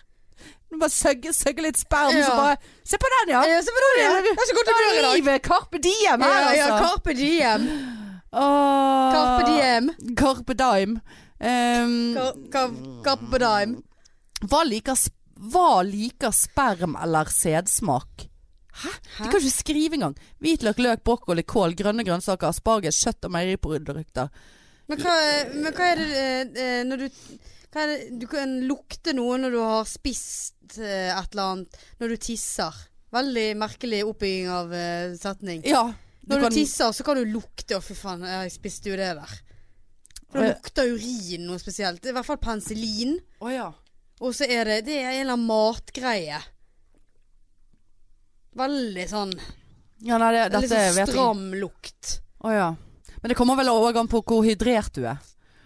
[SPEAKER 1] Du bare søgge, søgge litt sperm,
[SPEAKER 2] Ja.
[SPEAKER 1] så bare Se på den, ja!
[SPEAKER 2] Eh, Se på det, ja.
[SPEAKER 1] Ja,
[SPEAKER 2] Det er så godt å
[SPEAKER 1] Det
[SPEAKER 2] dø i
[SPEAKER 1] er
[SPEAKER 2] dag.
[SPEAKER 1] livet! Carpe diem
[SPEAKER 2] Ja,
[SPEAKER 1] her,
[SPEAKER 2] ja,
[SPEAKER 1] altså. Ah.
[SPEAKER 2] Carpe diem.
[SPEAKER 1] Åh.
[SPEAKER 2] Carpe diem.
[SPEAKER 1] Carpe diem. Ehm,
[SPEAKER 2] Car- car- Carpe diem.
[SPEAKER 1] hva, liker, sp- hva liker sperm eller sædsmak? De kan ikke skrive engang. Hvitløk, løk, brokkoli, kål, grønne grønnsaker, asparges, kjøtt og meieriprodukter.
[SPEAKER 2] Men hva, men hva er det eh, eh, når du hva er det, Du kan lukte noe når du har spist eh, et eller annet. Når du tisser. Veldig merkelig oppbygging av eh, setning.
[SPEAKER 1] Ja.
[SPEAKER 2] Når du,
[SPEAKER 1] kan-
[SPEAKER 2] tisser, så kan du lukte Å, fy faen, jeg spiste jo det der. For
[SPEAKER 1] Eh.
[SPEAKER 2] det lukter urin noe spesielt. I hvert fall penicillin.
[SPEAKER 1] Å ja.
[SPEAKER 2] Og så er det, det er en eller annen matgreie. Veldig sånn
[SPEAKER 1] Ja, nei, det, dette
[SPEAKER 2] Litt sånn
[SPEAKER 1] vet jeg ikke.
[SPEAKER 2] stram lukt.
[SPEAKER 1] Å ja. Men det kommer vel òg an på hvor hydrert du er.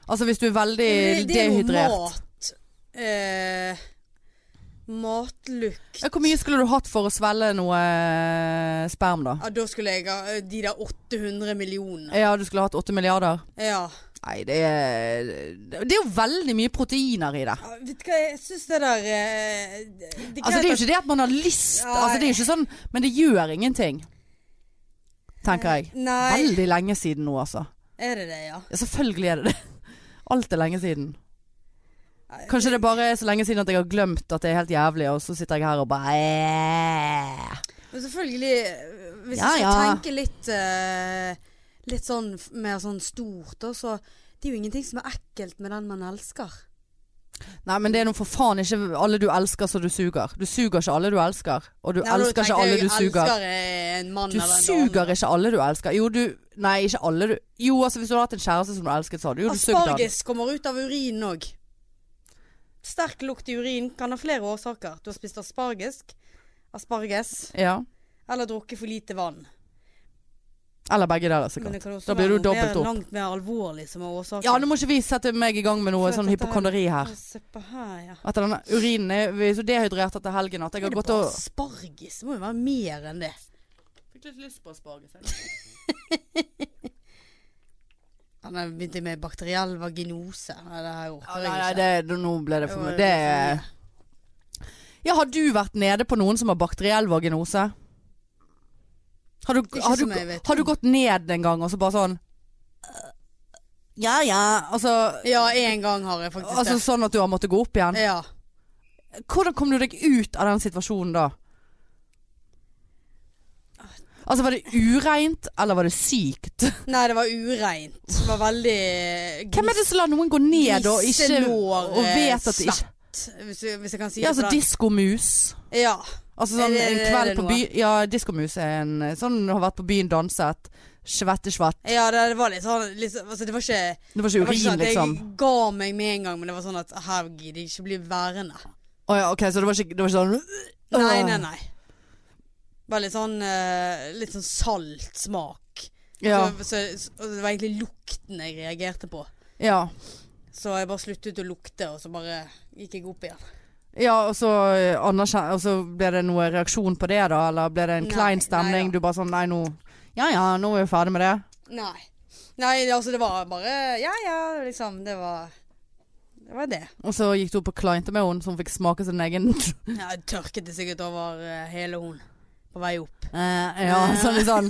[SPEAKER 1] Altså hvis du er veldig
[SPEAKER 2] Men Eh, det er noe
[SPEAKER 1] dehydrert.
[SPEAKER 2] mat. Eh, matlukt
[SPEAKER 1] Ja, hvor mye skulle du hatt for å svelge noe eh, sperm, da?
[SPEAKER 2] Ja, da skulle jeg ha eh, de der 800 millionene.
[SPEAKER 1] Ja, du skulle hatt åtte milliarder?
[SPEAKER 2] Ja.
[SPEAKER 1] Nei, det er Det er jo veldig mye proteiner i det.
[SPEAKER 2] Ja, Vet du hva, jeg syns det der eh, det, det
[SPEAKER 1] Altså Det er jo ikke det at man har lyst,
[SPEAKER 2] Nei.
[SPEAKER 1] altså, det er jo ikke sånn, men det gjør ingenting. Tenker jeg.
[SPEAKER 2] Nei.
[SPEAKER 1] Veldig lenge siden nå, altså.
[SPEAKER 2] Er det det, ja?
[SPEAKER 1] Ja, selvfølgelig er det [laughs] det. Alt er lenge siden.
[SPEAKER 2] Nei,
[SPEAKER 1] Kanskje det bare er så lenge siden at jeg har glemt at det er helt jævlig, og så sitter jeg her og bare eh.
[SPEAKER 2] Men selvfølgelig, eh, hvis
[SPEAKER 1] Ja,
[SPEAKER 2] jeg skal
[SPEAKER 1] ja.
[SPEAKER 2] tenke litt eh, Litt sånn f- mer sånn stort, da, så Det er jo ingenting som er ekkelt med den man elsker.
[SPEAKER 1] Nei, men det er nå for faen ikke alle du elsker som du suger. Du suger ikke alle du elsker, og du
[SPEAKER 2] Nei, men nå
[SPEAKER 1] elsker
[SPEAKER 2] tenkte
[SPEAKER 1] ikke alle
[SPEAKER 2] jeg,
[SPEAKER 1] du suger.
[SPEAKER 2] elsker eh, en mann
[SPEAKER 1] Du
[SPEAKER 2] eller en
[SPEAKER 1] suger
[SPEAKER 2] dame.
[SPEAKER 1] ikke alle du elsker. Jo, du Nei, ikke alle du Jo, altså hvis du hadde hatt en kjæreste som du elsket, så hadde jo du sugd den.
[SPEAKER 2] Asparges kommer ut av urinen òg. Sterk lukt i urin kan ha flere årsaker. Du har spist asparges, asparges
[SPEAKER 1] Ja.
[SPEAKER 2] eller drukket for lite vann.
[SPEAKER 1] Eller begge
[SPEAKER 2] Men
[SPEAKER 1] deler, sikkert.
[SPEAKER 2] det kan også
[SPEAKER 1] Da blir
[SPEAKER 2] være
[SPEAKER 1] du
[SPEAKER 2] noe
[SPEAKER 1] dobbelt
[SPEAKER 2] mer,
[SPEAKER 1] opp.
[SPEAKER 2] langt mer alvorlig som er årsaken.
[SPEAKER 1] Ja, nå må ikke vi sette meg i gang med noe
[SPEAKER 2] For
[SPEAKER 1] sånn
[SPEAKER 2] at dette her-
[SPEAKER 1] hypokonderi her.
[SPEAKER 2] Å, Se på her, ja.
[SPEAKER 1] At denne urinen er vi er så dehydrert etter helgen at jeg
[SPEAKER 2] Er
[SPEAKER 1] har
[SPEAKER 2] det
[SPEAKER 1] gått
[SPEAKER 2] bare
[SPEAKER 1] og
[SPEAKER 2] asparges? Det må jo være mer enn det.
[SPEAKER 1] Fikk litt lyst på asparges.
[SPEAKER 2] Han har begynt med bakteriell vaginose. Nei, det her
[SPEAKER 1] Ja,
[SPEAKER 2] orker
[SPEAKER 1] nei, nei,
[SPEAKER 2] jeg ikke.
[SPEAKER 1] det, det- nå ble det for
[SPEAKER 2] Det
[SPEAKER 1] mye.
[SPEAKER 2] var-
[SPEAKER 1] Det er Ja, har du vært nede på noen som har bakteriell vaginose? Har du,
[SPEAKER 2] Ikke
[SPEAKER 1] har, du,
[SPEAKER 2] som jeg vet
[SPEAKER 1] har du
[SPEAKER 2] om.
[SPEAKER 1] gått ned en gang og så bare sånn Ja ja. Altså,
[SPEAKER 2] Ja, én gang har jeg faktisk
[SPEAKER 1] altså sånn at du har måttet gå opp igjen.
[SPEAKER 2] det. Ja.
[SPEAKER 1] Hvordan kom du deg ut av den situasjonen da? Altså Var det ureint, eller var det sykt?
[SPEAKER 2] Nei, det var ureint. Det var veldig
[SPEAKER 1] Hvem er det som lar noen gå ned og ikke
[SPEAKER 2] Griselår,
[SPEAKER 1] Og vet at det ikke
[SPEAKER 2] gniselår, Hvis, jeg- hvis jeg kan si
[SPEAKER 1] Ja,
[SPEAKER 2] det
[SPEAKER 1] altså
[SPEAKER 2] sånn.
[SPEAKER 1] diskomus.
[SPEAKER 2] Ja.
[SPEAKER 1] Altså sånn
[SPEAKER 2] Er det-
[SPEAKER 1] en
[SPEAKER 2] er
[SPEAKER 1] kveld
[SPEAKER 2] det
[SPEAKER 1] på
[SPEAKER 2] noe?
[SPEAKER 1] by Ja, diskomus er en eh, sånn har vært på byen, danset. Svette, svett.
[SPEAKER 2] ja, det det var litt sånn liksom, altså, Det var ikke,
[SPEAKER 1] Det var
[SPEAKER 2] det
[SPEAKER 1] ikke
[SPEAKER 2] var ikke sånn
[SPEAKER 1] urin,
[SPEAKER 2] at
[SPEAKER 1] liksom.
[SPEAKER 2] jeg ga meg med en gang, men det var sånn at her gidder jeg ikke bli værende.
[SPEAKER 1] Å ja, ok, så det var ikke, det var ikke sånn øh,
[SPEAKER 2] Nei, nei, nei. Bare litt sånn eh, Litt sånn salt smak.
[SPEAKER 1] Ja.
[SPEAKER 2] Så, så, så, og det var egentlig lukten jeg reagerte på.
[SPEAKER 1] ja.
[SPEAKER 2] Så jeg bare sluttet å lukte, og så bare gikk jeg opp igjen.
[SPEAKER 1] Ja, og så, eh, anerkjen- og så ble det noe reaksjon på det, da? Eller ble det en
[SPEAKER 2] Nei,
[SPEAKER 1] klein
[SPEAKER 2] nei
[SPEAKER 1] stemning?
[SPEAKER 2] da.
[SPEAKER 1] Du bare sånn Nei, nå Ja ja, nå er vi ferdig med det.
[SPEAKER 2] Nei. Nei, altså det var bare Ja ja, liksom. Det var Det var det.
[SPEAKER 1] Og så gikk du opp og klinte med henne, så hun fikk smake sin egen [laughs]
[SPEAKER 2] Ja, jeg tørket det sikkert over eh, hele hun på vei opp.
[SPEAKER 1] Eh, Ja, sånn litt sånn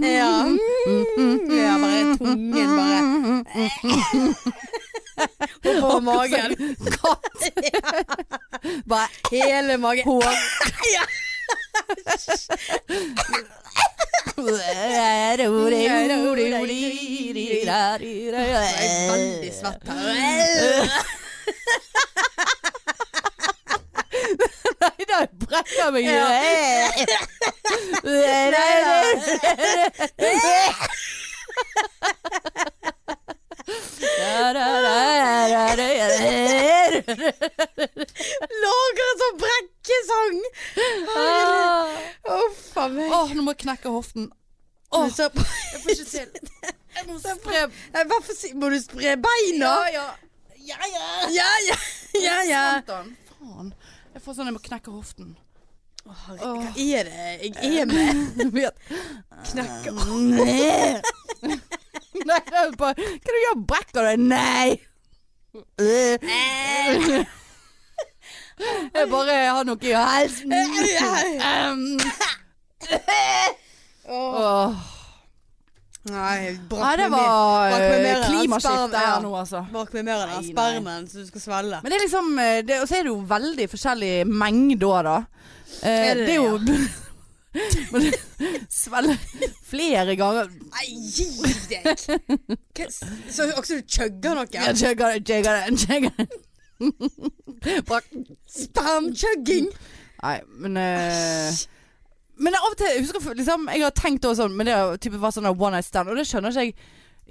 [SPEAKER 2] Ja.
[SPEAKER 1] Mm,
[SPEAKER 2] ja bare tungen bare Oppover magen.
[SPEAKER 1] Katt!
[SPEAKER 2] [laughs]
[SPEAKER 1] Bare
[SPEAKER 2] Hele magen.
[SPEAKER 1] hår
[SPEAKER 2] Jeg er veldig svett her.
[SPEAKER 1] Nei da, jeg brekker meg i
[SPEAKER 2] Ja. Lager en sånn brekkesang! Uff a meg.
[SPEAKER 1] Åh, nå må jeg knekke hoften. Åh,
[SPEAKER 2] Men så-
[SPEAKER 1] jeg får ikke til. Jeg må spre
[SPEAKER 2] Nei, Hva for si Må du spre beina?
[SPEAKER 1] Ja, ja. Ja, ja.
[SPEAKER 2] Ja, ja. ja, ja.
[SPEAKER 1] Satan. Faen. Jeg får sånn jeg må knekke hoften.
[SPEAKER 2] Å, herregud, Hva er det jeg er med?
[SPEAKER 1] Vet. Eh,
[SPEAKER 2] Knekker
[SPEAKER 1] Nei, [laughs] det er bare Hva du gjør du? Brekker du deg? Nei! Jeg bare har noe i halsen. Um,
[SPEAKER 2] Åh.
[SPEAKER 1] åh.
[SPEAKER 2] Nei, jeg
[SPEAKER 1] Nei,
[SPEAKER 2] brakk
[SPEAKER 1] det
[SPEAKER 2] meg med.
[SPEAKER 1] var
[SPEAKER 2] Brakk meg mer
[SPEAKER 1] eh,
[SPEAKER 2] enn sperm,
[SPEAKER 1] klimaskifte
[SPEAKER 2] ja.
[SPEAKER 1] her nå, altså.
[SPEAKER 2] Brakk meg mer enn den
[SPEAKER 1] Nei, nei.
[SPEAKER 2] spermen som du skal svelge.
[SPEAKER 1] Men det er liksom eh, det, Og så er det jo veldig forskjellig mengde òg, da. Eh,
[SPEAKER 2] Er det
[SPEAKER 1] det er jo [laughs] Men det- Svelge flere ganger
[SPEAKER 2] Nei, gi deg! Hva- Så også du chugger noe?
[SPEAKER 1] Jeg jigger det, jigger det, jigger det. Bak-
[SPEAKER 2] Spermchugging!
[SPEAKER 1] Nei, men eh, Men av og til jeg husker, liksom, Jeg har tenkt også sånn Men det har type vært sånn der one night stand Og det skjønner ikke jeg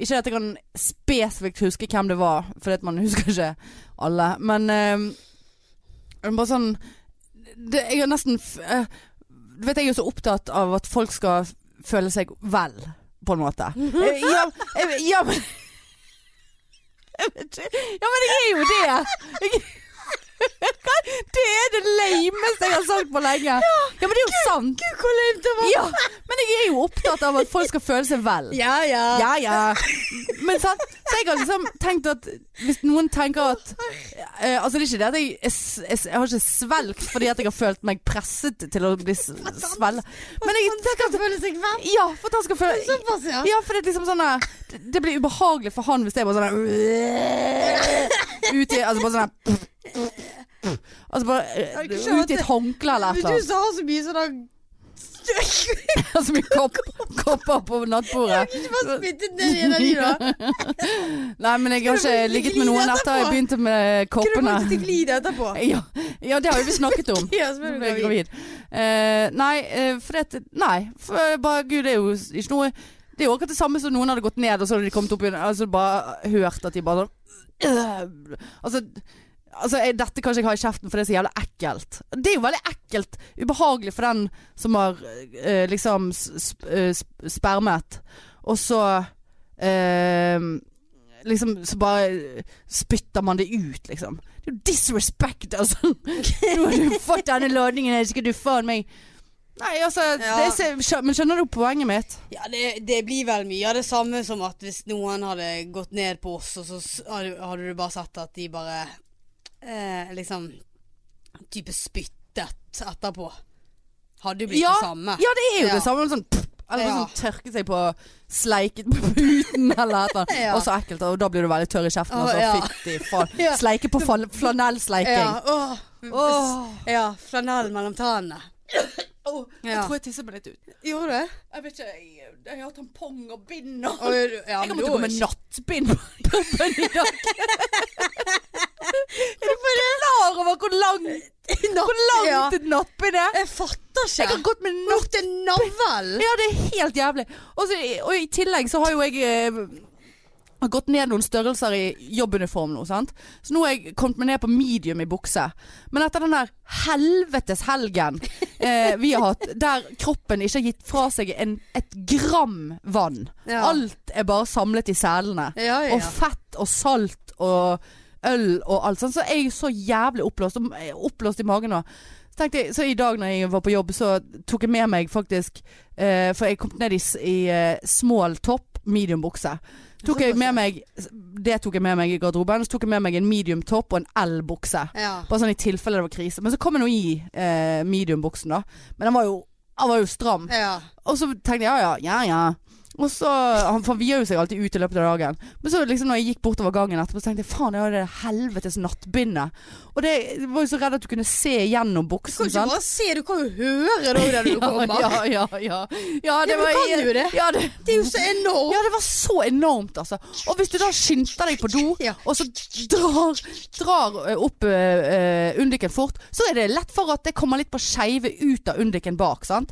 [SPEAKER 1] Ikke at jeg kan spesifikt huske hvem det var Fordi at man [laughs] husker ikke alle Men eh, men Bare sånn det, Jeg har nesten f- eh, Du vet jeg er jo så opptatt av at folk skal Føle seg vel På en måte Eh, Ja, eh, ja men Jeg vet ikke Ja, men jeg er jo det Jeg [laughs] det er det lameste jeg har sagt på lenge. Ja, men det er jo sant.
[SPEAKER 2] Gud, hvor lame det var!
[SPEAKER 1] Ja, men jeg er jo opptatt av at folk skal føle seg vel.
[SPEAKER 2] Ja, ja.
[SPEAKER 1] Ja, ja. Men sant? Så jeg har liksom tenkt at hvis noen tenker at eh, Altså det er ikke det at jeg, jeg, jeg, jeg har ikke svelgt fordi at jeg har følt meg presset til å bli s- svelle. Men jeg
[SPEAKER 2] Han skal føle seg vel.
[SPEAKER 1] Ja, for at han skal føle
[SPEAKER 2] Såpass, ja.
[SPEAKER 1] ja, for det er liksom sånn der- det, det blir ubehagelig for han hvis det er bare
[SPEAKER 2] [laughs]
[SPEAKER 1] sånn der- Ut i Altså bare sånn der- Altså bare
[SPEAKER 2] Jeg kan
[SPEAKER 1] eh,
[SPEAKER 2] skjønne
[SPEAKER 1] Ut i
[SPEAKER 2] at det-
[SPEAKER 1] et håndkle eller et
[SPEAKER 2] Men
[SPEAKER 1] eller
[SPEAKER 2] du
[SPEAKER 1] annet.
[SPEAKER 2] sa så mye sånn at Jeg
[SPEAKER 1] [laughs] Så mye Altså, kopp, kopper på nattbordet.
[SPEAKER 2] kan ikke bare spyttet ned i en av de,
[SPEAKER 1] [laughs]
[SPEAKER 2] da.
[SPEAKER 1] Nei, men jeg har ikke ligget med noen etter jeg begynte med
[SPEAKER 2] Kunne du brukt
[SPEAKER 1] koppene.
[SPEAKER 2] til glid etterpå?
[SPEAKER 1] [laughs] Ja, ja, det har jo vi snakket om.
[SPEAKER 2] [laughs] Ja, så ble
[SPEAKER 1] Nå
[SPEAKER 2] du
[SPEAKER 1] ble jeg
[SPEAKER 2] gravid.
[SPEAKER 1] gravid. Eh, nei, eh, for det Nei, for eh, bare Gud, det er jo ikke noe Det er jo akkurat det samme som noen hadde gått ned, og så hadde de kommet opp igjen Altså bare hørt at de bare [sniffs] sånn øh, Altså Altså, jeg, Dette kan ikke jeg ha i kjeften, for det er så jævlig ekkelt. Det er jo veldig ekkelt. Ubehagelig for den som har eh, liksom s- sp eh, sp spermet, og så eh, Liksom så bare spytter man det ut, liksom. Det er jo disrespect, [laughs] altså. Nå har du fått denne ladningen, her skal du faen meg Nei, altså
[SPEAKER 2] Ja.
[SPEAKER 1] det er så- skjø- Men skjønner du poenget mitt?
[SPEAKER 2] Ja, det, det blir vel mye av det samme som at hvis noen hadde gått ned på oss, og så s- hadde, hadde du bare sett at de bare eh, liksom type spyttet etterpå. Hadde jo blitt det samme.
[SPEAKER 1] ja, det er jo
[SPEAKER 2] Ja.
[SPEAKER 1] det samme. Sånn, pff, eller bare
[SPEAKER 2] Ja.
[SPEAKER 1] sånn tørke seg på sleiket på puten eller et eller [laughs] annet.
[SPEAKER 2] Ja.
[SPEAKER 1] Og så ekkelt, og da blir du veldig tørr i kjeften.
[SPEAKER 2] Å,
[SPEAKER 1] Altså,
[SPEAKER 2] ja.
[SPEAKER 1] fytti [laughs] faen.
[SPEAKER 2] Ja.
[SPEAKER 1] Sleike på fal-
[SPEAKER 2] Ja,
[SPEAKER 1] flanellsleiking.
[SPEAKER 2] åh,
[SPEAKER 1] Åh.
[SPEAKER 2] ja flanell mellom tannene.
[SPEAKER 1] Åh,
[SPEAKER 2] Ja.
[SPEAKER 1] jeg tisser meg litt ut.
[SPEAKER 2] Gjorde du det?
[SPEAKER 1] Jeg vet ikke, jeg, jeg har tampong og bind og
[SPEAKER 2] Åh, gjorde du- ja,
[SPEAKER 1] Jeg
[SPEAKER 2] men
[SPEAKER 1] kommer til
[SPEAKER 2] da
[SPEAKER 1] å gå med nattbind på puben i dag. Er du klar over hvor langt, hvor
[SPEAKER 2] Ja.
[SPEAKER 1] langt et nattbind er?
[SPEAKER 2] Jeg fatter ikke.
[SPEAKER 1] Jeg har gått med natt...
[SPEAKER 2] Mot en navl.
[SPEAKER 1] Ja, det er helt jævlig. Og, så, og i tillegg så har jo jeg eh, har gått ned noen størrelser i jobbuniform nå, sant. Så nå har jeg kommet meg ned på medium i bukse. Men etter den der helvetes helgen eh, vi har hatt, der kroppen ikke har gitt fra seg en, et gram vann.
[SPEAKER 2] Ja.
[SPEAKER 1] Alt er bare samlet i selene.
[SPEAKER 2] Ja, ja.
[SPEAKER 1] Og fett og salt og øl og alt sånt. Så er jeg så jævlig oppblåst. og jeg er Oppblåst i magen nå. Så, tenkte jeg, så i dag når jeg var på jobb, så tok jeg med meg faktisk eh, For jeg kom ned i, s- i eh, small topp, medium bukse. Tok jeg med meg, det tok jeg med meg i garderoben. Så tok jeg med meg en medium topp og en L-bukse.
[SPEAKER 2] Ja.
[SPEAKER 1] Bare sånn i tilfelle det var krise. Men så kom jeg nå i eh, medium-buksen, da. Men den var jo, den var jo stram.
[SPEAKER 2] ja.
[SPEAKER 1] Og så tenkte jeg ja ja, ja ja. Og så, han forvier jo seg alltid ut i løpet av dagen. Men så liksom når jeg gikk bortover gangen etterpå, så tenkte jeg faen, jeg har det helvetes nattbindet. Og det jeg var jo så redd at du kunne se gjennom
[SPEAKER 2] Du kan
[SPEAKER 1] buksen.
[SPEAKER 2] ikke
[SPEAKER 1] sant?
[SPEAKER 2] bare se, du kan jo høre det der du kommer.
[SPEAKER 1] [laughs] ja, ja, ja. Ja,
[SPEAKER 2] Ja,
[SPEAKER 1] det
[SPEAKER 2] men
[SPEAKER 1] var
[SPEAKER 2] du kan jo det.
[SPEAKER 1] Ja, det,
[SPEAKER 2] Det er jo så enormt.
[SPEAKER 1] ja, det var så enormt, altså. Og hvis du da skynder deg på do,
[SPEAKER 2] Ja.
[SPEAKER 1] og så drar, drar eh, opp eh, eh, undiken fort, så er det lett for at det kommer litt på skeive ut av undiken bak, sant?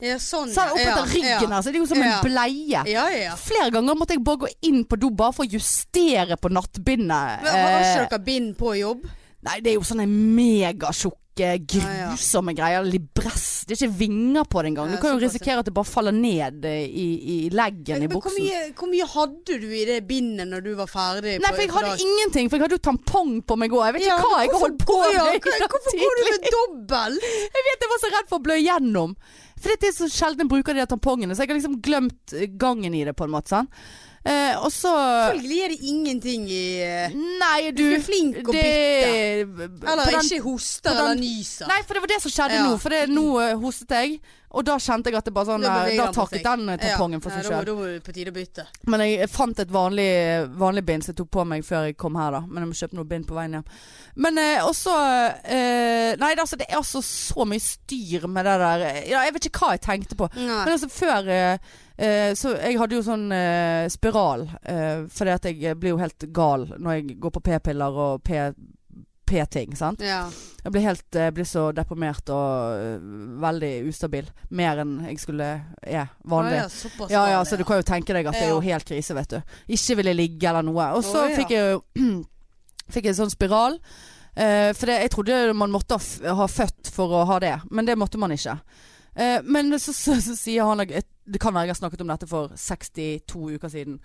[SPEAKER 2] Ja, sånn.
[SPEAKER 1] Så er det opp
[SPEAKER 2] ja,
[SPEAKER 1] etter ryggen Eh,
[SPEAKER 2] ja.
[SPEAKER 1] her, så er det jo som
[SPEAKER 2] Ja.
[SPEAKER 1] en bleie.
[SPEAKER 2] Ja, ja, ja.
[SPEAKER 1] Flere ganger måtte jeg bare gå inn på do bare for å justere på nattbindet.
[SPEAKER 2] Men Har
[SPEAKER 1] Eh,
[SPEAKER 2] ikke dere bind på jobb?
[SPEAKER 1] Nei, det er jo sånne megatjukke, grusomme greier. Libress. Det er ikke vinger på det engang.
[SPEAKER 2] Ja,
[SPEAKER 1] Du kan jo
[SPEAKER 2] såpass, ja.
[SPEAKER 1] risikere at det bare faller ned eh, i, i leggen i
[SPEAKER 2] Men hvor
[SPEAKER 1] buksen.
[SPEAKER 2] mye, hvor mye hadde du i det bindet når du var ferdig?
[SPEAKER 1] Nei, for jeg hadde ingenting, for jeg hadde jo tampong på meg òg. Jeg vet ikke hva jeg har holdt på med.
[SPEAKER 2] ja,
[SPEAKER 1] i
[SPEAKER 2] hva-
[SPEAKER 1] dag
[SPEAKER 2] Hvorfor går du
[SPEAKER 1] tidlig.
[SPEAKER 2] med dobbel?
[SPEAKER 1] Jeg vet jeg var så redd for å blø igjennom. For det er så sjelden jeg bruker de der tampongene, så jeg har liksom glemt eh, gangen i det, på en måte. Sånn. Eh, og så
[SPEAKER 2] Selvfølgelig er det ingenting i eh,
[SPEAKER 1] Nei, du
[SPEAKER 2] Du er flink og bitter. Eller
[SPEAKER 1] på den-
[SPEAKER 2] ikke hoster
[SPEAKER 1] på den-
[SPEAKER 2] eller nyser.
[SPEAKER 1] Nei, for det var det som skjedde
[SPEAKER 2] Ja.
[SPEAKER 1] nå. For det, nå eh, hostet jeg, og da kjente jeg at det bare sånn
[SPEAKER 2] Da
[SPEAKER 1] eh,
[SPEAKER 2] beveger
[SPEAKER 1] Da
[SPEAKER 2] han på seg.
[SPEAKER 1] takket den eh, tampongen for
[SPEAKER 2] Ja,
[SPEAKER 1] seg
[SPEAKER 2] da-
[SPEAKER 1] sjøl.
[SPEAKER 2] Da var det på tide å bytte.
[SPEAKER 1] Men jeg fant et vanlig, vanlig bind som jeg tok på meg før jeg kom her, da. Men jeg må kjøpe noe bind på veien hjem. Men eh, også eh, Nei, det, altså, det er altså så mye styr med det der Ja, jeg vet ikke hva jeg tenkte på. Men
[SPEAKER 2] Nei.
[SPEAKER 1] altså, før eh, eh, Så jeg hadde jo sånn eh, spiral, eh, fordi at jeg blir jo helt gal når jeg går på p-piller og p- p-ting, sant.
[SPEAKER 2] Ja.
[SPEAKER 1] Jeg blir helt eh, blir så deprimert og eh, veldig ustabil. Mer enn jeg skulle er vanlig.
[SPEAKER 2] Å, ja, såpass
[SPEAKER 1] ja, ja,
[SPEAKER 2] vanlig,
[SPEAKER 1] så du kan jo tenke deg at det er jo
[SPEAKER 2] Ja.
[SPEAKER 1] helt krise, vet du. Ikke ville ligge eller noe. Og så
[SPEAKER 2] Å, ja.
[SPEAKER 1] fikk jeg jo [clears throat] fikk jeg en sånn spiral. Eh, for det, jeg trodde man måtte ha, f ha født for å ha det, men det måtte man ikke. Eh, men så, så, så sier han jeg- Det kan være jeg har snakket om dette for 62 uker siden.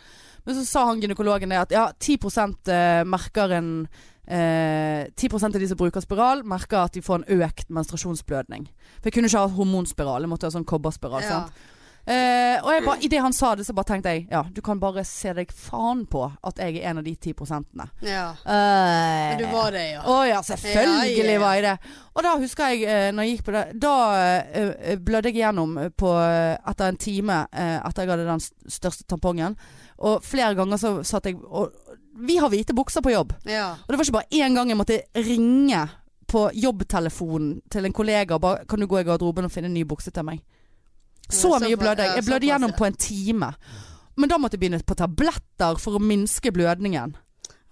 [SPEAKER 1] Men så sa han gynekologen det at ja, 10 eh, merker en eh, 10 av de som bruker spiral, merker at de får en økt menstruasjonsblødning. For jeg kunne ikke ha hormonspiral, jeg måtte ha sånn kobberspiral.
[SPEAKER 2] Ja.
[SPEAKER 1] Sant? Eh, og jeg bare, i det han sa det, så bare tenkte jeg ja, du kan bare se deg faen på at jeg er en av de 10 prosentene.
[SPEAKER 2] ja.
[SPEAKER 1] Uh,
[SPEAKER 2] Men du var det, ja.
[SPEAKER 1] å ja, selvfølgelig
[SPEAKER 2] Ja, ja, ja.
[SPEAKER 1] var jeg det. Og da husker jeg, eh, når jeg gikk på det Da eh, eh, blødde jeg gjennom på, eh, etter en time eh, etter jeg hadde den s- største tampongen. Og flere ganger så satt jeg og Vi har hvite bukser på jobb.
[SPEAKER 2] ja.
[SPEAKER 1] Og det var ikke bare én gang jeg måtte ringe på jobbtelefonen til en kollega og bare 'Kan du gå i garderoben og finne en ny bukse til meg?' Så
[SPEAKER 2] Ja, så
[SPEAKER 1] mye
[SPEAKER 2] fa-
[SPEAKER 1] blødde
[SPEAKER 2] ja,
[SPEAKER 1] jeg. Jeg
[SPEAKER 2] så
[SPEAKER 1] blødde
[SPEAKER 2] pass,
[SPEAKER 1] gjennom
[SPEAKER 2] ja.
[SPEAKER 1] på en time. Men da måtte jeg begynne på tabletter for å minske blødningen.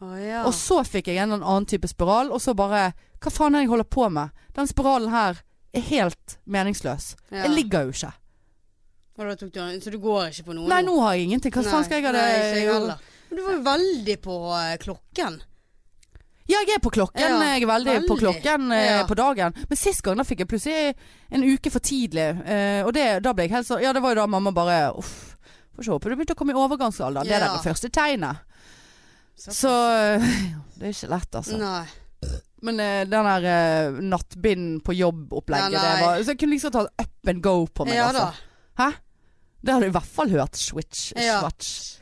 [SPEAKER 2] Å, ja.
[SPEAKER 1] Og så fikk jeg en eller annen type spiral, og så bare Hva faen er det jeg holder på med? Den spiralen her er helt meningsløs.
[SPEAKER 2] Ja.
[SPEAKER 1] Jeg ligger jo ikke.
[SPEAKER 2] Og da tok du den, så du går ikke på noe?
[SPEAKER 1] Nei, nå har jeg ingenting. Hva faen skal jeg ha det
[SPEAKER 2] Nei, ikke jeg heller. Men du var jo veldig på eh, klokken.
[SPEAKER 1] Ja, jeg er på klokken.
[SPEAKER 2] Ja,
[SPEAKER 1] jeg er veldig, på
[SPEAKER 2] veldig.
[SPEAKER 1] klokken eh,
[SPEAKER 2] Ja.
[SPEAKER 1] på dagen. Men sist gang da fikk jeg plutselig en uke for tidlig. Eh, og det, da ble jeg helt så Ja, det var jo da mamma bare Uff. Får ikke håpe du begynte å komme i overgangsalderen. Det er
[SPEAKER 2] Ja.
[SPEAKER 1] det første tegnet. Så eh, Det er ikke lett, altså.
[SPEAKER 2] Nei.
[SPEAKER 1] Men eh, den der eh, nattbind på jobb-opplegget,
[SPEAKER 2] Ja,
[SPEAKER 1] det
[SPEAKER 2] nei.
[SPEAKER 1] var Så jeg kunne liksom tatt up and go på meg,
[SPEAKER 2] Ja da.
[SPEAKER 1] altså. Det har du i hvert fall hørt. Switch,
[SPEAKER 2] Ja.
[SPEAKER 1] swatch.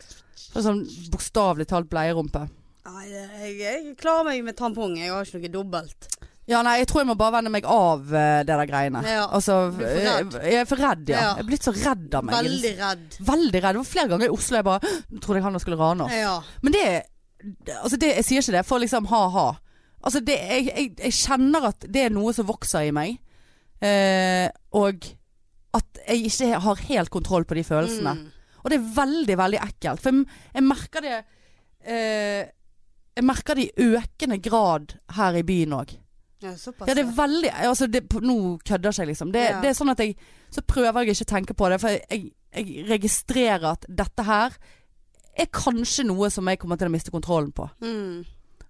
[SPEAKER 1] Det er Sånn bokstavelig talt bleierumpe.
[SPEAKER 2] Nei, jeg, jeg klarer meg med tampong. Jeg har ikke noe dobbelt.
[SPEAKER 1] Ja, nei, jeg tror jeg må bare venne meg av eh, det der greiene.
[SPEAKER 2] Ja.
[SPEAKER 1] Altså,
[SPEAKER 2] Du er for
[SPEAKER 1] eh,
[SPEAKER 2] redd.
[SPEAKER 1] jeg er for redd, ja.
[SPEAKER 2] Ja.
[SPEAKER 1] Jeg er blitt så redd av meg.
[SPEAKER 2] Veldig redd.
[SPEAKER 1] Veldig redd. Det var flere ganger i Oslo jeg bare «Nå trodde jeg han skulle rane oss.
[SPEAKER 2] Ja.
[SPEAKER 1] Men det det- Altså, det, jeg sier ikke det for liksom ha-ha. Altså, det, jeg, jeg, jeg kjenner at det er noe som vokser i meg. Eh, og at jeg ikke har helt kontroll på de følelsene.
[SPEAKER 2] Mm.
[SPEAKER 1] Og det er veldig, veldig ekkelt. For jeg, jeg merker det eh, Jeg merker det i økende grad her i byen òg.
[SPEAKER 2] Ja, såpass.
[SPEAKER 1] Ja, det er veldig altså det, på- Nå kødder ikke jeg, liksom. Det,
[SPEAKER 2] Ja.
[SPEAKER 1] det er sånn at jeg Så prøver jeg ikke å tenke på det, for jeg, jeg, jeg registrerer at dette her er kanskje noe som jeg kommer til å miste kontrollen på.
[SPEAKER 2] Mm.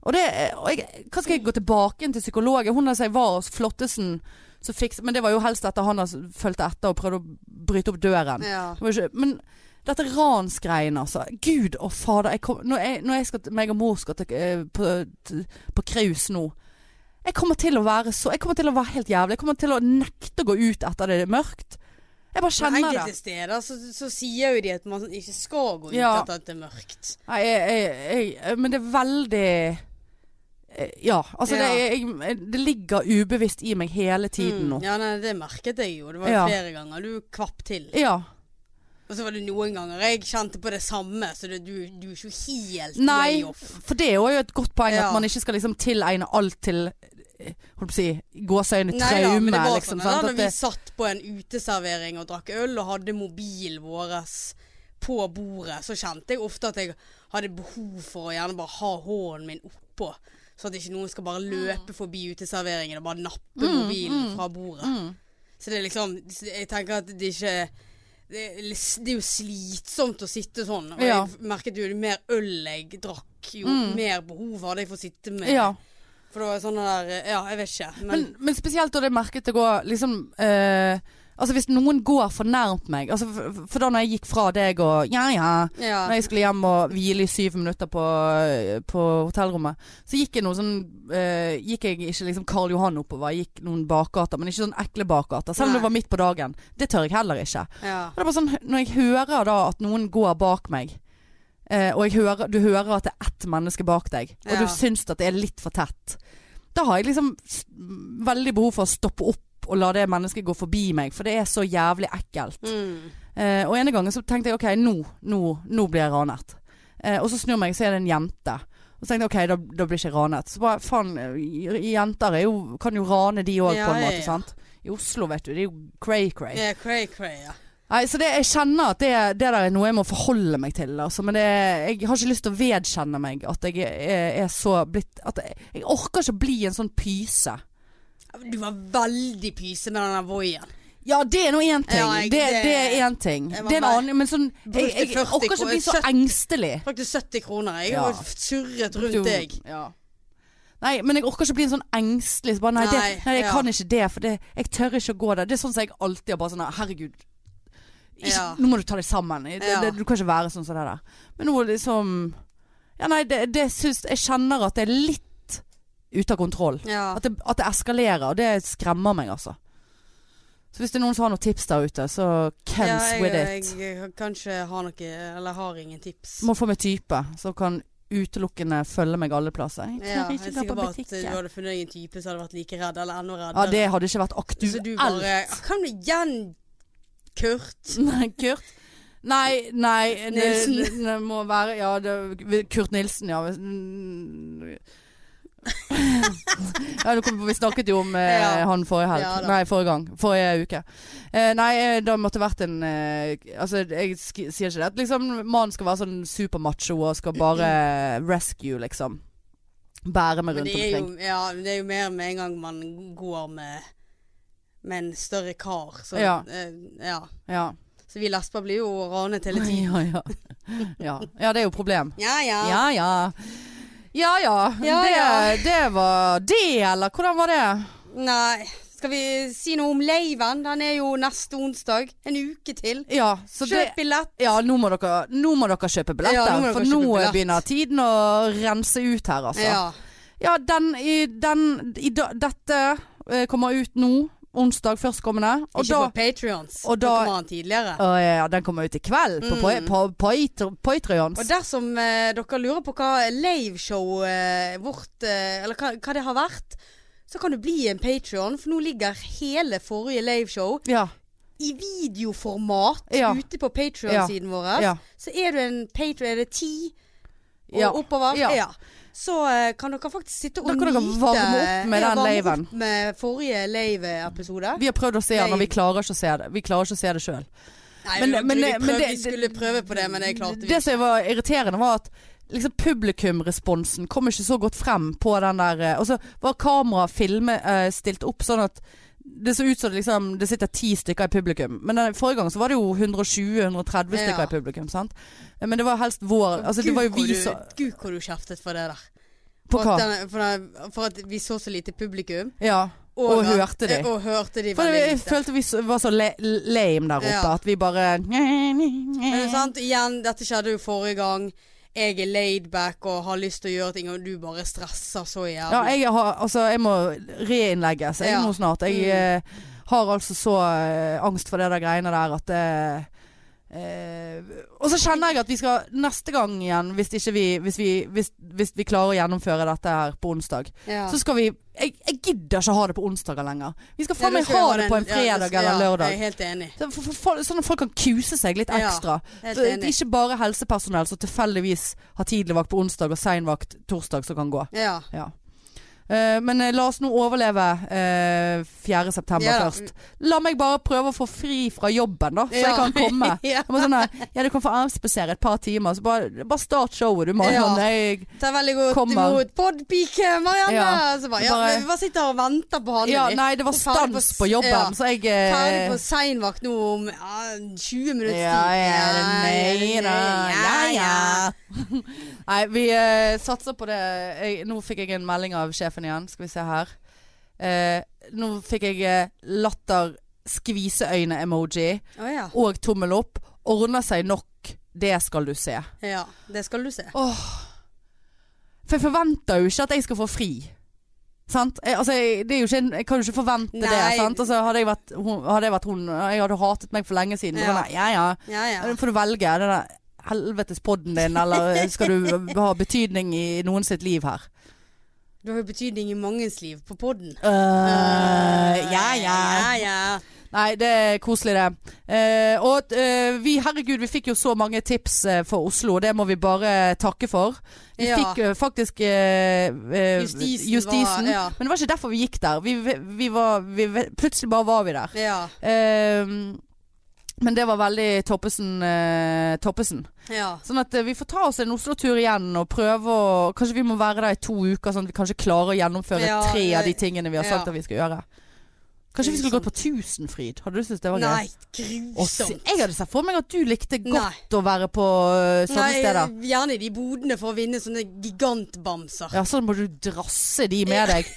[SPEAKER 1] Og det, og jeg, hva skal jeg gå tilbake inn til psykologen? Hun der som jeg var hos Flottesen, som fikset Men det var jo helst etter han har fulgt etter og prøvd å bryte opp døren.
[SPEAKER 2] Ja.
[SPEAKER 1] Det var ikke- Men dette ransgreiene, altså. Gud og fader. Jeg kom, når jeg, når jeg skal, meg og mor skal til, eh, på, til- på kraus nå Jeg kommer til å være så Jeg kommer til å være helt jævlig. Jeg kommer til å nekte å gå ut etter det er mørkt. Jeg bare
[SPEAKER 2] Men
[SPEAKER 1] kjenner
[SPEAKER 2] Enkelte
[SPEAKER 1] det.
[SPEAKER 2] steder altså, så, så sier jo de at man ikke skal gå ut
[SPEAKER 1] Ja.
[SPEAKER 2] etter at det er mørkt.
[SPEAKER 1] Nei, jeg, jeg, jeg, men det er veldig eh, Ja. Altså,
[SPEAKER 2] Ja.
[SPEAKER 1] Det, er- jeg, det ligger ubevisst i meg hele tiden
[SPEAKER 2] Mm.
[SPEAKER 1] nå.
[SPEAKER 2] Ja, nei, det merket jeg jo. Det var jo
[SPEAKER 1] Ja.
[SPEAKER 2] flere ganger. Du kvapp til.
[SPEAKER 1] Ja.
[SPEAKER 2] Og så var det noen ganger jeg kjente på det samme, så det, du, du er ikke helt way
[SPEAKER 1] Nei,
[SPEAKER 2] off.
[SPEAKER 1] for det er jo et godt poeng
[SPEAKER 2] Ja.
[SPEAKER 1] at man ikke skal liksom tilegne alt til eh, Holdt på å si gåseøyne
[SPEAKER 2] Nei da, men
[SPEAKER 1] traume,
[SPEAKER 2] det var
[SPEAKER 1] liksom.
[SPEAKER 2] sånn da
[SPEAKER 1] Sant?
[SPEAKER 2] når
[SPEAKER 1] At
[SPEAKER 2] vi
[SPEAKER 1] det,
[SPEAKER 2] satt på en uteservering og drakk øl og hadde mobilen vår på bordet, så kjente jeg ofte at jeg hadde behov for å gjerne bare ha hånden min oppå. Så at ikke noen skal bare løpe forbi uteserveringen og bare nappe mobilen fra bordet.
[SPEAKER 1] mm.
[SPEAKER 2] Så det er liksom Jeg tenker at det ikke det er, det er jo slitsomt å sitte sånn. Og
[SPEAKER 1] Ja.
[SPEAKER 2] jeg merket jo jo mer øl jeg drakk, jo mer behov hadde jeg for å sitte med.
[SPEAKER 1] ja.
[SPEAKER 2] For det var sånn der Ja, jeg vet ikke. Men,
[SPEAKER 1] men, men spesielt da det merket det går liksom eh, Altså hvis noen går for nærmt meg altså for, for da når jeg gikk fra deg og ja ja
[SPEAKER 2] ja.
[SPEAKER 1] Når jeg skulle hjem og hvile i syv minutter på, eh, på hotellrommet, så gikk jeg noe sånn eh, Gikk jeg ikke liksom Karl Johan oppover, jeg gikk noen bakgater, men ikke sånn ekle bakgater. Selv om
[SPEAKER 2] Nei.
[SPEAKER 1] det var midt på dagen. Det tør jeg heller ikke.
[SPEAKER 2] ja.
[SPEAKER 1] Og det er bare sånn, når jeg hører da at noen går bak meg, eh, og jeg hører, du hører at det er ett menneske bak deg, og
[SPEAKER 2] Ja.
[SPEAKER 1] du syns at det er litt for tett, da har jeg liksom s- veldig behov for å stoppe opp og la det mennesket gå forbi meg, for det er så jævlig ekkelt.
[SPEAKER 2] Mm.
[SPEAKER 1] Eh, og ene gangen så tenkte jeg ok, nå, nå, nå blir jeg ranet. Eh, og så snur meg, så er det en jente. Og så tenkte jeg ok, da, da blir jeg ikke ranet. Så bare faen, eh, jenter er jo, kan jo rane de òg
[SPEAKER 2] Ja,
[SPEAKER 1] på en
[SPEAKER 2] ja,
[SPEAKER 1] måte,
[SPEAKER 2] ja.
[SPEAKER 1] sant. I Oslo, vet du. Det er jo cray-cray.
[SPEAKER 2] Ja, cray, cray, ja.
[SPEAKER 1] Nei, så det, jeg kjenner at det, det der er noe jeg må forholde meg til. Altså, men det, jeg har ikke lyst til å vedkjenne meg at jeg er, er så blitt at jeg, jeg orker ikke å bli en sånn pyse.
[SPEAKER 2] Du var veldig pyse med den der voien.
[SPEAKER 1] Ja, det er nå én ting.
[SPEAKER 2] Ja, jeg-
[SPEAKER 1] det,
[SPEAKER 2] det-
[SPEAKER 1] det, er én ting.
[SPEAKER 2] jeg var
[SPEAKER 1] Det er en
[SPEAKER 2] bare-
[SPEAKER 1] annen. Men sånn Jeg, jeg,
[SPEAKER 2] Brukte 40
[SPEAKER 1] orker ikke å bli så
[SPEAKER 2] kroner.
[SPEAKER 1] engstelig.
[SPEAKER 2] Brukte 70 kroner. Jeg
[SPEAKER 1] Ja.
[SPEAKER 2] har jo surret rundt deg.
[SPEAKER 1] Ja. Nei, men jeg orker ikke å bli en sånn engstelig så bare, nei, det,
[SPEAKER 2] Nei,
[SPEAKER 1] nei, jeg
[SPEAKER 2] ja.
[SPEAKER 1] kan ikke det, for det, jeg tør ikke å gå der. Det er sånn som jeg alltid har bare sånn Herregud, ikke,
[SPEAKER 2] Ja.
[SPEAKER 1] nå må du ta deg sammen. Det,
[SPEAKER 2] Ja.
[SPEAKER 1] det, du kan ikke være sånn som det der. Men nå liksom Ja, nei, det, det syns Jeg kjenner at det er litt ute av kontroll.
[SPEAKER 2] Ja.
[SPEAKER 1] At det, at det eskalerer, og det skremmer meg, altså. Så hvis det er noen som har noen tips der ute, så
[SPEAKER 2] ja,
[SPEAKER 1] kems
[SPEAKER 2] jeg,
[SPEAKER 1] with it.
[SPEAKER 2] jeg, kan ikke ha noe Eller har ingen tips.
[SPEAKER 1] Må få meg type som kan utelukkende følge meg alle plasser. Jeg tør
[SPEAKER 2] Ja, jeg er
[SPEAKER 1] ikke gå
[SPEAKER 2] sikker
[SPEAKER 1] på
[SPEAKER 2] på at du
[SPEAKER 1] butikken.
[SPEAKER 2] hadde funnet deg en type som hadde vært like redd, eller enda
[SPEAKER 1] Ja,
[SPEAKER 2] reddere.
[SPEAKER 1] det hadde ikke vært aktuelt.
[SPEAKER 2] Så du bare Kom igjen, Kurt.
[SPEAKER 1] [laughs] Nei, Kurt. Nei, nei det,
[SPEAKER 2] Nilsen.
[SPEAKER 1] det, det må være Ja, det, Kurt Nilsen, ja. Mm.
[SPEAKER 2] [laughs]
[SPEAKER 1] ja du kom, på- vi snakket jo om eh,
[SPEAKER 2] Ja.
[SPEAKER 1] han forrige helg.
[SPEAKER 2] Ja da.
[SPEAKER 1] nei, forrige gang. Forrige uke. Eh, nei, eh, det måtte vært en eh, Altså, jeg sk sier ikke det. At liksom mannen skal være sånn supermacho og skal bare rescue, liksom. Bære
[SPEAKER 2] Mm.
[SPEAKER 1] meg
[SPEAKER 2] Men
[SPEAKER 1] rundt
[SPEAKER 2] det er,
[SPEAKER 1] omkring.
[SPEAKER 2] jo, ja, men det er jo mer med en gang man går med, med en større kar. Så,
[SPEAKER 1] Ja.
[SPEAKER 2] eh, ja.
[SPEAKER 1] Ja.
[SPEAKER 2] så vi lesber blir jo ranet hele tiden.
[SPEAKER 1] [laughs] Ja, ja. ja. ja, det er jo problem.
[SPEAKER 2] Ja, ja.
[SPEAKER 1] Ja ja. Ja ja.
[SPEAKER 2] Ja, ja.
[SPEAKER 1] Det, det var det, eller hvordan var det?
[SPEAKER 2] Nei. Skal vi si noe om laven? Den er jo neste onsdag. En uke til.
[SPEAKER 1] Ja, så det
[SPEAKER 2] Kjøp billett.
[SPEAKER 1] ja, nå må, dere, nå må dere kjøpe billetter,
[SPEAKER 2] Ja, nå må dere
[SPEAKER 1] for
[SPEAKER 2] kjøpe
[SPEAKER 1] nå
[SPEAKER 2] billett.
[SPEAKER 1] begynner tiden å rense ut her, altså. Ja,
[SPEAKER 2] Ja.
[SPEAKER 1] den, i, den i, da- Dette eh, kommer ut nå, onsdag førstkommende. Og
[SPEAKER 2] Ikke
[SPEAKER 1] da
[SPEAKER 2] på Patrions.
[SPEAKER 1] og da- Altså.
[SPEAKER 2] kommer han tidligere.
[SPEAKER 1] Å, ja, Den kommer ut i kveld på,
[SPEAKER 2] Mm.
[SPEAKER 1] på, på, på Patreons.
[SPEAKER 2] Og dersom eh, dere lurer på hva laveshow eh, vårt eh, Eller hva, hva det har vært, så kan du bli en Patrion, for nå ligger hele forrige laveshow
[SPEAKER 1] Ja,
[SPEAKER 2] i videoformat
[SPEAKER 1] Ja.
[SPEAKER 2] ute på Patrion-siden vår.
[SPEAKER 1] ja.
[SPEAKER 2] Så er du en Patrion, er det ti og
[SPEAKER 1] Ja.
[SPEAKER 2] oppover?
[SPEAKER 1] Ja.
[SPEAKER 2] Så eh, kan dere faktisk sitte og
[SPEAKER 1] Da kan dere varme opp med den
[SPEAKER 2] varme
[SPEAKER 1] laven.
[SPEAKER 2] opp med forrige lave-episode.
[SPEAKER 1] Vi har prøvd å se den, og vi klarer ikke å se det. Vi klarer ikke å se det sjøl.
[SPEAKER 2] Nei,
[SPEAKER 1] Men-
[SPEAKER 2] vi,
[SPEAKER 1] men-
[SPEAKER 2] vi,
[SPEAKER 1] men
[SPEAKER 2] prøvde,
[SPEAKER 1] det-
[SPEAKER 2] vi skulle prøve på det, men det klarte vi
[SPEAKER 1] Det som var irriterende var at liksom publikumresponsen kom ikke så godt frem på den der eh, Og så var kameraet filme, eh, stilt opp sånn at det så ut som det, liksom, det sitter ti stykker i publikum. Men den, forrige gang så var det jo 120-130
[SPEAKER 2] Ja.
[SPEAKER 1] stykker i publikum. Sant? Men det var helst vår altså, Det
[SPEAKER 2] Gud,
[SPEAKER 1] var jo
[SPEAKER 2] hvor
[SPEAKER 1] vi
[SPEAKER 2] du-
[SPEAKER 1] som
[SPEAKER 2] Gud, hvor du kjeftet for det der.
[SPEAKER 1] På
[SPEAKER 2] for,
[SPEAKER 1] hva?
[SPEAKER 2] at den- for, den- for at vi så så lite publikum.
[SPEAKER 1] Ja.
[SPEAKER 2] at-
[SPEAKER 1] Og hørte de.
[SPEAKER 2] Og hørte de
[SPEAKER 1] For
[SPEAKER 2] veldig
[SPEAKER 1] jeg, jeg
[SPEAKER 2] lite.
[SPEAKER 1] følte vi så- var så le lame der oppe
[SPEAKER 2] Ja.
[SPEAKER 1] at vi bare
[SPEAKER 2] Men sant, igjen, dette skjedde jo forrige gang. Jeg er laid back og har lyst til å gjøre ting, og du bare stresser så jævlig.
[SPEAKER 1] Ja, jeg, har, altså, jeg må reinnlegges jeg
[SPEAKER 2] Ja.
[SPEAKER 1] nå snart. Jeg
[SPEAKER 2] Mm.
[SPEAKER 1] eh, har altså så eh, angst for det der greiene der at eh, Eh, og så kjenner jeg at vi skal neste gang igjen, hvis, ikke vi, hvis, vi, hvis, hvis vi klarer å gjennomføre dette her på onsdag,
[SPEAKER 2] Ja.
[SPEAKER 1] så skal vi Jeg, jeg gidder ikke ha det på onsdager lenger. Vi skal
[SPEAKER 2] Ja,
[SPEAKER 1] faen
[SPEAKER 2] du
[SPEAKER 1] meg
[SPEAKER 2] skal
[SPEAKER 1] ha
[SPEAKER 2] gjøre
[SPEAKER 1] det på en
[SPEAKER 2] den- ja, du
[SPEAKER 1] fredag
[SPEAKER 2] skal-
[SPEAKER 1] eller
[SPEAKER 2] ja, Jeg
[SPEAKER 1] lørdag.
[SPEAKER 2] er helt enig.
[SPEAKER 1] Så for- for- for- Sånn at folk kan kuse seg litt
[SPEAKER 2] Ja,
[SPEAKER 1] ekstra.
[SPEAKER 2] Helt
[SPEAKER 1] Så det er
[SPEAKER 2] enig.
[SPEAKER 1] ikke bare helsepersonell som tilfeldigvis har tidligvakt på onsdag og seinvakt torsdag som kan gå.
[SPEAKER 2] Ja.
[SPEAKER 1] Eh, men eh, la oss nå overleve eh, 4. september
[SPEAKER 2] Ja da.
[SPEAKER 1] først. La meg bare prøve å få fri fra jobben, da, så
[SPEAKER 2] ja.
[SPEAKER 1] jeg kan komme.
[SPEAKER 2] [laughs] ja.
[SPEAKER 1] Jeg må sånn her, ja, du kan få avspasere et par timer, så bare, bare start showet, du, mann.
[SPEAKER 2] Ja.
[SPEAKER 1] Jeg,
[SPEAKER 2] Ta veldig godt
[SPEAKER 1] Kommer.
[SPEAKER 2] imot podpike Marianne.
[SPEAKER 1] Ja.
[SPEAKER 2] Så bare, ja,
[SPEAKER 1] Bare-
[SPEAKER 2] men vi bare sitter og venter på han.
[SPEAKER 1] ja,
[SPEAKER 2] vi.
[SPEAKER 1] nei, det var
[SPEAKER 2] Og ferdig på
[SPEAKER 1] stans
[SPEAKER 2] s-
[SPEAKER 1] på
[SPEAKER 2] ja.
[SPEAKER 1] jobben, så jeg
[SPEAKER 2] Ferdig
[SPEAKER 1] eh,
[SPEAKER 2] på seinvakt nå om ja, 20 minutter.
[SPEAKER 1] Ja, ja, nei da. Ja, ja. [laughs] Nei, vi eh, satser på det. Jeg, nå fikk jeg en melding av sjefen igjen. Skal vi se her. Eh, nå fikk jeg eh, latter skviseøyne-emoji.
[SPEAKER 2] Å ja.
[SPEAKER 1] og tommel opp. Ordner seg nok, det skal du se.
[SPEAKER 2] ja. Det skal du se.
[SPEAKER 1] Åh. For jeg forventer jo ikke at jeg skal få fri. Sant? Jeg, altså, jeg, det er jo ikke, en- jeg kan jo ikke forvente
[SPEAKER 2] Nei.
[SPEAKER 1] det. Sant? Altså, hadde, jeg vært, hun, hadde jeg vært hun eh, Jeg hadde hatet meg for lenge siden.
[SPEAKER 2] Ja.
[SPEAKER 1] Ja. Sånn, ja, ja.
[SPEAKER 2] Ja, ja.
[SPEAKER 1] Nå får du velge. Den der helvetes podden din, eller skal du ha betydning i noen sitt liv her?
[SPEAKER 2] Du har jo betydning i mangens liv på podden. Øh,
[SPEAKER 1] Øh, ja, ja.
[SPEAKER 2] ja, ja.
[SPEAKER 1] Nei, det er koselig det. Eh, og eh, vi, herregud, vi fikk jo så mange tips eh, for Oslo, og det må vi bare takke for. Vi
[SPEAKER 2] Ja.
[SPEAKER 1] fikk eh, faktisk eh, eh,
[SPEAKER 2] Justisen var-
[SPEAKER 1] justisen.
[SPEAKER 2] ja.
[SPEAKER 1] Men det var ikke derfor vi gikk der. Vi, vi var, vi, plutselig bare var vi der.
[SPEAKER 2] Ja,
[SPEAKER 1] Eh, men det var veldig Toppesen. eh, toppesen.
[SPEAKER 2] ja.
[SPEAKER 1] Sånn at eh, vi får ta oss en Oslo-tur igjen og prøve å Kanskje vi må være der i to uker, sånn at vi kanskje klarer å gjennomføre
[SPEAKER 2] Ja,
[SPEAKER 1] tre av de
[SPEAKER 2] jeg-
[SPEAKER 1] tingene vi har sagt
[SPEAKER 2] ja.
[SPEAKER 1] at vi skal gjøre. Kanskje vi skulle gått på Tusenfryd? Hadde du syntes det var gøy?
[SPEAKER 2] Nei,
[SPEAKER 1] Å, se-
[SPEAKER 2] grusomt.
[SPEAKER 1] jeg hadde sett for meg at du likte
[SPEAKER 2] Nei.
[SPEAKER 1] godt å være på ø, sånne
[SPEAKER 2] Nei,
[SPEAKER 1] steder.
[SPEAKER 2] Gjerne i de bodene for å vinne sånne gigantbamser.
[SPEAKER 1] Ja, sånn må du drasse de med
[SPEAKER 2] [laughs]
[SPEAKER 1] deg.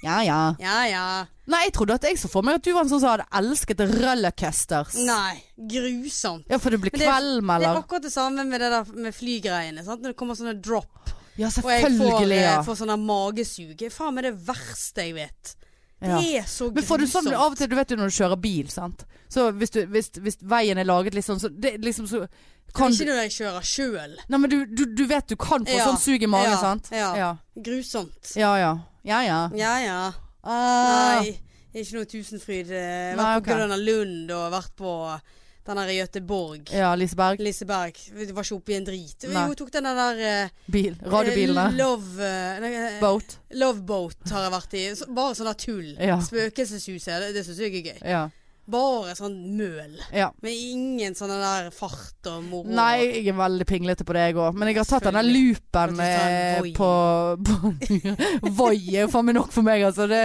[SPEAKER 1] Ja, ja.
[SPEAKER 2] Ja, ja.
[SPEAKER 1] Nei, jeg trodde at jeg så for meg at du var en sånn som hadde elsket rollercoasters.
[SPEAKER 2] Nei, grusomt.
[SPEAKER 1] Ja, for det blir
[SPEAKER 2] Men det-
[SPEAKER 1] kvelm,
[SPEAKER 2] Det er
[SPEAKER 1] eller?
[SPEAKER 2] akkurat det samme med det der med flygreiene. Sant? Når det kommer sånne drop,
[SPEAKER 1] Ja,
[SPEAKER 2] og jeg får,
[SPEAKER 1] selvfølgelig, ja.
[SPEAKER 2] eh, får sånne magesug. Det er Faen meg det verste jeg vet. Det
[SPEAKER 1] ja.
[SPEAKER 2] er så grusomt.
[SPEAKER 1] Men får du sånn av og til, du vet jo når du kjører bil, sant. Så hvis, du, hvis, hvis veien er laget litt sånn, så det er liksom så kan du
[SPEAKER 2] Ikke når jeg kjører sjøl.
[SPEAKER 1] Nei, men du, du, du vet du kan få
[SPEAKER 2] Ja,
[SPEAKER 1] sånn sug i magen,
[SPEAKER 2] ja,
[SPEAKER 1] sant?
[SPEAKER 2] ja.
[SPEAKER 1] Ja,
[SPEAKER 2] Grusomt.
[SPEAKER 1] ja. Ja, ja. ja.
[SPEAKER 2] Ja ja.
[SPEAKER 1] Ah.
[SPEAKER 2] Nei, ikke noe Tusenfryd. eh,
[SPEAKER 1] Nei,
[SPEAKER 2] Vært
[SPEAKER 1] ok.
[SPEAKER 2] på Grønland Lund og vært på den der i Göteborg.
[SPEAKER 1] ja Liseberg.
[SPEAKER 2] Liseberg. Det var ikke oppi en drit.
[SPEAKER 1] Nei.
[SPEAKER 2] Hun tok den der eh,
[SPEAKER 1] Bil. Radiobilene.
[SPEAKER 2] eh, Love, eh, nei, eh,
[SPEAKER 1] Boat.
[SPEAKER 2] love Boat har jeg vært i. Så, bare sånn der tull.
[SPEAKER 1] Ja.
[SPEAKER 2] Spøkelseshuset. Det, det syns jeg er gøy.
[SPEAKER 1] Ja.
[SPEAKER 2] Bare sånn møl.
[SPEAKER 1] ja.
[SPEAKER 2] Men ingen sånn der fart og moro.
[SPEAKER 1] Nei, jeg er veldig pinglete på det, jeg òg. Men jeg har tatt denne loopen eh,
[SPEAKER 2] Selvfølgelig.
[SPEAKER 1] på på- [laughs] Voi er jo faen meg nok for meg, altså. Det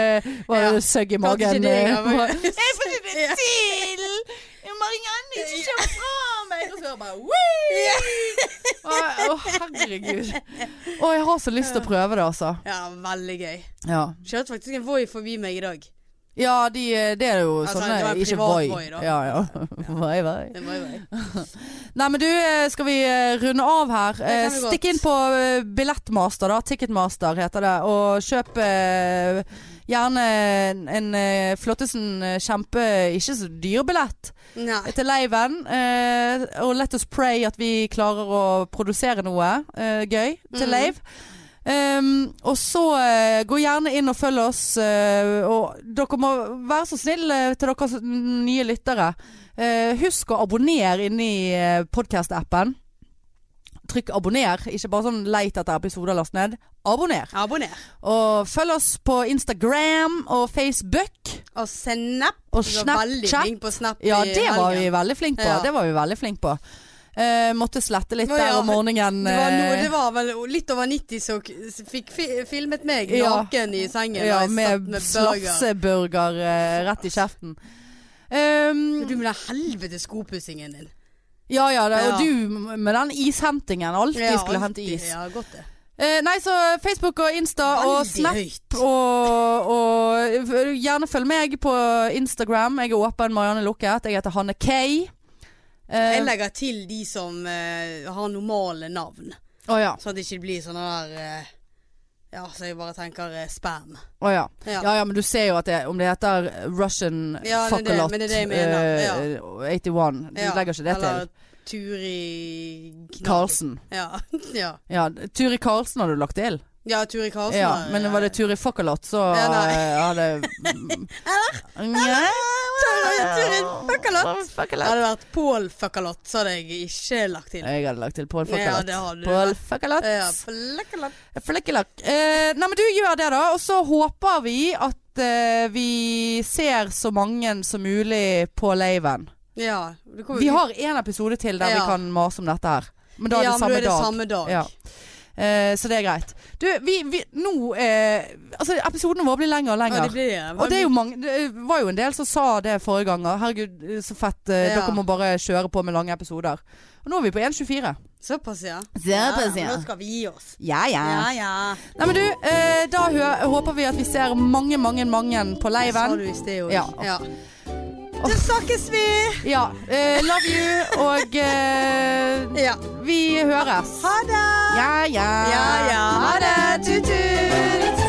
[SPEAKER 1] var
[SPEAKER 2] Ja.
[SPEAKER 1] søgg i
[SPEAKER 2] Klarte ikke
[SPEAKER 1] magen.
[SPEAKER 2] det,
[SPEAKER 1] eh,
[SPEAKER 2] ja, men- [laughs]
[SPEAKER 1] bare, [laughs] jeg får ikke det til! Marianne ikke kommer fra meg! Og så hører jeg bare «Wii!» Å, Å, herregud. Å, jeg har så lyst til å prøve det, altså.
[SPEAKER 2] Ja, veldig gøy.
[SPEAKER 1] Ja,
[SPEAKER 2] Kjørte faktisk en Voi forbi meg i dag.
[SPEAKER 1] ja de, det er jo
[SPEAKER 2] Altså,
[SPEAKER 1] sånne
[SPEAKER 2] det var en
[SPEAKER 1] Ikke
[SPEAKER 2] privat
[SPEAKER 1] Voi.
[SPEAKER 2] Voi, da.
[SPEAKER 1] Ja, ja. [laughs] Voi, voi.
[SPEAKER 2] Det var jo gøy.
[SPEAKER 1] Nei, men du, eh, skal vi eh, runde av her?
[SPEAKER 2] kan
[SPEAKER 1] Eh,
[SPEAKER 2] vi
[SPEAKER 1] Stikk
[SPEAKER 2] godt.
[SPEAKER 1] inn på eh, Billettmaster, da. Ticketmaster heter det. Og kjøp eh, gjerne en, en eh, Flottesen eh, kjempe ikke så dyr billett
[SPEAKER 2] Nei.
[SPEAKER 1] til Leiven. Eh, og let us pray at vi klarer å produsere noe eh, gøy til
[SPEAKER 2] Mhm.
[SPEAKER 1] Leiv. Um, og så eh, gå gjerne inn og følg oss. eh, og dere må være så snille eh, til dere som- nye lyttere. Eh, husk å abonnere inni uh, podkast-appen. Trykk abonner, ikke bare sånn leit etter episoder last ned. Abonner.
[SPEAKER 2] Abonner.
[SPEAKER 1] Og følg oss på Instagram og Facebook
[SPEAKER 2] Og Snap.
[SPEAKER 1] og
[SPEAKER 2] Du var veldig
[SPEAKER 1] Snapchat.
[SPEAKER 2] flink på Snap
[SPEAKER 1] Ja,
[SPEAKER 2] i
[SPEAKER 1] det var vi
[SPEAKER 2] helgen.
[SPEAKER 1] veldig flink på.
[SPEAKER 2] Ja.
[SPEAKER 1] Det var vi veldig flink på. Eh, måtte slette litt
[SPEAKER 2] Å,
[SPEAKER 1] der
[SPEAKER 2] ja.
[SPEAKER 1] om morgenen.
[SPEAKER 2] Det var, noe,
[SPEAKER 1] eh,
[SPEAKER 2] det var vel litt over 90 som k- s- fikk fi filmet meg
[SPEAKER 1] Ja.
[SPEAKER 2] naken i sengen. da
[SPEAKER 1] ja,
[SPEAKER 2] jeg satt
[SPEAKER 1] med slafseburger eh, rett i kjeften.
[SPEAKER 2] Men
[SPEAKER 1] Um,
[SPEAKER 2] Du med den helvetes skopussingen din.
[SPEAKER 1] ja ja, det,
[SPEAKER 2] Ja.
[SPEAKER 1] og du med den ishentingen. Alltid skulle hente
[SPEAKER 2] alltid.
[SPEAKER 1] is.
[SPEAKER 2] Ja, godt det.
[SPEAKER 1] Eh, nei, så Facebook og Insta og
[SPEAKER 2] Veldig
[SPEAKER 1] Snap
[SPEAKER 2] høyt.
[SPEAKER 1] og, og f- gjerne følg meg på Instagram. Jeg er åpen Marianne Lukket. Jeg heter Hanne K. Eh,
[SPEAKER 2] Jeg legger til de som eh, har normale navn,
[SPEAKER 1] å ja.
[SPEAKER 2] sånn at det ikke blir sånne der eh, Ja, så jeg bare tenker eh, spam.
[SPEAKER 1] Å ja.
[SPEAKER 2] Ja.
[SPEAKER 1] Ja ja, men du ser jo at det Om det heter Russian
[SPEAKER 2] Ja, det er det,
[SPEAKER 1] Fuckalot
[SPEAKER 2] men det er det jeg mener, ja.
[SPEAKER 1] 81 eh, Du
[SPEAKER 2] Ja,
[SPEAKER 1] legger ikke det
[SPEAKER 2] Eller
[SPEAKER 1] til.
[SPEAKER 2] Turi Knag.
[SPEAKER 1] Karlsen.
[SPEAKER 2] Ja. [laughs] ja.
[SPEAKER 1] Ja, Turi Karlsen har du lagt til.
[SPEAKER 2] ja, Turi Karlsen. eh,
[SPEAKER 1] Ja,
[SPEAKER 2] har-
[SPEAKER 1] men var det Turi Fuckalot, så
[SPEAKER 2] Ja, nei.
[SPEAKER 1] eh, [laughs] hadde Eller?
[SPEAKER 2] Turi Fuckalot.
[SPEAKER 1] Fuckalot.
[SPEAKER 2] Hadde det vært Pål Fuckalot, så hadde jeg ikke lagt til.
[SPEAKER 1] Jeg hadde lagt til Eh, Pål
[SPEAKER 2] Ja,
[SPEAKER 1] Fuckalot.
[SPEAKER 2] det hadde du.
[SPEAKER 1] Pål Fuckalot.
[SPEAKER 2] Ja, Fuckalot.
[SPEAKER 1] Flekkelakk. Eh, nei, men du gjør det, da. Og så håper vi at eh, vi ser så mange som mulig på laven.
[SPEAKER 2] Ja, det kommer-
[SPEAKER 1] Vi har én episode til der vi
[SPEAKER 2] Ja.
[SPEAKER 1] kan mase om dette her. Men da er
[SPEAKER 2] ja, men da
[SPEAKER 1] det samme
[SPEAKER 2] er det
[SPEAKER 1] dag.
[SPEAKER 2] samme dag.
[SPEAKER 1] Ja. Eh, så det er greit. Du, vi, vi Nå eh, Altså, episodene våre blir lengre og
[SPEAKER 2] Ja,
[SPEAKER 1] lengre.
[SPEAKER 2] det blir det.
[SPEAKER 1] og det, er jo mange, det var jo en del som sa det forrige gang. og Herregud, eh, så fett. eh,
[SPEAKER 2] Ja.
[SPEAKER 1] Dere må bare kjøre på med lange episoder. Og nå er vi på 1,24.
[SPEAKER 2] Såpass, ja.
[SPEAKER 1] Såpass, ja.
[SPEAKER 2] Nå skal vi gi oss.
[SPEAKER 1] Ja,
[SPEAKER 2] Ja, ja.
[SPEAKER 1] Nei, men du, eh, da hø håper vi at vi ser mange, mange, mange
[SPEAKER 2] Det
[SPEAKER 1] på
[SPEAKER 2] sa
[SPEAKER 1] leiven.
[SPEAKER 2] du i sted òg.
[SPEAKER 1] Ja.
[SPEAKER 2] Så snakkes vi!
[SPEAKER 1] Ja. eh, love you, og eh,
[SPEAKER 2] Ja.
[SPEAKER 1] vi høres.
[SPEAKER 2] Ha det!
[SPEAKER 1] Ja, ja.
[SPEAKER 2] Ja, ja.
[SPEAKER 1] Ha det. Tut, tut.